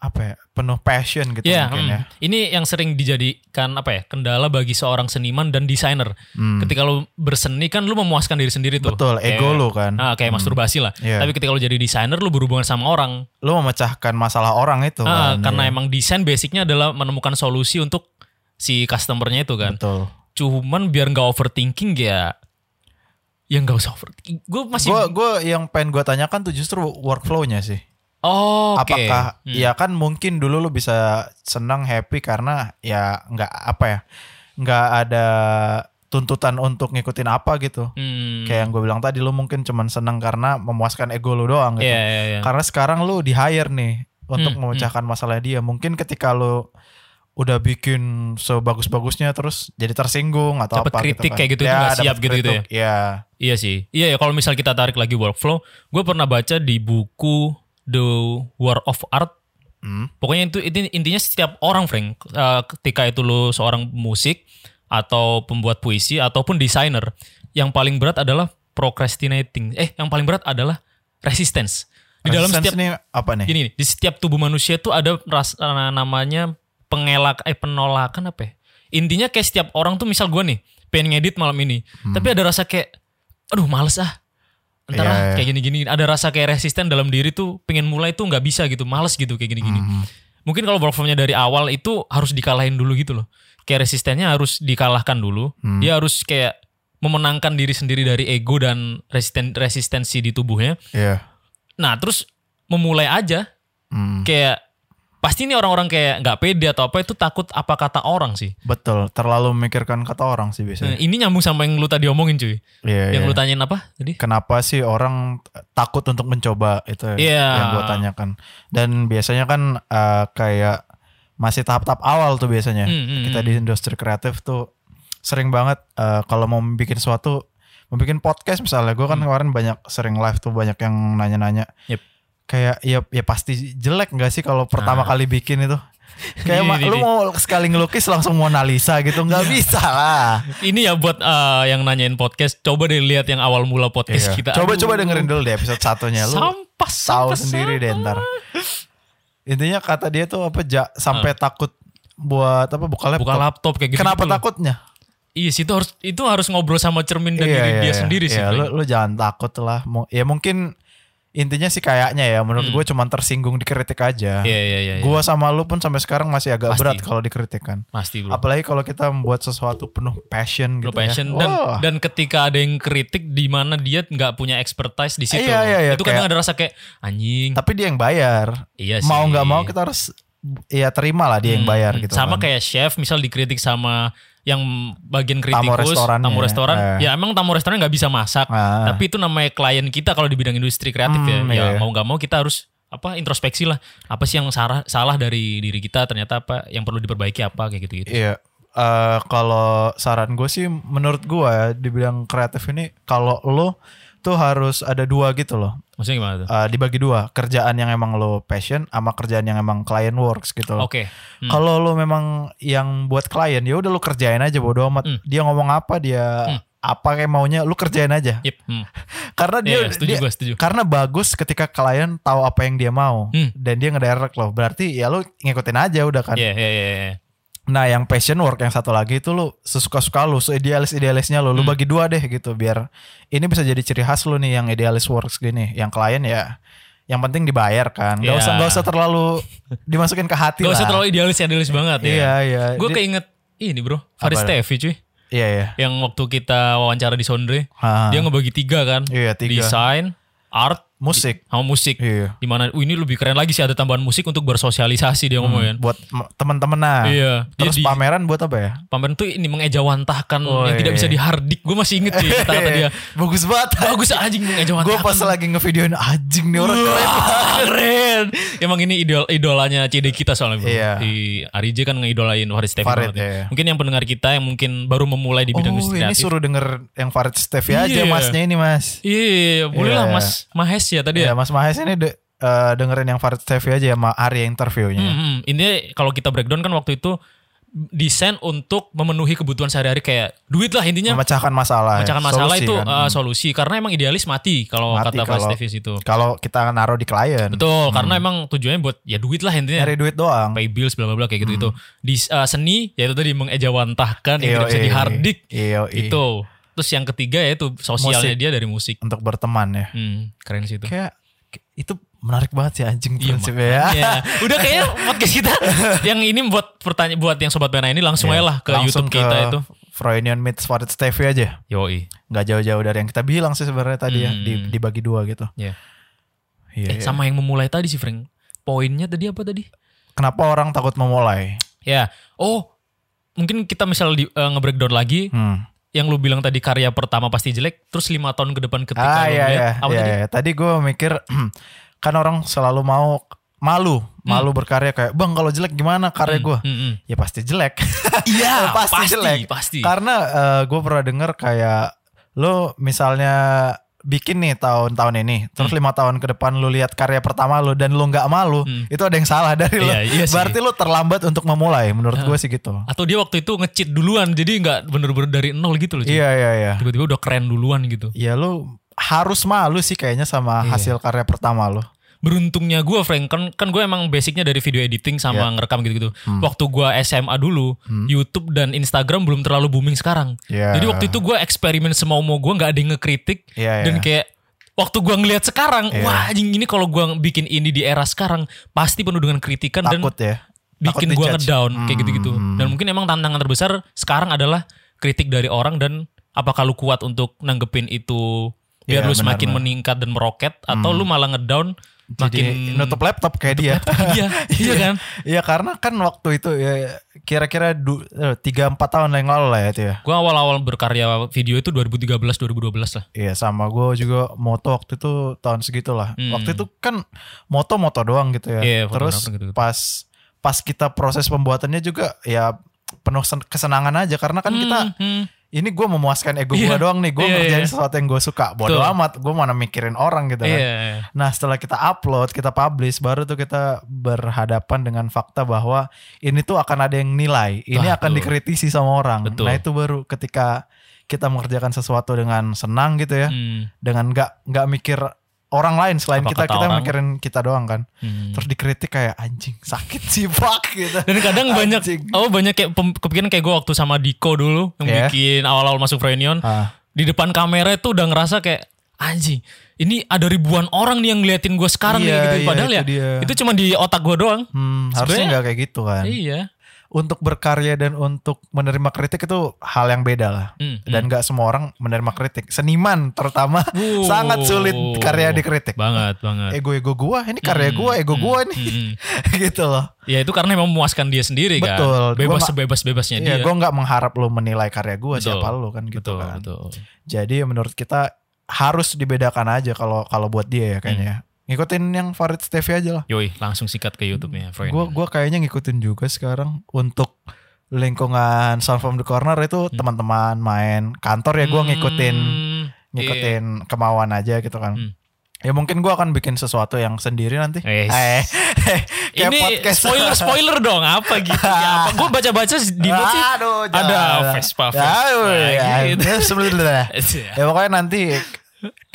Speaker 1: apa ya penuh passion gitu
Speaker 3: Iya,
Speaker 1: mungkin
Speaker 3: hmm.
Speaker 1: ya
Speaker 3: ini yang sering dijadikan apa ya kendala bagi seorang seniman dan desainer.
Speaker 1: Hmm,
Speaker 3: Ketika lo berseni kan lo memuaskan diri sendiri tuh.
Speaker 1: betul ego
Speaker 3: Kayak-
Speaker 1: lo kan
Speaker 3: Ah, kayak masturbasi lah.
Speaker 1: Iya.
Speaker 3: Tapi ketika lo jadi desainer lo berhubungan sama orang.
Speaker 1: lo memecahkan masalah orang itu
Speaker 3: Ah,
Speaker 1: kan, iya.
Speaker 3: karena emang desain basicnya adalah menemukan solusi untuk si customernya itu kan.
Speaker 1: betul
Speaker 3: Cuman biar nggak overthinking ya, ya nggak usah overthinking. Gue masih.
Speaker 1: gue gue yang pengen gue tanyakan tuh justru workflownya sih
Speaker 3: oh, oke.
Speaker 1: apakah
Speaker 3: Hmm.
Speaker 1: ya kan mungkin dulu lu bisa senang happy karena ya nggak apa ya nggak ada tuntutan untuk ngikutin apa gitu
Speaker 3: Hmm.
Speaker 1: kayak yang gue bilang tadi lu mungkin cuman senang karena memuaskan ego lu doang gitu
Speaker 3: Iya, iya, iya.
Speaker 1: karena sekarang lu di hire nih untuk
Speaker 3: Hmm,
Speaker 1: memecahkan masalah dia mungkin ketika lu udah bikin sebagus-bagusnya terus jadi tersinggung atau
Speaker 3: Dapet
Speaker 1: apa gitu
Speaker 3: kritik
Speaker 1: kan.
Speaker 3: kayak gitu, itu nggak
Speaker 1: dapet
Speaker 3: siap gitu gitu
Speaker 1: kritik, ya
Speaker 3: Iya sih. Iya ya kalau misal kita tarik lagi workflow, gue pernah baca di buku The War of Art.
Speaker 1: Hmm.
Speaker 3: Pokoknya itu itu intinya setiap orang, Frank, eh, ketika itu lo seorang musik atau pembuat puisi ataupun desainer, yang paling berat adalah procrastinating. Eh, yang paling berat adalah resistance. Di dalam
Speaker 1: Resistance
Speaker 3: setiap
Speaker 1: nih apa nih
Speaker 3: gini nih, di setiap tubuh manusia itu ada ras, eh, namanya pengelak eh penolakan apa ya? Intinya kayak setiap orang tuh misal gue nih pengen ngedit malam ini, tapi ada rasa kayak aduh males ah. Entar
Speaker 1: Hmm. Iya,
Speaker 3: ah,
Speaker 1: iya.
Speaker 3: kayak gini-gini, ada rasa kayak resisten dalam diri tuh pengen mulai tuh nggak bisa gitu, males gitu kayak gini-gini.
Speaker 1: Hmm.
Speaker 3: Mungkin kalau workflownya dari awal itu harus dikalahin dulu gitu loh. Kayak resistennya harus dikalahkan dulu.
Speaker 1: Hmm.
Speaker 3: Dia harus kayak memenangkan diri sendiri dari ego dan resisten resistensi di tubuhnya.
Speaker 1: Iya.
Speaker 3: Nah, terus memulai aja
Speaker 1: Hmm.
Speaker 3: kayak pasti ini orang-orang kayak nggak pede atau apa itu takut apa kata orang sih.
Speaker 1: Betul, terlalu memikirkan kata orang sih
Speaker 3: Nah,
Speaker 1: biasanya.
Speaker 3: ini nyambung sama yang lu tadi omongin cuy.
Speaker 1: Iya,
Speaker 3: Yang
Speaker 1: iya.
Speaker 3: lu tanyain apa tadi?
Speaker 1: Kenapa sih orang takut untuk mencoba itu
Speaker 3: Iya.
Speaker 1: yang gue tanyakan. Dan biasanya kan eh, kayak masih tahap-tahap awal tuh biasanya.
Speaker 3: Hmm, hmm,
Speaker 1: Kita
Speaker 3: hmm.
Speaker 1: di industri kreatif tuh sering banget eh, kalau mau bikin suatu, mau bikin podcast misalnya. Gue kan kemarin banyak sering live tuh banyak yang nanya-nanya.
Speaker 3: Hmm. Yep.
Speaker 1: Kayak ya ya pasti jelek gak sih kalau pertama kali bikin itu. Kayak
Speaker 3: Ini,
Speaker 1: ma-
Speaker 3: Nah. Iya, ini, Iya.
Speaker 1: lu
Speaker 3: ini.
Speaker 1: mau sekali ngelukis langsung mau analisa gitu nggak bisa lah.
Speaker 3: Ini ya buat eh, yang nanyain podcast, coba deh lihat yang awal mula
Speaker 1: Iya.
Speaker 3: podcast kita.
Speaker 1: Coba
Speaker 3: Aduh,
Speaker 1: coba dengerin dulu deh episode satunya lu.
Speaker 3: Sampah,
Speaker 1: tahu
Speaker 3: sampah,
Speaker 1: sendiri
Speaker 3: sampah.
Speaker 1: deh ntar. Intinya kata dia tuh apa ja, sampai takut buat apa buka laptop.
Speaker 3: Ah. Buka laptop kayak gitu.
Speaker 1: Kenapa takutnya?
Speaker 3: Iya sih itu harus itu harus ngobrol sama cermin dan diri dia sendiri sih.
Speaker 1: Iya,
Speaker 3: Frank.
Speaker 1: lu, lu jangan takut lah. Mu- Ya mungkin intinya sih kayaknya ya menurut
Speaker 3: Hmm.
Speaker 1: gue cuman tersinggung dikritik aja.
Speaker 3: Iya iya iya. iya.
Speaker 1: Gua sama lu pun sampai sekarang masih agak
Speaker 3: Pasti.
Speaker 1: berat kalau dikritik kan.
Speaker 3: Pasti bro.
Speaker 1: Apalagi kalau kita membuat sesuatu penuh passion
Speaker 3: Lu
Speaker 1: gitu
Speaker 3: passion
Speaker 1: ya.
Speaker 3: dan
Speaker 1: Wah.
Speaker 3: dan ketika ada yang kritik di mana dia nggak punya expertise di situ.
Speaker 1: Iya, iya, iya,
Speaker 3: itu kadang ada rasa kayak anjing.
Speaker 1: tapi dia yang bayar.
Speaker 3: Iya
Speaker 1: mau
Speaker 3: sih.
Speaker 1: nggak mau kita harus ya terima lah dia yang
Speaker 3: Hmm,
Speaker 1: bayar gitu.
Speaker 3: Sama
Speaker 1: kan.
Speaker 3: kayak chef misal dikritik sama yang bagian kritikus, tamu restoran,
Speaker 1: restorannya, eh.
Speaker 3: ya emang tamu restoran nggak bisa masak,
Speaker 1: Ah.
Speaker 3: tapi itu namanya klien kita kalau di bidang industri kreatif ya.
Speaker 1: Hmm, iya.
Speaker 3: Ya mau nggak mau kita harus apa introspeksi lah, apa sih yang salah salah dari diri kita ternyata apa yang perlu diperbaiki apa kayak gitu-gitu.
Speaker 1: Iya. Eh, kalau saran gue sih menurut gue ya dibilang kreatif ini kalau lo tuh harus ada dua gitu loh.
Speaker 3: Maksudnya gimana tuh?
Speaker 1: Eh, dibagi dua, kerjaan yang emang lo passion sama kerjaan yang emang client works gitu loh.
Speaker 3: Oke. Hmm.
Speaker 1: Kalau lo memang yang buat klien ya udah lo kerjain aja bodo amat.
Speaker 3: Hmm.
Speaker 1: Dia ngomong apa dia
Speaker 3: Hmm.
Speaker 1: apa kayak maunya lu kerjain aja.
Speaker 3: Yep. Hmm.
Speaker 1: Karena dia,
Speaker 3: Iya, iya, setuju
Speaker 1: dia-
Speaker 3: gue, setuju.
Speaker 1: karena bagus ketika klien tahu apa yang dia mau
Speaker 3: Hmm.
Speaker 1: dan dia ngedirect lo. Berarti ya lo ngikutin aja udah kan.
Speaker 3: Iya, iya, iya, iya.
Speaker 1: Nah, yang passion work yang satu lagi itu lu sesuka-suka lu, seidealis-idealisnya lu,
Speaker 3: Hmm.
Speaker 1: lu bagi dua deh gitu biar ini bisa jadi ciri khas lu nih yang idealis works gini. Yang klien ya yang penting dibayar kan. Gak
Speaker 3: Iya.
Speaker 1: usah gak usah terlalu dimasukin ke hati
Speaker 3: Gak
Speaker 1: lah.
Speaker 3: usah terlalu idealis idealis banget ya.
Speaker 1: Iya, iya.
Speaker 3: Gue
Speaker 1: Di-
Speaker 3: keinget ini bro, Faris
Speaker 1: Apa?
Speaker 3: Tevi cuy,
Speaker 1: Iya, iya.
Speaker 3: yang waktu kita wawancara di Sondre,
Speaker 1: Ah,
Speaker 3: dia ngebagi tiga kan,
Speaker 1: iya, tiga.
Speaker 3: desain, art,
Speaker 1: Musik.
Speaker 3: sama musik.
Speaker 1: Iya.
Speaker 3: Dimana uh, ini lebih keren lagi sih ada tambahan musik untuk bersosialisasi dia ngomongin.
Speaker 1: Buat m- temen-temen nah.
Speaker 3: Iya. Dia
Speaker 1: Terus
Speaker 3: di-
Speaker 1: pameran buat apa ya?
Speaker 3: pameran tuh ini mengejawantahkan
Speaker 1: Oh,
Speaker 3: yang tidak
Speaker 1: iya.
Speaker 3: bisa dihardik. Gue masih inget cuy kata-kata dia.
Speaker 1: Bagus banget.
Speaker 3: Bagus Iya. anjing
Speaker 1: Gue
Speaker 3: mengejawantahkan.
Speaker 1: pas lagi ngevideoin anjing nih orang keren.
Speaker 3: Wah, Ah, keren. Emang ini idol idolanya CD kita soalnya bro.
Speaker 1: Iya.
Speaker 3: Di Ari J kan ngeidolain Faris Tevi
Speaker 1: Farid,
Speaker 3: banget ya.
Speaker 1: iya.
Speaker 3: Mungkin yang pendengar kita yang mungkin baru memulai di bidang
Speaker 1: Oh
Speaker 3: industri
Speaker 1: ini
Speaker 3: kreatif.
Speaker 1: suruh denger yang Farid Stevi aja
Speaker 3: Iya.
Speaker 1: masnya ini mas.
Speaker 3: Iya, iya, iya. boleh
Speaker 1: Iya,
Speaker 3: lah
Speaker 1: iya.
Speaker 3: Mas Mahes ya tadi
Speaker 1: Ya,
Speaker 3: ya.
Speaker 1: Mas Mahes ini de- eh, dengerin yang Farid Stevi aja ya, sama Arya interviewnya.
Speaker 3: Hmm, hmm. Intinya kalau kita breakdown kan waktu itu desain untuk memenuhi kebutuhan sehari-hari kayak duit lah intinya
Speaker 1: Memecahkan masalah. ya.
Speaker 3: Pecahkan iya. masalah
Speaker 1: Solusi
Speaker 3: itu
Speaker 1: kan.
Speaker 3: eh, solusi karena emang idealis mati kalau
Speaker 1: Mati
Speaker 3: kata Fast
Speaker 1: kalau-
Speaker 3: Davis itu.
Speaker 1: Hmm. Kalau kita naruh di klien,
Speaker 3: Betul, karena emang tujuannya buat ya duit lah intinya.
Speaker 1: nyari Hmm. duit doang.
Speaker 3: pay bills bla bla bla kayak gitu itu. Di eh, seni yaitu tadi mengejawantahkan yang tidak bisa
Speaker 1: Yoi. Iya.
Speaker 3: dihardik Gitu.
Speaker 1: Yoi.
Speaker 3: itu. Terus yang ketiga yaitu sosialnya dia dari musik.
Speaker 1: untuk berteman ya.
Speaker 3: Hmm, keren sih itu.
Speaker 1: Kayak kayak itu menarik banget sih anjing
Speaker 3: Iya,
Speaker 1: prinsipnya ya.
Speaker 3: Ya, udah kayaknya podcast kita yang ini buat pertanyaan buat yang sobat pena ini langsung aja lah ke
Speaker 1: Iya. Langsung
Speaker 3: YouTube kita itu.
Speaker 1: Freudian Meets Farid Stevie aja.
Speaker 3: Yoi.
Speaker 1: Nggak jauh-jauh dari yang kita bilang sih sebenarnya tadi ya. Di- dibagi dua gitu.
Speaker 3: Ya.
Speaker 1: Iya.
Speaker 3: Hmm. Eh, sama yang memulai tadi sih, Frank. Poinnya tadi apa tadi?
Speaker 1: Kenapa orang takut memulai?
Speaker 3: Ya. Oh, mungkin kita misal di, eh, nge-breakdown lagi
Speaker 1: Hmm.
Speaker 3: yang lu bilang tadi karya pertama pasti jelek, terus lima tahun ke depan ketika
Speaker 1: Ah
Speaker 3: lu
Speaker 1: iya
Speaker 3: ngeliat,
Speaker 1: iya.
Speaker 3: apa
Speaker 1: iya,
Speaker 3: tadi?
Speaker 1: iya. Tadi gue mikir kan orang selalu mau malu, malu berkarya kayak bang kalau jelek gimana karya gue?
Speaker 3: Hmm, hmm.
Speaker 1: Ya pasti jelek.
Speaker 3: Iya,
Speaker 1: pasti,
Speaker 3: pasti,
Speaker 1: jelek.
Speaker 3: pasti.
Speaker 1: Karena gue pernah denger kayak lo misalnya bikin nih tahun-tahun ini,
Speaker 3: Hmm.
Speaker 1: terus lima tahun ke depan lu lihat karya pertama lu dan lu nggak malu, itu ada yang salah dari lo.
Speaker 3: Hmm. Iya, iya sih.
Speaker 1: Berarti lu terlambat untuk memulai, menurut gue sih gitu.
Speaker 3: Atau dia waktu itu nge-cheat duluan, jadi nggak bener-bener dari nol gitu loh. Ci.
Speaker 1: Iya iya iya.
Speaker 3: Tiba-tiba udah keren duluan gitu.
Speaker 1: Ya lu harus malu sih kayaknya sama
Speaker 3: Iya.
Speaker 1: hasil karya pertama lo.
Speaker 3: beruntungnya gue Frank kan kan gue emang basicnya dari video editing sama
Speaker 1: Ya.
Speaker 3: ngerekam gitu-gitu
Speaker 1: Hmm.
Speaker 3: waktu gue SMA dulu YouTube dan Instagram belum terlalu booming sekarang
Speaker 1: Ya.
Speaker 3: jadi waktu itu gue eksperimen semau mau gue nggak ada yang ngekritik
Speaker 1: Iya,
Speaker 3: dan
Speaker 1: iya.
Speaker 3: kayak waktu gue ngelihat sekarang
Speaker 1: Iya.
Speaker 3: wah anjing ini kalau gue bikin ini di era sekarang pasti penuh dengan kritikan
Speaker 1: Takut ya.
Speaker 3: dan
Speaker 1: Takut
Speaker 3: bikin gue
Speaker 1: dijudge. Hmm.
Speaker 3: ngedown kayak gitu-gitu dan mungkin emang tantangan terbesar sekarang adalah kritik dari orang dan apakah lu kuat untuk nanggepin itu
Speaker 1: Iya,
Speaker 3: biar lu
Speaker 1: benar-benar.
Speaker 3: semakin meningkat dan meroket atau lu malah ngedown
Speaker 1: Jadi
Speaker 3: makin
Speaker 1: nutup laptop kayak dia.
Speaker 3: iya, iya kan?
Speaker 1: Iya karena kan waktu itu ya kira-kira du- eh, tiga empat tahun yang lalu lah ya itu ya.
Speaker 3: Gue awal-awal berkarya video itu 2013 2012 lah.
Speaker 1: Iya sama gue juga moto waktu itu tahun segitu lah. Waktu itu kan moto-moto doang gitu ya.
Speaker 3: Hmm. Iya,
Speaker 1: Terus
Speaker 3: fotografer gitu-gitu.
Speaker 1: pas pas kita proses pembuatannya juga ya penuh sen- kesenangan aja karena kan kita
Speaker 3: Hmm,
Speaker 1: ini gue memuaskan ego gue
Speaker 3: Iya.
Speaker 1: doang nih gue
Speaker 3: Iya,
Speaker 1: ngerjain
Speaker 3: iya.
Speaker 1: sesuatu yang gue suka bodo
Speaker 3: Betul.
Speaker 1: amat gue mana mikirin orang gitu kan.
Speaker 3: Iya.
Speaker 1: Nah setelah kita upload kita publish baru tuh kita berhadapan dengan fakta bahwa ini tuh akan ada yang nilai ini
Speaker 3: Wah,
Speaker 1: akan
Speaker 3: betul.
Speaker 1: dikritisi sama orang.
Speaker 3: Betul.
Speaker 1: Nah itu baru ketika kita mengerjakan sesuatu dengan senang gitu ya
Speaker 3: Hmm,
Speaker 1: dengan nggak nggak mikir orang lain selain
Speaker 3: Apa
Speaker 1: kita
Speaker 3: kata
Speaker 1: kita
Speaker 3: orang?
Speaker 1: mikirin kita doang kan
Speaker 3: hmm.
Speaker 1: terus dikritik kayak anjing sakit sih fuck gitu
Speaker 3: Dan kadang banyak
Speaker 1: Anjing.
Speaker 3: oh banyak kayak pem- kepikiran kayak gue waktu sama Diko dulu yang
Speaker 1: Iya.
Speaker 3: bikin awal-awal masuk Frenion
Speaker 1: Ah.
Speaker 3: di depan kamera itu udah ngerasa kayak anjing ini ada ribuan orang nih yang ngeliatin gue
Speaker 1: Iya,
Speaker 3: sekarang nih gitu
Speaker 1: iya,
Speaker 3: padahal
Speaker 1: itu
Speaker 3: ya
Speaker 1: dia.
Speaker 3: itu cuma di otak gue doang
Speaker 1: hmm, harusnya
Speaker 3: Sebenarnya-
Speaker 1: nggak kayak gitu kan
Speaker 3: iya
Speaker 1: untuk berkarya dan untuk menerima kritik itu hal yang beda lah
Speaker 3: Hmm,
Speaker 1: dan nggak semua orang menerima kritik seniman terutama
Speaker 3: Wuh.
Speaker 1: sangat sulit karya dikritik
Speaker 3: banget banget
Speaker 1: ego ego gua ini karya gua ego gua nih
Speaker 3: hmm.
Speaker 1: gitu loh
Speaker 3: ya itu karena emang memuaskan dia sendiri
Speaker 1: Betul. Gua
Speaker 3: kan bebas
Speaker 1: nggak-
Speaker 3: sebebas bebasnya dia
Speaker 1: Iya, gue nggak mengharap lo menilai karya gua
Speaker 3: Betul.
Speaker 1: siapa lo kan gitu
Speaker 3: betul
Speaker 1: kan.
Speaker 3: betul
Speaker 1: Jadi menurut kita harus dibedakan aja kalau kalau buat dia ya
Speaker 3: Hmm.
Speaker 1: kayaknya. Ngikutin yang Farid Stevi aja lah.
Speaker 3: Yoi, langsung sikat ke YouTube-nya, friend.
Speaker 1: Gua gua kayaknya ngikutin juga sekarang untuk lingkungan Sound from the Corner itu teman-teman main kantor ya gua ngikutin
Speaker 3: Hmm,
Speaker 1: ngikutin kemauan aja gitu kan.
Speaker 3: Hmm.
Speaker 1: Ya mungkin gua akan bikin sesuatu yang sendiri nanti.
Speaker 3: Yes.
Speaker 1: Eh,
Speaker 3: iya.
Speaker 1: kayak
Speaker 3: Ini
Speaker 1: podcast.
Speaker 3: spoiler spoiler dong apa gitu? Ya, apa? Gue baca-baca di notes sih
Speaker 1: Aduh, jangan.
Speaker 3: ada Vespa
Speaker 1: Ya,
Speaker 3: Vespa
Speaker 1: ya,
Speaker 3: gitu.
Speaker 1: ya, sebenarnya. ya pokoknya nanti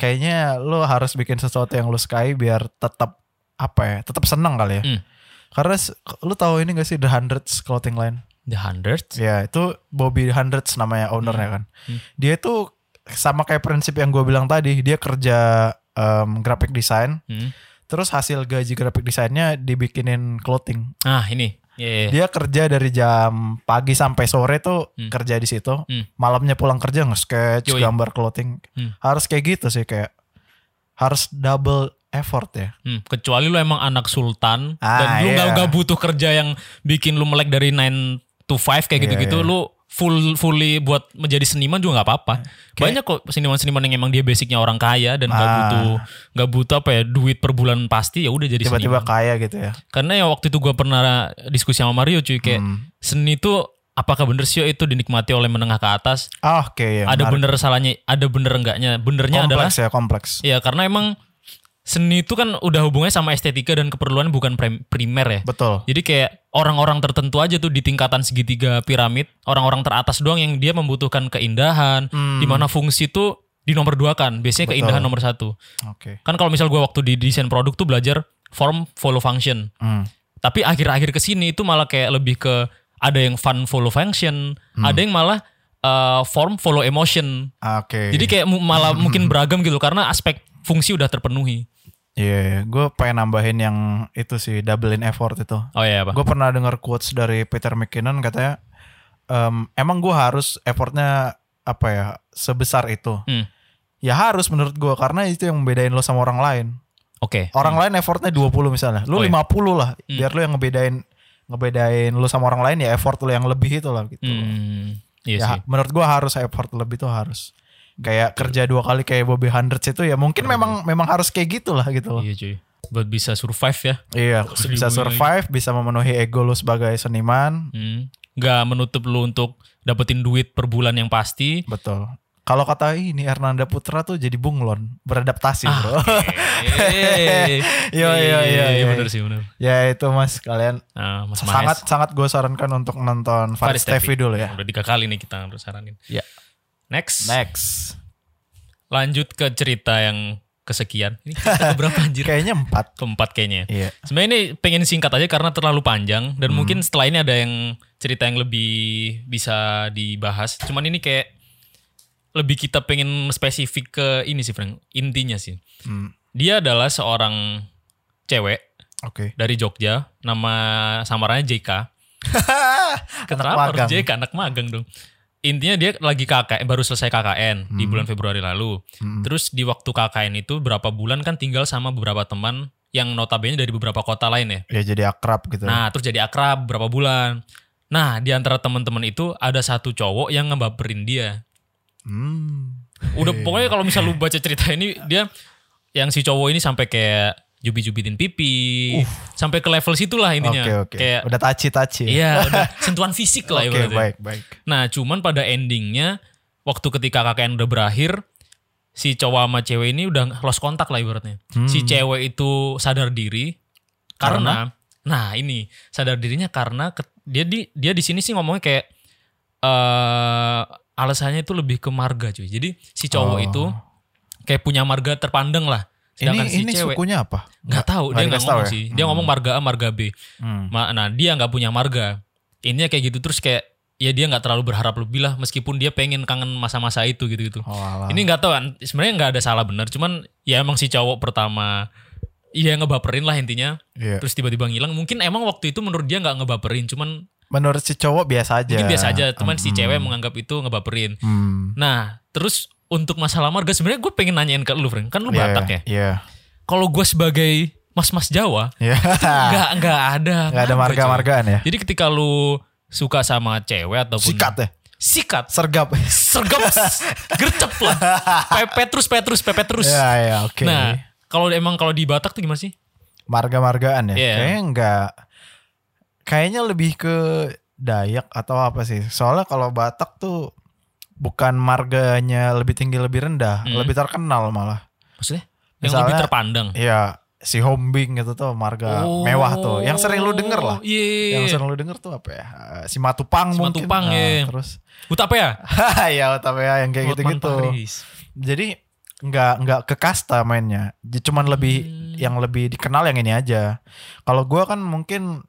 Speaker 1: kayaknya lo harus bikin sesuatu yang lo sukai biar tetap apa ya tetap seneng kali ya
Speaker 3: Hmm.
Speaker 1: karena lo tahu ini gak sih the hundreds clothing line
Speaker 3: The Hundreds.
Speaker 1: ya itu Bobby hundreds namanya
Speaker 3: Hmm.
Speaker 1: ownernya kan dia itu sama kayak prinsip yang gue bilang tadi dia kerja em, graphic design
Speaker 3: Hmm.
Speaker 1: terus hasil gaji graphic desainnya dibikinin clothing
Speaker 3: Ah ini. Iya, iya.
Speaker 1: dia kerja dari jam pagi sampai sore tuh
Speaker 3: Hmm.
Speaker 1: kerja di situ.
Speaker 3: Hmm.
Speaker 1: Malamnya pulang kerja nge-sketch,
Speaker 3: Yoi.
Speaker 1: gambar clothing.
Speaker 3: Hmm.
Speaker 1: Harus kayak gitu sih kayak harus double effort ya.
Speaker 3: Hmm, kecuali lu emang anak sultan dan
Speaker 1: Ah,
Speaker 3: lu nggak
Speaker 1: iya.
Speaker 3: nggak butuh kerja yang bikin lu melek dari 9 to 5
Speaker 1: Iya,
Speaker 3: kayak
Speaker 1: iya.
Speaker 3: gitu-gitu lu full fully buat menjadi seniman juga nggak apa-apa. Banyak kok seniman-seniman yang emang dia basicnya orang kaya dan nggak
Speaker 1: Ah.
Speaker 3: butuh nggak butuh apa ya duit per bulan pasti ya udah jadi
Speaker 1: Tiba-tiba
Speaker 3: seniman.
Speaker 1: kaya gitu ya.
Speaker 3: Karena ya waktu itu gua pernah diskusi sama Mario cuy kayak
Speaker 1: Hmm.
Speaker 3: seni itu apakah bener sih yo itu dinikmati oleh menengah ke atas?
Speaker 1: Ah, oke ya.
Speaker 3: ada
Speaker 1: menarik.
Speaker 3: bener salahnya, ada bener enggaknya. Benernya adalah
Speaker 1: kompleks ya,
Speaker 3: Iya.
Speaker 1: kompleks.
Speaker 3: ya karena emang seni itu kan udah hubungannya sama estetika dan keperluan bukan prem- primer ya.
Speaker 1: Betul.
Speaker 3: Jadi kayak orang-orang tertentu aja tuh di tingkatan segitiga piramid, orang-orang teratas doang yang dia membutuhkan keindahan,
Speaker 1: Hmm.
Speaker 3: di mana fungsi tuh dinomor dua kan. Biasanya
Speaker 1: Betul.
Speaker 3: keindahan nomor satu.
Speaker 1: Oke.
Speaker 3: Kan kalau misal gua waktu di desain produk tuh belajar form follow function.
Speaker 1: Hmm.
Speaker 3: Tapi akhir-akhir ke sini itu malah kayak lebih ke ada yang fun follow function,
Speaker 1: Hmm.
Speaker 3: ada yang malah uh, form follow emotion.
Speaker 1: Oke.
Speaker 3: Jadi kayak mu- malah mungkin beragam gitu karena aspek fungsi udah terpenuhi.
Speaker 1: Iya, gue pengen nambahin yang itu sih doublein effort itu.
Speaker 3: Oh iya apa?
Speaker 1: Gue pernah dengar quotes dari Peter McKinnon katanya, "Em, emang gue harus effortnya apa ya sebesar itu?
Speaker 3: Hmm.
Speaker 1: Ya harus menurut gue karena itu yang membedain lo sama orang lain.
Speaker 3: Oke.
Speaker 1: Orang lain effortnya 20 misalnya, lo
Speaker 3: Hmm. Oh, iya.
Speaker 1: 50 lah, biar lo yang ngebedain ngebedain lo sama orang lain ya effort lo yang lebih itu lah gitu.
Speaker 3: Hmm, iya
Speaker 1: ya
Speaker 3: sih.
Speaker 1: menurut gua harus effort lebih tuh harus kayak kerja dua kali kayak Bobby Hundreds itu ya mungkin memang memang harus kayak gitu lah gitu loh.
Speaker 3: Iya cuy. Buat bisa survive ya.
Speaker 1: Iya,
Speaker 3: Sedih
Speaker 1: bisa
Speaker 3: bunyi
Speaker 1: survive, bisa memenuhi ego lu sebagai seniman,
Speaker 3: Hmm. Gak menutup lu untuk dapetin duit per bulan yang pasti.
Speaker 1: betul. Kalau kata ini Hernanda Putra tuh jadi bunglon, beradaptasi
Speaker 3: Ah,
Speaker 1: bro.
Speaker 3: Yeay.
Speaker 1: Iya, iya, iya,
Speaker 3: Iya,
Speaker 1: iya.
Speaker 3: bener sih bener.
Speaker 1: ya itu mas kalian
Speaker 3: Nah, Mas
Speaker 1: sangat
Speaker 3: Mahes,
Speaker 1: sangat gue sarankan untuk nonton Faris
Speaker 3: Faris
Speaker 1: Tevi
Speaker 3: Tevi.
Speaker 1: dulu ya.
Speaker 3: Udah tiga kali nih kita harus saranin.
Speaker 1: Iya.
Speaker 3: Next.
Speaker 1: Next,
Speaker 3: Lanjut ke cerita yang kesekian. Ini cerita keberapa anjir?
Speaker 1: kayaknya empat.
Speaker 3: Keempat kayaknya. ya.
Speaker 1: Iya,
Speaker 3: Sebenarnya ini pengen singkat aja karena terlalu panjang dan
Speaker 1: Hmm.
Speaker 3: mungkin setelah ini ada yang cerita yang lebih bisa dibahas. Cuman ini kayak lebih kita pengen spesifik ke ini sih Frank, intinya sih.
Speaker 1: Hmm,
Speaker 3: Dia adalah seorang cewek
Speaker 1: oke.
Speaker 3: dari Jogja, nama samarannya JK. Ah. Kenapa
Speaker 1: magang.
Speaker 3: harus JK anak magang dong? Intinya dia lagi KKN baru selesai KKN di bulan Februari lalu.
Speaker 1: Hmm.
Speaker 3: Terus di waktu KKN itu berapa bulan kan tinggal sama beberapa teman yang notabene dari beberapa kota lain ya.
Speaker 1: Ya jadi akrab gitu.
Speaker 3: Nah, terus jadi akrab berapa bulan. Nah, di antara teman-teman itu ada satu cowok yang ngebaperin dia.
Speaker 1: Hmm.
Speaker 3: Udah pokoknya kalau misal lu baca cerita ini dia yang si cowok ini sampai kayak jubit-jubitin pipi, sampai ke level situlah
Speaker 1: Oke
Speaker 3: intinya.
Speaker 1: Uh. oke.
Speaker 3: Kayak
Speaker 1: Udah taci-taci. ya?
Speaker 3: iya, udah sentuhan fisik lah
Speaker 1: Oke
Speaker 3: ibaratnya.
Speaker 1: baik baik.
Speaker 3: Nah, cuman pada endingnya waktu ketika KKN udah berakhir, si cowok sama cewek ini udah lost kontak lah ibaratnya.
Speaker 1: Hmm.
Speaker 3: Si cewek itu sadar diri karena, nah ini sadar dirinya karena ke- dia di dia di sini sih ngomongnya kayak eh alasannya itu lebih ke marga cuy. Jadi si cowok
Speaker 1: Oh.
Speaker 3: itu kayak punya marga terpandang lah.
Speaker 1: Ini
Speaker 3: Sedangkan si
Speaker 1: ini
Speaker 3: cewek
Speaker 1: sukunya apa?
Speaker 3: nggak tahu dia nggak
Speaker 1: dikasih tahu
Speaker 3: ngomong
Speaker 1: ya?
Speaker 3: sih. Dia ngomong marga A, marga B.
Speaker 1: Hmm.
Speaker 3: Ma- Nah dia nggak punya marga. Ininya kayak gitu terus kayak ya dia nggak terlalu berharap lebih lah meskipun dia pengen kangen masa-masa itu gitu gitu.
Speaker 1: Oh, alah.
Speaker 3: Ini nggak tahu kan sebenarnya nggak ada salah benar cuman ya emang si cowok pertama ya ngebaperin lah intinya
Speaker 1: Iya.
Speaker 3: terus tiba-tiba ngilang mungkin emang waktu itu menurut dia nggak ngebaperin cuman
Speaker 1: Menurut si cowok biasa aja.
Speaker 3: mungkin biasa aja cuman si
Speaker 1: Hmm.
Speaker 3: cewek menganggap itu ngebaperin.
Speaker 1: Hmm.
Speaker 3: Nah terus untuk masalah marga sebenarnya gue pengen nanyain ke lu Frank kan lu
Speaker 1: Iya,
Speaker 3: Batak ya.
Speaker 1: Iya.
Speaker 3: Kalau gue sebagai mas-mas Jawa
Speaker 1: Iya.
Speaker 3: nggak nggak ada kan?
Speaker 1: Nggak ada
Speaker 3: coy.
Speaker 1: marga-margaan ya.
Speaker 3: Jadi ketika lu suka sama cewek ataupun
Speaker 1: Sikat ya.
Speaker 3: sikat,
Speaker 1: Sergap.
Speaker 3: sergap, s- gercep lah, pepet terus, pepet terus, pepet terus.
Speaker 1: Iya iya oke.
Speaker 3: Nah, kalau emang kalau di Batak tuh gimana sih?
Speaker 1: Marga-margaan ya.
Speaker 3: Iya.
Speaker 1: Kayaknya enggak. Kayaknya lebih ke Dayak atau apa sih? Soalnya kalau Batak tuh bukan marganya lebih tinggi lebih rendah,
Speaker 3: Hmm.
Speaker 1: lebih terkenal malah.
Speaker 3: Maksudnya yang
Speaker 1: Misalnya-
Speaker 3: lebih terpandang.
Speaker 1: Iya, si Hombing gitu tuh marga mewah tuh. Yang sering lu denger lah.
Speaker 3: Oh. Iya.
Speaker 1: Yang sering lu denger tuh apa ya? Eh, Si Matupang
Speaker 3: Si
Speaker 1: mungkin.
Speaker 3: Matupang,
Speaker 1: Nah,
Speaker 3: iya.
Speaker 1: Terus
Speaker 3: Utap ya?
Speaker 1: ya tapi ya yang kayak
Speaker 3: Hotman
Speaker 1: gitu-gitu.
Speaker 3: Paris.
Speaker 1: Jadi nggak nggak ke kasta mainnya. J- Cuman lebih
Speaker 3: Hmm.
Speaker 1: yang lebih dikenal yang ini aja. Kalau gua kan mungkin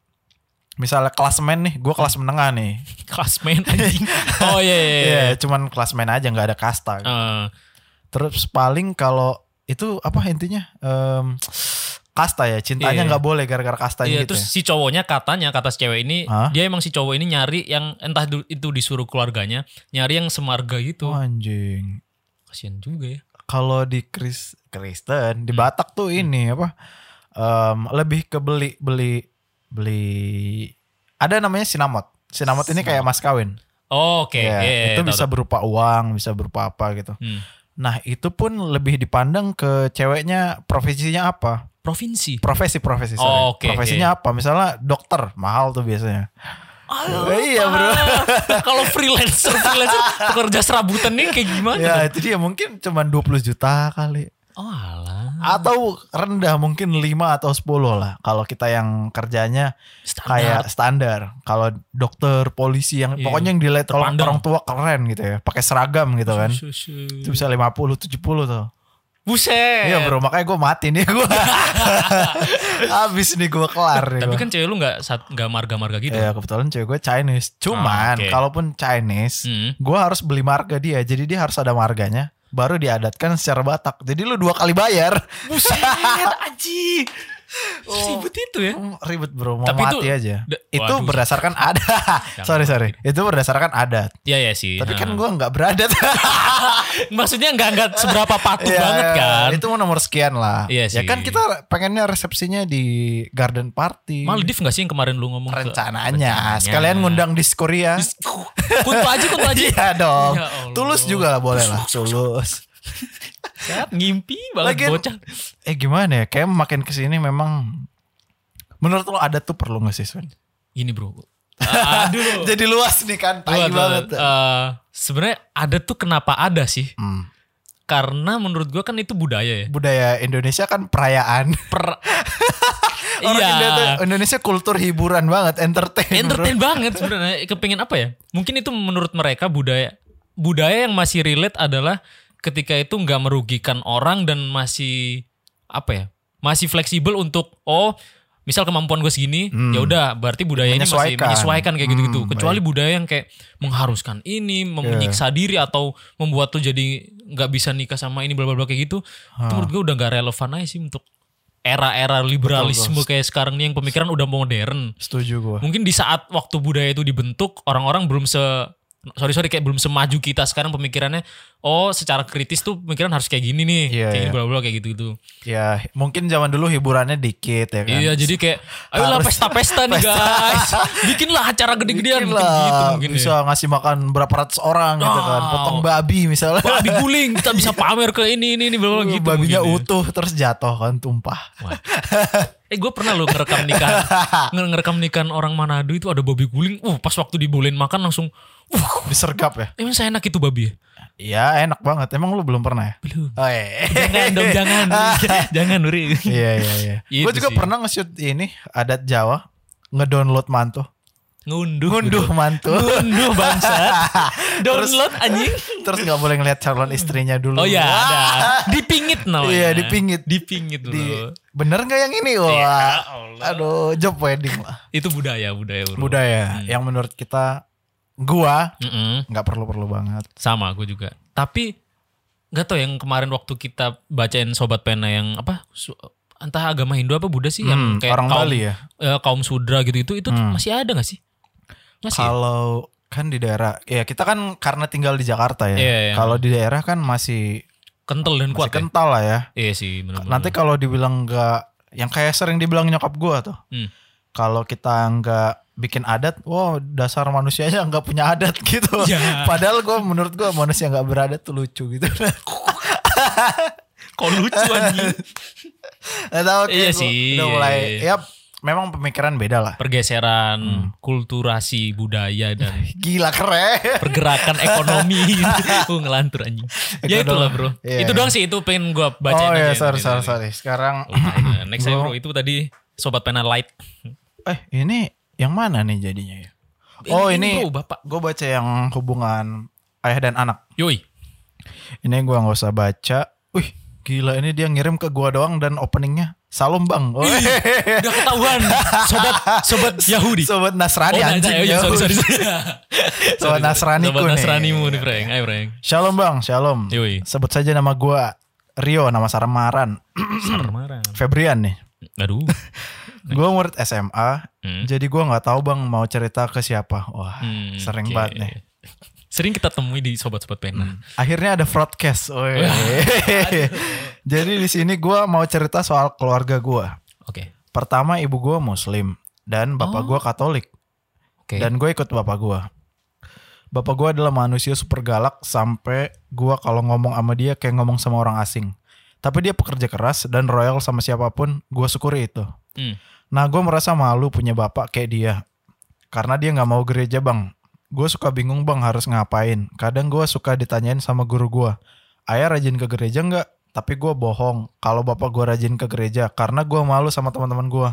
Speaker 1: misalnya klasemen nih, gua kelas menengah nih.
Speaker 3: Klasmen anjing. Oh iya iya.
Speaker 1: Iya,
Speaker 3: iya.
Speaker 1: cuman klasmen aja nggak ada kasta.
Speaker 3: Eh,
Speaker 1: Terus paling kalau itu apa intinya? Em, kasta ya, cintanya
Speaker 3: Iya.
Speaker 1: nggak boleh gara-gara kastanya
Speaker 3: iya,
Speaker 1: gitu.
Speaker 3: terus
Speaker 1: ya.
Speaker 3: si cowoknya katanya kata si cewek ini
Speaker 1: Hah?
Speaker 3: dia emang si cowok ini nyari yang entah du- itu disuruh keluarganya nyari yang semarga gitu.
Speaker 1: Oh, anjing.
Speaker 3: Kasian juga ya.
Speaker 1: Kalau di Kris Kristen
Speaker 3: Hmm.
Speaker 1: di Batak tuh ini apa? em, lebih ke beli beli beli ada namanya sinamot. Sinamot ini kayak mas kawin.
Speaker 3: Oh, Oke,
Speaker 1: Ya,
Speaker 3: iya, iya,
Speaker 1: itu
Speaker 3: tahu,
Speaker 1: bisa berupa uang, bisa berupa apa gitu.
Speaker 3: Hmm.
Speaker 1: Nah, itu pun lebih dipandang ke ceweknya profesinya apa?
Speaker 3: provinsi.
Speaker 1: Profesi-profesi
Speaker 3: Oh, oke,
Speaker 1: Profesinya apa? Misalnya dokter, mahal tuh biasanya. iya, Bro.
Speaker 3: Kalau Oh,
Speaker 1: Iya.
Speaker 3: freelancer, freelancer pekerja serabutan nih kayak gimana?
Speaker 1: Ya, itu dia mungkin cuman 20 juta kali.
Speaker 3: Oh alah.
Speaker 1: atau rendah mungkin 5 atau 10 lah kalau kita yang kerjanya kayak standar kalau dokter polisi yang
Speaker 3: Iya.
Speaker 1: pokoknya yang dilihat kalau
Speaker 3: Terpandang.
Speaker 1: orang tua keren gitu ya pakai seragam gitu kan
Speaker 3: Susu.
Speaker 1: itu bisa 50 70 tuh
Speaker 3: Buset.
Speaker 1: iya bro makanya gue mati nih gue habis nih gue kelar nih
Speaker 3: Tapi
Speaker 1: gua.
Speaker 3: kan cewek lu nggak sat- nggak marga-marga gitu.
Speaker 1: ya kebetulan cewek gue Chinese cuman
Speaker 3: Ah, oke.
Speaker 1: kalaupun Chinese
Speaker 3: Hmm.
Speaker 1: gue harus beli marga dia jadi dia harus ada marganya baru diadatkan secara Batak jadi lu dua kali bayar
Speaker 3: Buset, aji. Ribet itu ya.
Speaker 1: Hmm, ribet bro mau
Speaker 3: Tapi itu-
Speaker 1: mati aja
Speaker 3: da-
Speaker 1: itu
Speaker 3: waduh.
Speaker 1: berdasarkan adat sorry sorry itu berdasarkan adat
Speaker 3: Iya ya sih.
Speaker 1: tapi kan
Speaker 3: Ha.
Speaker 1: gue nggak beradat
Speaker 3: maksudnya nggak nggak seberapa patuh
Speaker 1: Iya,
Speaker 3: banget kan.
Speaker 1: itu mah nomor sekian lah
Speaker 3: Iya
Speaker 1: ya
Speaker 3: sih.
Speaker 1: kan kita pengennya resepsinya di garden party
Speaker 3: Maldives nggak sih yang kemarin lu ngomong? ke-
Speaker 1: rencananya sekalian ngundang di Korea
Speaker 3: Kunto aja, Kunto aja.
Speaker 1: iya dong
Speaker 3: Ya Allah.
Speaker 1: tulus juga lah boleh lah tulus
Speaker 3: Set, ngimpi banget
Speaker 1: Lagian-
Speaker 3: bocah.
Speaker 1: eh gimana ya kayak makin kesini memang menurut lo adat tuh perlu nggak sih Sven?
Speaker 3: Ini bro. Aduh. lu.
Speaker 1: jadi luas nih kan
Speaker 3: Lu
Speaker 1: tai
Speaker 3: ada-
Speaker 1: banget
Speaker 3: eh, Sebenarnya ada tuh kenapa ada sih?
Speaker 1: Hmm.
Speaker 3: Karena menurut gua kan itu budaya ya. Iya.
Speaker 1: budaya Indonesia kan perayaan
Speaker 3: Per-
Speaker 1: Orang India tuh,
Speaker 3: iya.
Speaker 1: Indonesia kultur hiburan banget, entertain. bro.
Speaker 3: Entertain banget sebenarnya. Kepengen apa ya? Mungkin itu menurut mereka budaya budaya yang masih relate adalah ketika itu nggak merugikan orang dan masih apa ya? Masih fleksibel untuk oh misal kemampuan gue segini
Speaker 1: Hmm.
Speaker 3: ya udah berarti budaya ini masih
Speaker 1: Menyesuaikan.
Speaker 3: menyesuaikan kayak gitu-gitu.
Speaker 1: Hmm,
Speaker 3: Kecuali budaya yang kayak mengharuskan ini, mem- menyiksa diri atau membuat tuh jadi nggak bisa nikah sama ini bla bla bla kayak gitu. Itu menurut gue udah nggak relevan aja sih untuk era-era liberalisme kayak sekarang nih yang pemikiran udah modern
Speaker 1: Setuju gue.
Speaker 3: mungkin di saat waktu budaya itu dibentuk orang-orang belum se sorry sorry kayak belum semaju kita sekarang pemikirannya oh secara kritis tuh pemikiran harus kayak gini nih
Speaker 1: Iya,
Speaker 3: kayak
Speaker 1: iya.
Speaker 3: bla bla kayak gitu gitu
Speaker 1: Ya, mungkin zaman dulu hiburannya dikit ya kan.
Speaker 3: iya jadi kayak ayolah
Speaker 1: Harus-
Speaker 3: pesta-pesta nih
Speaker 1: Pesta.
Speaker 3: guys bikinlah acara gede-gedean
Speaker 1: Bikin
Speaker 3: mungkin gitu
Speaker 1: lah,
Speaker 3: mungkin
Speaker 1: bisa
Speaker 3: ya.
Speaker 1: ngasih makan berapa ratus orang gitu kan,
Speaker 3: Wow.
Speaker 1: potong babi misalnya.
Speaker 3: babi guling kita bisa pamer ke ini ini ini bla bla gitu
Speaker 1: Babinya
Speaker 3: mungkin ya.
Speaker 1: utuh terus jatuh kan tumpah.
Speaker 3: eh gue pernah loh ngerekam nikahan nge- ngerekam nikahan orang Manado itu ada babi guling uh pas waktu dibolehin makan langsung wah
Speaker 1: Disergap ya.
Speaker 3: emang saya enak itu babi ya?
Speaker 1: Iya, enak banget. Emang lu belum pernah ya?
Speaker 3: belum
Speaker 1: Oh, iya.
Speaker 3: jangan dong jangan jangan Nuri
Speaker 1: iya, iya, iya.
Speaker 3: Itu
Speaker 1: Gue juga
Speaker 3: sih.
Speaker 1: pernah nge-shoot ini adat Jawa, ngedownload mantu.
Speaker 3: ngunduh
Speaker 1: Ngunduh mantu.
Speaker 3: ngunduh bangsa download anjing
Speaker 1: terus nggak boleh ngeliat calon istrinya dulu.
Speaker 3: oh ya
Speaker 1: Wah,
Speaker 3: ada dipingit namanya
Speaker 1: Iya, dipingit.
Speaker 3: dipingit Iya, ya
Speaker 1: di
Speaker 3: loh
Speaker 1: bener nggak yang ini wah aduh job wedding lah
Speaker 3: itu budaya budaya bro.
Speaker 1: budaya ya,
Speaker 3: Hmm.
Speaker 1: yang menurut kita gua
Speaker 3: Mm-mm.
Speaker 1: nggak perlu perlu banget
Speaker 3: sama aku juga tapi nggak tau yang kemarin waktu kita bacain sobat pena yang apa su- entah agama Hindu apa Buddha sih yang
Speaker 1: Hmm,
Speaker 3: Iya, kayak
Speaker 1: orang
Speaker 3: kaum,
Speaker 1: Bali ya
Speaker 3: eh, kaum sudra gitu itu itu tuh
Speaker 1: Hmm.
Speaker 3: masih ada nggak sih masih ya?
Speaker 1: kalau kan di daerah ya kita kan karena tinggal di Jakarta ya
Speaker 3: Iya, iya.
Speaker 1: kalau di daerah kan masih
Speaker 3: kental dan
Speaker 1: masih
Speaker 3: kuat ya?
Speaker 1: kental lah ya
Speaker 3: iya sih benar-benar
Speaker 1: nanti kalau dibilang nggak yang kayak sering dibilang nyokap gua tuh
Speaker 3: Hmm.
Speaker 1: kalau kita nggak bikin adat, wow dasar manusianya nggak punya adat gitu.
Speaker 3: Ya.
Speaker 1: Padahal gua menurut gua manusia nggak beradat tuh lucu gitu.
Speaker 3: kok lucu anjing
Speaker 1: Hmm. Gak tahu kayak
Speaker 3: Iya
Speaker 1: gua
Speaker 3: sih,
Speaker 1: Udah
Speaker 3: iya,
Speaker 1: mulai ya
Speaker 3: iya.
Speaker 1: memang pemikiran beda lah.
Speaker 3: pergeseran kulturasi budaya dan
Speaker 1: Gila keren.
Speaker 3: pergerakan ekonomi gitu. Gue ngelantur anjing. Ya
Speaker 1: Ekonomi.
Speaker 3: itulah bro.
Speaker 1: Iya.
Speaker 3: Itu doang sih itu pengen gue
Speaker 1: oh
Speaker 3: bacain aja
Speaker 1: ya
Speaker 3: yang
Speaker 1: sorry
Speaker 3: tadi.
Speaker 1: sorry sorry. Sekarang
Speaker 3: Oh, nah, next aja
Speaker 1: Bro.
Speaker 3: bro itu tadi sobat pena light.
Speaker 1: eh ini yang mana nih jadinya ya? Oh ini
Speaker 3: bro, bapak.
Speaker 1: gue baca yang hubungan ayah dan anak.
Speaker 3: Yoi.
Speaker 1: Ini gua nggak usah baca. Wih gila ini dia ngirim ke gua doang dan openingnya Salom bang. Oh,
Speaker 3: Udah ketahuan sobat sobat Yahudi.
Speaker 1: Sobat Nasrani
Speaker 3: nah,
Speaker 1: anjing.
Speaker 3: nah, iya,
Speaker 1: ya.
Speaker 3: sorry sorry. sorry. Sorry,
Speaker 1: Nasraniku
Speaker 3: Sobat
Speaker 1: nih.
Speaker 3: Nasranimu nih Frank. Ayo Frank.
Speaker 1: Shalom bang, shalom.
Speaker 3: Yoi.
Speaker 1: Sebut saja nama gua Rio, nama Sarmaran.
Speaker 3: Sarmaran.
Speaker 1: Febrian nih.
Speaker 3: Aduh.
Speaker 1: Gue murid SMA,
Speaker 3: Hmm.
Speaker 1: jadi gua nggak tahu bang mau cerita ke siapa. Wah,
Speaker 3: Hmm,
Speaker 1: sering
Speaker 3: oke.
Speaker 1: banget nih. Hmm.
Speaker 3: Sering kita temui di sobat-sobat pena.
Speaker 1: Akhirnya ada broadcast. woi. jadi di sini gua mau cerita soal keluarga gua.
Speaker 3: Oke.
Speaker 1: Pertama ibu gua Muslim dan bapak gua Katolik
Speaker 3: Oke.
Speaker 1: dan gue ikut bapak gua. Bapak gua adalah manusia super galak sampai gua kalau ngomong sama dia kayak ngomong sama orang asing. Tapi dia pekerja keras dan royal sama siapapun. gua syukuri itu.
Speaker 3: Hmm.
Speaker 1: Nah gue merasa malu punya bapak kayak dia. Karena dia nggak mau gereja bang. Gue suka bingung bang harus ngapain. Kadang gue suka ditanyain sama guru gue. Ayah rajin ke gereja nggak? tapi gue bohong kalau bapak gue rajin ke gereja karena gue malu sama teman-teman gue.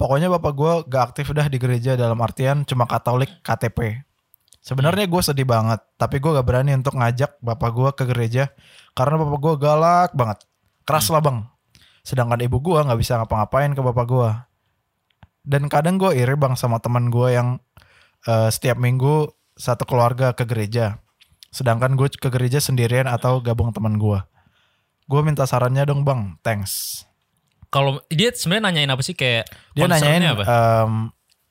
Speaker 1: Pokoknya bapak gue gak aktif dah di gereja dalam artian cuma Katolik KTP. Sebenarnya gue sedih banget, tapi gue gak berani untuk ngajak bapak gue ke gereja karena bapak gue galak banget, keras lah bang. Sedangkan ibu gue nggak bisa ngapa-ngapain ke bapak gue. Dan kadang gue iri bang sama teman gue yang eh, setiap minggu satu keluarga ke gereja. Sedangkan gue ke gereja sendirian atau gabung teman gue. Gue minta sarannya dong bang, thanks.
Speaker 3: Kalau dia sebenarnya nanyain apa sih kayak
Speaker 1: Dia
Speaker 3: concernnya
Speaker 1: nanyain
Speaker 3: apa?
Speaker 1: em,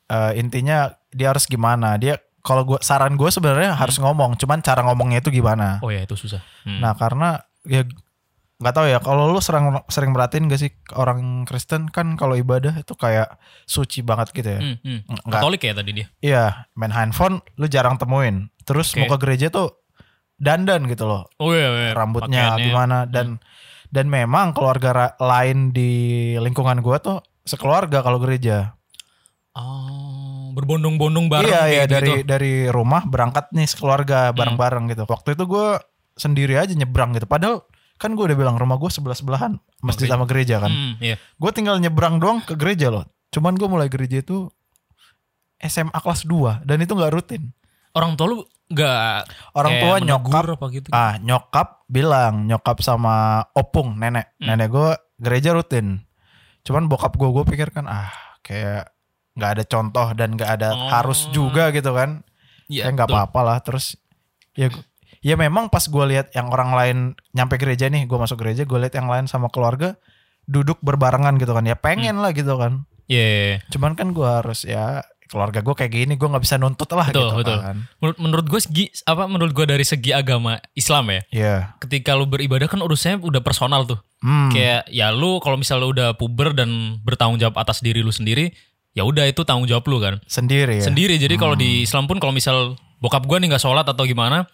Speaker 1: eh, intinya dia harus gimana. Dia kalau gua saran gue sebenarnya harus ngomong, cuman cara ngomongnya itu gimana.
Speaker 3: oh ya itu susah. Hmm.
Speaker 1: Nah karena ya nggak tahu ya kalau lu sering sering merhatiin gak sih orang Kristen kan kalau ibadah itu kayak suci banget gitu ya.
Speaker 3: Hmm, hmm.
Speaker 1: Nggak-
Speaker 3: Katolik ya tadi dia.
Speaker 1: Iya, main handphone lu jarang temuin. Terus
Speaker 3: Oke.
Speaker 1: mau ke gereja tuh dandan gitu loh,
Speaker 3: Oh iya, iya.
Speaker 1: rambutnya
Speaker 3: Pakaiannya. Hmm.
Speaker 1: gimana dan dan memang keluarga ra- lain di lingkungan gua tuh sekeluarga kalau gereja.
Speaker 3: Oh, berbondong-bondong bareng
Speaker 1: iya
Speaker 3: Hmm.
Speaker 1: iya
Speaker 3: kayak
Speaker 1: dari
Speaker 3: gitu.
Speaker 1: dari rumah berangkat nih sekeluarga bareng-bareng gitu. Waktu itu gua sendiri aja nyebrang gitu. Padahal kan gua udah bilang rumah gua sebelah sebelahan masjid
Speaker 3: Oke.
Speaker 1: sama gereja kan.
Speaker 3: Hmm, iya.
Speaker 1: Gue tinggal nyebrang doang ke gereja loh. Cuman gua mulai gereja itu SMA kelas 2 dan itu nggak rutin.
Speaker 3: Orang tua lu enggak
Speaker 1: Orang tua nyokap
Speaker 3: apa gitu.
Speaker 1: Ah, nyokap bilang, nyokap sama opung nenek.
Speaker 3: Hmm.
Speaker 1: Nenek gue gereja rutin. Cuman bokap gue gue pikir kan ah kayak nggak ada contoh dan nggak ada
Speaker 3: Oh.
Speaker 1: harus juga gitu kan.
Speaker 3: Iya,
Speaker 1: Kayak nggak
Speaker 3: betul.
Speaker 1: apa-apa lah. Terus ya gu- ya memang pas gue lihat yang orang lain nyampe gereja nih, gue masuk gereja, gue lihat yang lain sama keluarga duduk berbarengan gitu kan. Ya pengen
Speaker 3: Hmm.
Speaker 1: lah gitu kan.
Speaker 3: Iya. iya, iya.
Speaker 1: Cuman kan gue harus ya keluarga gue kayak gini, gue nggak bisa nuntut lah
Speaker 3: Betul,
Speaker 1: gitu
Speaker 3: betul.
Speaker 1: kan.
Speaker 3: Menurut menurut gue segi apa menurut gue dari segi agama Islam ya.
Speaker 1: Iya.
Speaker 3: Ketika lu beribadah kan urusannya udah personal tuh.
Speaker 1: Hmm.
Speaker 3: Kayak ya lu kalau misalnya lu udah puber dan bertanggung jawab atas diri lu sendiri, ya udah itu tanggung jawab lu kan.
Speaker 1: Sendiri ya.
Speaker 3: Sendiri. Jadi kalau di Islam pun kalau misal bokap gue nih nggak sholat atau gimana,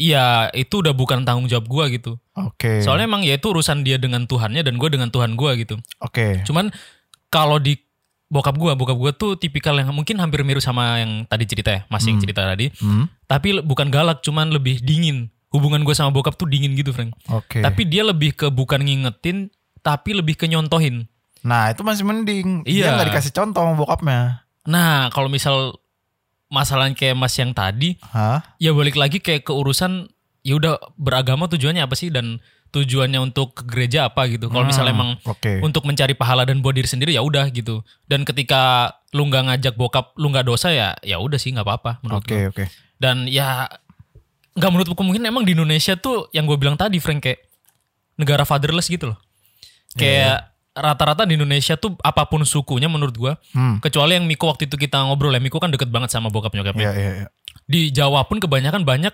Speaker 3: Iya itu udah bukan tanggung jawab gue gitu.
Speaker 1: Oke.
Speaker 3: Soalnya emang ya itu urusan dia dengan Tuhannya dan gue dengan Tuhan gue gitu.
Speaker 1: Iya. Oke.
Speaker 3: Cuman kalau di bokap gua, bokap gua tuh tipikal yang mungkin hampir mirip sama yang tadi cerita ya, masing cerita tadi.
Speaker 1: Hmm.
Speaker 3: Tapi le- bukan galak, cuman lebih dingin. Hubungan gua sama bokap tuh dingin gitu, Frank.
Speaker 1: Oke.
Speaker 3: Tapi dia lebih ke bukan ngingetin, tapi lebih ke nyontohin.
Speaker 1: Nah itu masih mending.
Speaker 3: Iya.
Speaker 1: Dia nggak dikasih contoh sama bokapnya.
Speaker 3: Nah, kalau misal masalah kayak Mas yang tadi,
Speaker 1: Hah?
Speaker 3: ya balik lagi kayak ke urusan ya udah beragama tujuannya apa sih dan tujuannya untuk ke gereja apa gitu. Kalau misalnya emang
Speaker 1: Hmm, Oke.
Speaker 3: untuk mencari pahala dan buat diri sendiri ya udah gitu. Dan ketika lu nggak ngajak bokap, lu nggak dosa ya, ya udah sih nggak apa-apa menurut
Speaker 1: Oke
Speaker 3: gue.
Speaker 1: oke.
Speaker 3: Dan ya nggak menurut gue mungkin emang di Indonesia tuh yang gue bilang tadi Frank kayak negara fatherless gitu loh.
Speaker 1: Iya.
Speaker 3: Kayak rata-rata di Indonesia tuh apapun sukunya menurut gue,
Speaker 1: Hmm.
Speaker 3: kecuali yang Miko waktu itu kita ngobrol ya, Miko kan deket banget sama bokap nyokapnya.
Speaker 1: Iya iya. iya.
Speaker 3: Di Jawa pun kebanyakan banyak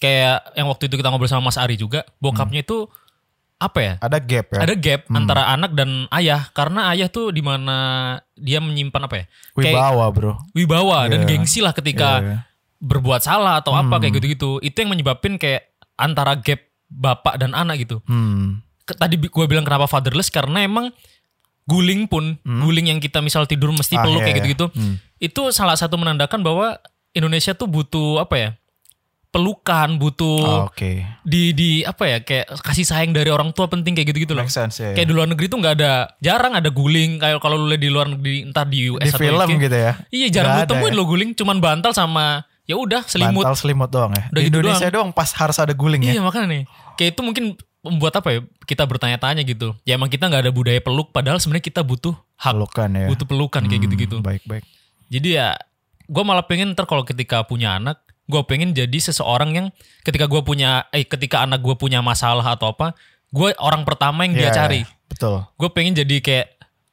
Speaker 3: kayak yang waktu itu kita ngobrol sama Mas Ari juga, bokapnya
Speaker 1: Hmm.
Speaker 3: itu apa ya?
Speaker 1: Ada gap ya.
Speaker 3: ada gap antara anak dan ayah karena ayah tuh di mana dia menyimpan apa ya kayak
Speaker 1: Wibawa bro.
Speaker 3: wibawa dan
Speaker 1: Iya.
Speaker 3: gengsi lah
Speaker 1: Iya,
Speaker 3: ketika
Speaker 1: Hmm. iya.
Speaker 3: berbuat salah atau apa kayak gitu-gitu itu yang menyebabin kayak antara gap bapak dan anak gitu
Speaker 1: Hmm.
Speaker 3: Ke- tadi gue bilang kenapa fatherless karena emang guling pun guling yang kita misal tidur mesti
Speaker 1: Hmm. Ah,
Speaker 3: peluk
Speaker 1: iya,
Speaker 3: kayak
Speaker 1: iya.
Speaker 3: gitu-gitu
Speaker 1: Hmm.
Speaker 3: itu salah satu menandakan bahwa Indonesia tuh butuh apa ya pelukan
Speaker 1: Ah,
Speaker 3: butuh
Speaker 1: oke.
Speaker 3: di di apa ya kayak kasih sayang dari orang tua penting kayak gitu-gitu Gitu loh
Speaker 1: Make sense ya.
Speaker 3: Kayak di luar negeri tuh nggak ada, jarang ada guling. Kayak kalau lu lihat di luar negeri, entar di
Speaker 1: di
Speaker 3: US atau
Speaker 1: film
Speaker 3: UK.
Speaker 1: gitu ya.
Speaker 3: Iya, jarang
Speaker 1: Nggak
Speaker 3: lu
Speaker 1: ada
Speaker 3: temuin
Speaker 1: ya.
Speaker 3: lo guling, cuman bantal sama ya udah selimut.
Speaker 1: Bantal selimut doang ya.
Speaker 3: Udah
Speaker 1: di
Speaker 3: gitu
Speaker 1: Indonesia doang. pas harus ada guling ya.
Speaker 3: Iya makanya nih. Kayak itu mungkin membuat apa ya? Kita bertanya-tanya gitu. Ya emang kita nggak ada budaya peluk, padahal sebenarnya kita butuh hak,
Speaker 1: Pelukan ya.
Speaker 3: butuh pelukan
Speaker 1: Hmm,
Speaker 3: kayak gitu-gitu.
Speaker 1: Baik baik.
Speaker 3: Jadi ya, gue malah pengen ntar kalau ketika punya anak, gue pengen jadi seseorang yang ketika gue punya, eh ketika anak gue punya masalah atau apa, gue orang pertama yang dia
Speaker 1: Iya,
Speaker 3: cari.
Speaker 1: Betul.
Speaker 3: gue pengen jadi kayak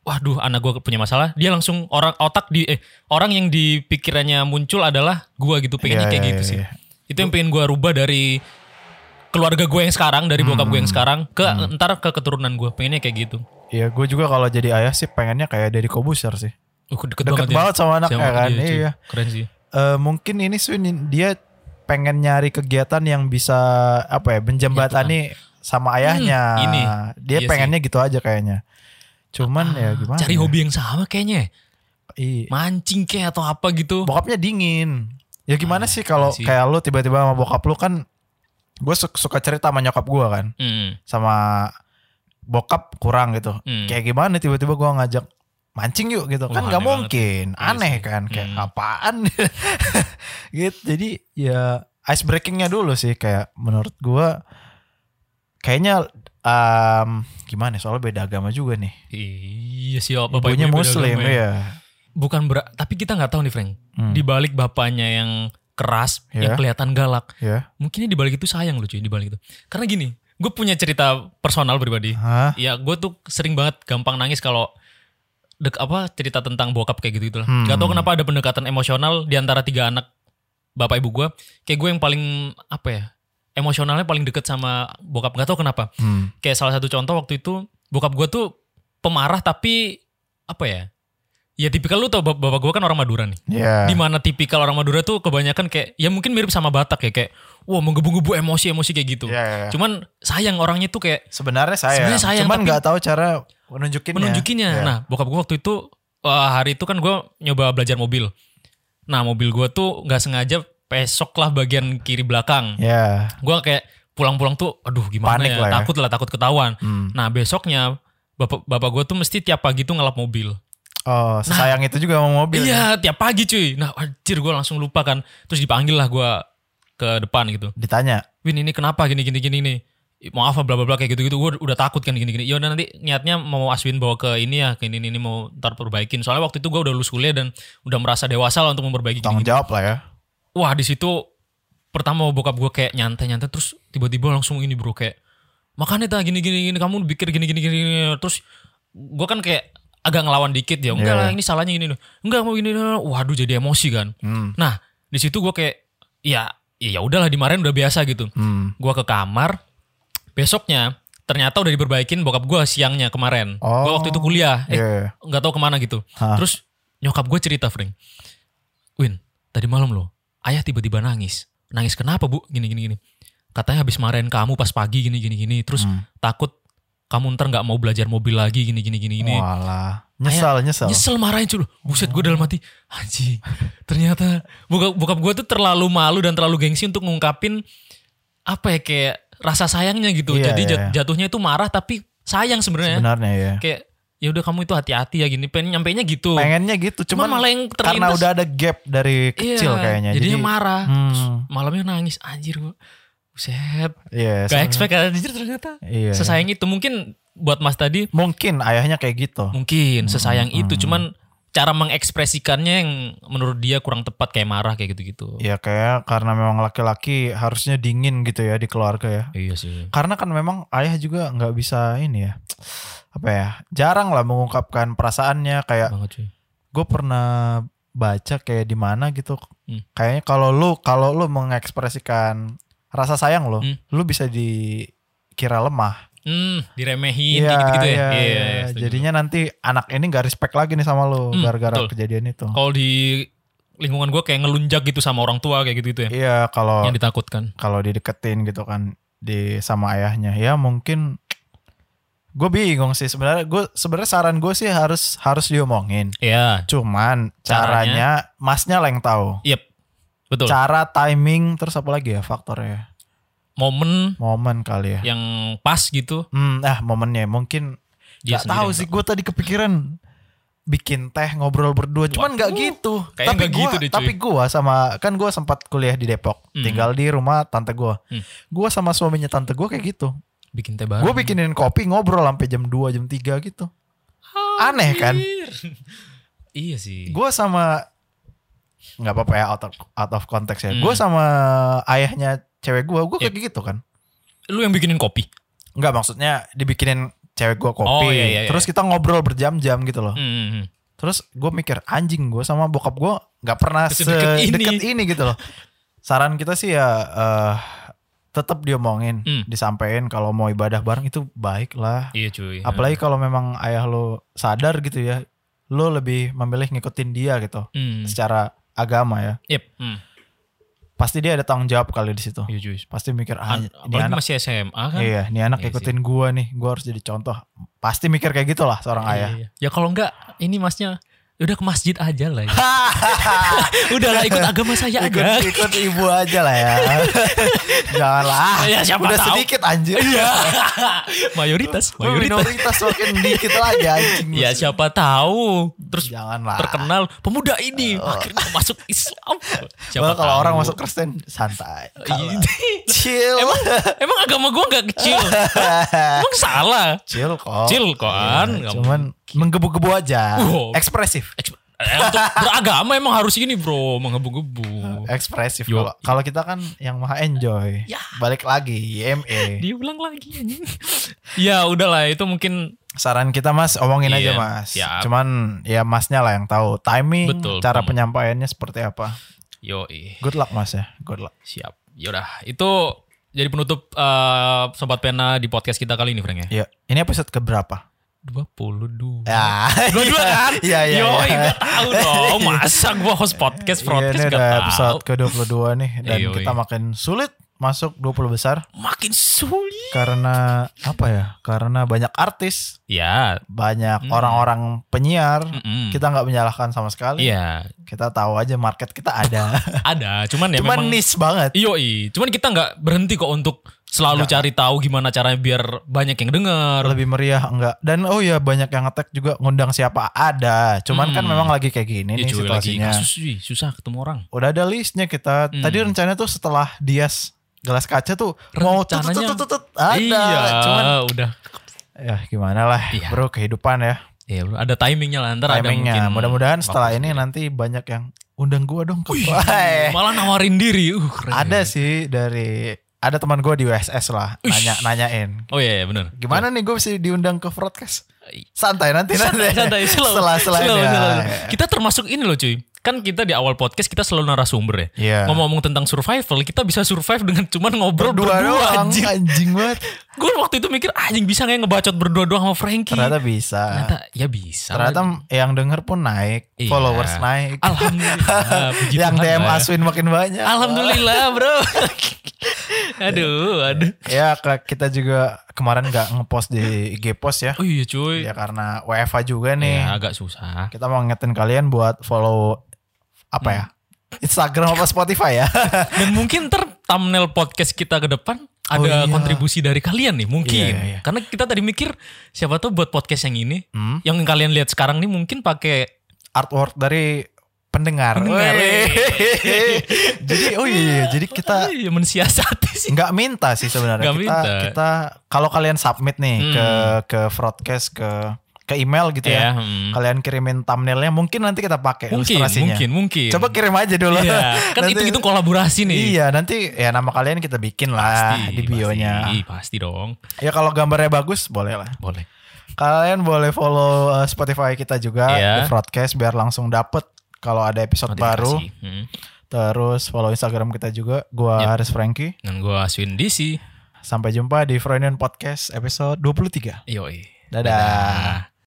Speaker 3: waduh anak gue punya masalah dia langsung orang otak di eh orang yang di pikirannya muncul adalah gue gitu
Speaker 1: Iya,
Speaker 3: pengennya kayak
Speaker 1: iya,
Speaker 3: gitu sih
Speaker 1: iya.
Speaker 3: itu yang pengen gue rubah dari keluarga gue yang sekarang dari bokap gue yang
Speaker 1: Hmm.
Speaker 3: sekarang ke ntar ke keturunan gue pengennya kayak gitu
Speaker 1: Iya gue juga kalau jadi ayah sih pengennya kayak dari kobuser sih.
Speaker 3: uh, deket,
Speaker 1: Deket
Speaker 3: ya.
Speaker 1: banget sama anaknya kan,
Speaker 3: dia, cuy.
Speaker 1: iya.
Speaker 3: keren sih
Speaker 1: Eh, mungkin ini Swin dia pengen nyari kegiatan yang bisa apa ya menjembatani sama ayahnya.
Speaker 3: Iya, Hmm, ini.
Speaker 1: Dia
Speaker 3: Iya Ah,
Speaker 1: pengennya gitu aja kayaknya. Cuman ya gimana?
Speaker 3: cari
Speaker 1: ya?
Speaker 3: hobi yang sama kayaknya
Speaker 1: Iya.
Speaker 3: mancing kayak atau apa gitu
Speaker 1: Bokapnya dingin. Ya gimana sih kalau
Speaker 3: Ah, iya sih.
Speaker 1: kayak lu tiba-tiba sama bokap lu kan gue suka cerita sama nyokap gue kan
Speaker 3: Hmm,
Speaker 1: sama bokap kurang gitu
Speaker 3: hmm.
Speaker 1: kayak gimana tiba-tiba gue ngajak mancing yuk gitu kan
Speaker 3: Wah,
Speaker 1: nggak
Speaker 3: Oh, aneh
Speaker 1: mungkin
Speaker 3: Iya
Speaker 1: aneh
Speaker 3: sih.
Speaker 1: kan kayak
Speaker 3: Hmm.
Speaker 1: apaan gitu jadi ya ice breakingnya dulu sih kayak menurut gua kayaknya em, gimana ya, soalnya beda agama juga nih
Speaker 3: Iya sih, oh, bapak
Speaker 1: ibunya
Speaker 3: ibunya beda
Speaker 1: muslim
Speaker 3: agama ya.
Speaker 1: ya
Speaker 3: Bukan ber, tapi kita nggak tahu nih Frank.
Speaker 1: Hmm,
Speaker 3: Di balik bapaknya yang keras, yang
Speaker 1: Iya.
Speaker 3: kelihatan galak.
Speaker 1: ya
Speaker 3: Mungkin di balik itu sayang loh cuy, di balik itu. Karena gini, gue punya cerita personal pribadi.
Speaker 1: Hah?
Speaker 3: Ya gue tuh sering banget gampang nangis kalau dek apa cerita tentang bokap kayak gitu gitulah.
Speaker 1: Hmm.
Speaker 3: Gak tau kenapa ada pendekatan emosional di antara tiga anak bapak ibu gue. Kayak gue yang paling apa ya? Emosionalnya paling deket sama bokap. Gak tau kenapa.
Speaker 1: Hmm.
Speaker 3: kayak salah satu contoh waktu itu bokap gue tuh pemarah tapi apa ya ya tipikal lu tau bap- bapak gue kan orang Madura nih
Speaker 1: ya
Speaker 3: di mana tipikal orang Madura tuh kebanyakan kayak ya mungkin mirip sama Batak ya kayak wah menggebu-gebu emosi-emosi kayak gitu
Speaker 1: Ya, ya, ya.
Speaker 3: cuman sayang orangnya tuh kayak
Speaker 1: sebenarnya saya
Speaker 3: Sebenarnya sayang,
Speaker 1: cuman
Speaker 3: tapi-
Speaker 1: nggak tahu cara menunjukinnya
Speaker 3: menunjukinya
Speaker 1: Ya.
Speaker 3: nah bokap gue waktu itu eh, hari itu kan gue nyoba belajar mobil nah mobil gue tuh nggak sengaja pesok lah bagian kiri belakang
Speaker 1: ya
Speaker 3: gue kayak pulang-pulang tuh aduh gimana
Speaker 1: Panik
Speaker 3: ya,
Speaker 1: lah ya.
Speaker 3: takut lah takut ketahuan
Speaker 1: Hmm.
Speaker 3: Nah besoknya bapak bapak gue tuh mesti tiap pagi tuh ngelap mobil.
Speaker 1: oh sayang itu juga sama mobil ya.
Speaker 3: Nah. Iya tiap pagi cuy. Nah anjir gue langsung lupa kan. Terus dipanggil lah gue ke depan gitu.
Speaker 1: ditanya
Speaker 3: Win ini kenapa gini gini gini nih. Maaf lah bla bla bla kayak gitu gitu. Gue udah takut kan gini gini. Ya udah nanti niatnya mau Aswin bawa ke ini ya ke ini ini, ini mau ntar perbaikin. Soalnya waktu itu gue udah lulus kuliah dan udah merasa dewasa lah untuk memperbaiki.
Speaker 1: tanggung
Speaker 3: Gini,
Speaker 1: jawab lah ya
Speaker 3: Wah di situ pertama bokap gue kayak nyantai nyantai terus tiba-tiba langsung ini bro kayak makanya tak gini gini gini kamu pikir gini gini gini, gini." terus gue kan kayak agak ngelawan dikit ya enggak
Speaker 1: Iya.
Speaker 3: lah ini salahnya gini enggak mau gini gini." waduh jadi emosi kan
Speaker 1: Hmm.
Speaker 3: nah di situ gue kayak ya ya udahlah dimarahin udah biasa gitu
Speaker 1: Hmm.
Speaker 3: gue ke kamar besoknya ternyata udah diperbaikin bokap gue siangnya kemarin Gua
Speaker 1: Oh.
Speaker 3: waktu itu kuliah eh,
Speaker 1: Iya, iya.
Speaker 3: nggak tahu kemana gitu.
Speaker 1: Hah.
Speaker 3: Terus nyokap gue cerita, Frank. Win, tadi malam loh, ayah tiba-tiba nangis. Nangis kenapa bu? Gini gini gini. Katanya habis marahin kamu pas pagi gini gini gini. Terus
Speaker 1: Hmm.
Speaker 3: takut kamu ntar nggak mau belajar mobil lagi gini gini gini gini.
Speaker 1: Walah. Nyesal, nyesal.
Speaker 3: Nyesel marahin cuy. Buset gue dalam hati. Anjing. Ternyata bokap, bokap gue tuh terlalu malu dan terlalu gengsi untuk ngungkapin apa ya kayak rasa sayangnya gitu.
Speaker 1: Iya,
Speaker 3: Jadi
Speaker 1: iya,
Speaker 3: jat-
Speaker 1: iya.
Speaker 3: jatuhnya itu marah tapi sayang sebenarnya
Speaker 1: Sebenarnya ya.
Speaker 3: kayak ya udah kamu itu hati-hati ya gini pengen nyampeinnya gitu
Speaker 1: Pengennya gitu,
Speaker 3: cuman
Speaker 1: cuman
Speaker 3: malah yang terlintas
Speaker 1: karena udah ada gap dari
Speaker 3: iya,
Speaker 1: kecil kayaknya.
Speaker 3: jadinya
Speaker 1: Jadi
Speaker 3: marah Terus
Speaker 1: Hmm.
Speaker 3: malamnya nangis anjir gua buset
Speaker 1: Iya.
Speaker 3: gak
Speaker 1: sebenarnya.
Speaker 3: expect anjir ternyata
Speaker 1: Iya.
Speaker 3: sesayang itu mungkin buat mas tadi
Speaker 1: Mungkin ayahnya kayak gitu.
Speaker 3: Iya. mungkin sesayang
Speaker 1: hmm.
Speaker 3: itu cuman cara mengekspresikannya yang menurut dia kurang tepat kayak marah kayak gitu-gitu
Speaker 1: Ya kayak karena memang laki-laki harusnya dingin gitu ya di keluarga ya.
Speaker 3: iya sih
Speaker 1: Karena kan memang ayah juga nggak bisa ini ya. Apa ya? Jarang lah mengungkapkan perasaannya kayak
Speaker 3: banget cuy
Speaker 1: gue pernah baca kayak di mana gitu
Speaker 3: Hmm.
Speaker 1: kayaknya kalau lu kalau lu mengekspresikan rasa sayang lo
Speaker 3: Hmm.
Speaker 1: lu bisa dikira lemah
Speaker 3: hmm diremehin kayak gitu-gitu ya
Speaker 1: iya,
Speaker 3: Iya,
Speaker 1: iya.
Speaker 3: setuju.
Speaker 1: jadinya nanti anak ini gak respect lagi nih sama lu
Speaker 3: Hmm,
Speaker 1: gara-gara
Speaker 3: betul.
Speaker 1: kejadian itu
Speaker 3: kalau di lingkungan gue kayak ngelunjak gitu sama orang tua kayak gitu-gitu ya
Speaker 1: iya kalau
Speaker 3: yang ditakutkan
Speaker 1: kalau dideketin gitu kan di sama ayahnya ya mungkin gue bingung sih sebenarnya gue sebenarnya saran gue sih harus harus diomongin
Speaker 3: Iya
Speaker 1: cuman
Speaker 3: Caranya?
Speaker 1: caranya, masnya lah yang tahu
Speaker 3: Yep. Betul.
Speaker 1: cara timing terus apa lagi ya faktornya
Speaker 3: momen
Speaker 1: momen kali ya.
Speaker 3: yang pas gitu.
Speaker 1: Hmm, ah momennya mungkin
Speaker 3: Dia
Speaker 1: nggak
Speaker 3: sendiri
Speaker 1: tahu
Speaker 3: yang
Speaker 1: sih gue tadi kepikiran bikin teh ngobrol berdua cuman nggak
Speaker 3: Waduh,
Speaker 1: gitu
Speaker 3: kayaknya
Speaker 1: tapi
Speaker 3: nggak
Speaker 1: gua,
Speaker 3: gitu deh, cuy.
Speaker 1: tapi gua sama kan gua sempat kuliah di Depok
Speaker 3: Hmm.
Speaker 1: tinggal di rumah tante gua
Speaker 3: Hmm.
Speaker 1: gua sama suaminya tante gua kayak gitu
Speaker 3: Bikin teh bareng.
Speaker 1: gua bikinin kopi ngobrol sampai jam 2 jam 3 gitu aneh kan?
Speaker 3: Anjir. iya sih.
Speaker 1: gua sama nggak apa-apa ya out of, out of context ya
Speaker 3: Hmm. Iya.
Speaker 1: gua sama ayahnya cewek gua gua kayak gitu kan
Speaker 3: Lu yang bikinin kopi.
Speaker 1: nggak maksudnya dibikinin cewek gua kopi
Speaker 3: Oh, iya, iya, iya.
Speaker 1: terus kita ngobrol berjam-jam gitu loh
Speaker 3: Hmm.
Speaker 1: Terus gue mikir anjing gue sama bokap gue nggak pernah
Speaker 3: Sedekat
Speaker 1: sedekat
Speaker 3: ini.
Speaker 1: ini. gitu loh. Saran kita sih ya eh tetap diomongin,
Speaker 3: Hmm.
Speaker 1: disampaikan kalau mau ibadah bareng itu baik lah.
Speaker 3: Iya cuy.
Speaker 1: Apalagi kalau memang ayah lo sadar gitu ya, lo lebih memilih ngikutin dia gitu
Speaker 3: Hmm.
Speaker 1: secara agama ya.
Speaker 3: Yep. Hmm.
Speaker 1: Pasti dia ada tanggung jawab kali di situ.
Speaker 3: Iya cuy.
Speaker 1: Pasti mikir ah,
Speaker 3: An-
Speaker 1: ini
Speaker 3: apalagi
Speaker 1: anak
Speaker 3: masih SMA kan?
Speaker 1: Iya, ini anak
Speaker 3: Iya sih.
Speaker 1: ikutin gua nih. Gua harus jadi contoh. Pasti mikir kayak gitu lah seorang
Speaker 3: Iya,
Speaker 1: ayah.
Speaker 3: iya. Ya kalau enggak ini masnya "Ya udah ke masjid aja lah ya. udah lah ikut agama saya
Speaker 1: ikut,
Speaker 3: aja
Speaker 1: ikut ibu aja lah ya. Janganlah. ah,
Speaker 3: Ya, siapa
Speaker 1: Udah
Speaker 3: tahu.
Speaker 1: sedikit anjir.
Speaker 3: Iya. mayoritas
Speaker 1: Lu
Speaker 3: mayoritas
Speaker 1: Minoritas makin dikit lagi anjing.
Speaker 3: ya siapa tahu terus
Speaker 1: Janganlah.
Speaker 3: terkenal pemuda ini akhirnya masuk Islam
Speaker 1: Well,
Speaker 3: siapa
Speaker 1: Oh. kalau
Speaker 3: tahu. Iya.
Speaker 1: orang masuk Kristen santai. Kalau- Chill.
Speaker 3: emang emang agama gua nggak kecil emang salah
Speaker 1: Chill kok.
Speaker 3: kecil koan
Speaker 1: Iya,
Speaker 3: Nggak
Speaker 1: Cuman menggebu-gebu aja.
Speaker 3: Wow.
Speaker 1: Ekspresif.
Speaker 3: Eks- eh, untuk beragama emang harus ini bro menggebu-gebu
Speaker 1: Ekspresif
Speaker 3: Yo.
Speaker 1: kalau kalau kita kan yang maha enjoy.
Speaker 3: Ya.
Speaker 1: Balik lagi E. YME.
Speaker 3: diulang lagi anjing. ya udahlah itu mungkin
Speaker 1: Saran kita Mas omongin
Speaker 3: Iya,
Speaker 1: aja Mas.
Speaker 3: siap.
Speaker 1: Cuman ya Masnya lah yang tahu timing,
Speaker 3: Betul
Speaker 1: cara
Speaker 3: banget.
Speaker 1: penyampaiannya seperti apa.
Speaker 3: yoi
Speaker 1: Good luck Mas ya. Good luck.
Speaker 3: siap yaudah itu jadi penutup eh, sobat pena di podcast kita kali ini Frank ya
Speaker 1: Ya, ini episode keberapa?
Speaker 3: 22
Speaker 1: Ya.
Speaker 3: dua-dua kan
Speaker 1: Iya, iya,
Speaker 3: yoi
Speaker 1: iya.
Speaker 3: gak tau dong masa gua host podcast
Speaker 1: Iya, ini
Speaker 3: podcast
Speaker 1: udah
Speaker 3: gak tau
Speaker 1: episode ke-22 nih dan
Speaker 3: Iya,
Speaker 1: kita
Speaker 3: iya.
Speaker 1: makin sulit masuk 20 besar
Speaker 3: makin sulit
Speaker 1: karena apa ya? Karena banyak artis,
Speaker 3: ya
Speaker 1: banyak
Speaker 3: Hmm.
Speaker 1: orang-orang penyiar.
Speaker 3: mm-mm.
Speaker 1: Kita nggak menyalahkan sama sekali.
Speaker 3: Iya,
Speaker 1: Kita tahu aja market kita ada.
Speaker 3: ada. Cuman ya
Speaker 1: Cuman
Speaker 3: memang
Speaker 1: niche banget.
Speaker 3: Yoi, cuman kita nggak berhenti kok untuk selalu cari tahu gimana caranya biar banyak yang dengar.
Speaker 1: Lebih meriah enggak. Dan oh ya banyak yang ngetek juga ngundang siapa ada. Cuman kan
Speaker 3: Hmm.
Speaker 1: memang lagi kayak gini
Speaker 3: Ya,
Speaker 1: nih
Speaker 3: cuy, lagi
Speaker 1: situasinya.
Speaker 3: kasus, cuy. susah ketemu orang.
Speaker 1: Udah ada listnya kita.
Speaker 3: Hmm.
Speaker 1: Tadi rencananya tuh setelah Dias gelas kaca tuh mau tut, tut,
Speaker 3: Rencananya-
Speaker 1: tut, tut, tut, ada.
Speaker 3: iya,
Speaker 1: Cuman
Speaker 3: udah.
Speaker 1: ya gimana lah
Speaker 3: Iya.
Speaker 1: bro kehidupan ya.
Speaker 3: Ya, bro, ada timingnya lah ntar ada
Speaker 1: Timingnya.
Speaker 3: mungkin
Speaker 1: Mudah-mudahan setelah
Speaker 3: waktu
Speaker 1: ini nanti banyak yang undang gua dong. Ke
Speaker 3: sendiri.
Speaker 1: Wah,
Speaker 3: malah nawarin diri. Uh, keren.
Speaker 1: ada sih dari ada teman gua di USS lah nanya nanyain
Speaker 3: Oh iya, iya, bener.
Speaker 1: Gimana nih gue bisa diundang ke broadcast?
Speaker 3: Iya.
Speaker 1: Santai nanti nanti.
Speaker 3: Santai, santai, slow.
Speaker 1: Setelah setelah
Speaker 3: Slow,
Speaker 1: ini,
Speaker 3: slow,
Speaker 1: ya.
Speaker 3: slow. Kita termasuk ini loh cuy. Kan kita di awal podcast kita selalu narasumber ya.
Speaker 1: Iya.
Speaker 3: Ngomong-ngomong tentang survival, kita bisa survive dengan cuman ngobrol berdua,
Speaker 1: doang,
Speaker 3: anjir.
Speaker 1: anjing banget.
Speaker 3: Gue waktu itu mikir anjing bisa nggak ya ngebacot berdua doang sama Frankie.
Speaker 1: Ternyata bisa.
Speaker 3: Ternyata ya bisa.
Speaker 1: Ternyata yang denger pun naik,
Speaker 3: Iya. gitu kan,
Speaker 1: followers naik.
Speaker 3: alhamdulillah puji
Speaker 1: yang
Speaker 3: Tuhan
Speaker 1: DM
Speaker 3: lah.
Speaker 1: Aswin makin banyak.
Speaker 3: Alhamdulillah, Bro. aduh, aduh.
Speaker 1: Ya ke- kita juga kemarin nggak ngepost di IG post ya.
Speaker 3: Oh iya cuy.
Speaker 1: Ya karena WFA juga nih.
Speaker 3: Ya, agak susah.
Speaker 1: Kita mau ngingetin kalian buat follow apa
Speaker 3: Hmm.
Speaker 1: ya? Instagram apa Spotify ya.
Speaker 3: Dan mungkin ter thumbnail podcast kita ke depan ada
Speaker 1: Oh, iya.
Speaker 3: kontribusi dari kalian nih mungkin.
Speaker 1: Iya, iya.
Speaker 3: Karena kita tadi mikir siapa tuh buat podcast yang ini
Speaker 1: Hmm.
Speaker 3: yang kalian lihat sekarang nih mungkin pakai
Speaker 1: artwork dari pendengar.
Speaker 3: Pendengar.
Speaker 1: Wey. jadi oh iya, iya, jadi kita
Speaker 3: Iya, mensiasati sih.
Speaker 1: nggak minta sih sebenarnya
Speaker 3: Nggak
Speaker 1: kita
Speaker 3: minta.
Speaker 1: kita kalau kalian submit nih
Speaker 3: Hmm.
Speaker 1: ke ke broadcast ke ke email gitu ya.
Speaker 3: Ya, hmm.
Speaker 1: Kalian kirimin thumbnailnya mungkin nanti kita pakai
Speaker 3: mungkin,
Speaker 1: ilustrasinya.
Speaker 3: mungkin, mungkin.
Speaker 1: Coba kirim aja dulu.
Speaker 3: Iya, kan
Speaker 1: Nanti-
Speaker 3: itu itu kolaborasi nih.
Speaker 1: Iya, nanti ya nama kalian kita bikin lah di
Speaker 3: Pasti,
Speaker 1: bionya.
Speaker 3: pasti dong.
Speaker 1: Ya kalau gambarnya bagus boleh lah.
Speaker 3: Boleh.
Speaker 1: Kalian boleh follow uh, Spotify kita juga
Speaker 3: Iya.
Speaker 1: di broadcast biar langsung dapet kalau ada episode baru.
Speaker 3: Notifikasi. Hmm.
Speaker 1: Terus follow Instagram kita juga. Gua Haris Franky.
Speaker 3: Dan gue Aswin DC.
Speaker 1: Sampai jumpa di Freudian Podcast episode 23.
Speaker 3: Yoi.
Speaker 1: Dadah.
Speaker 3: Dadah.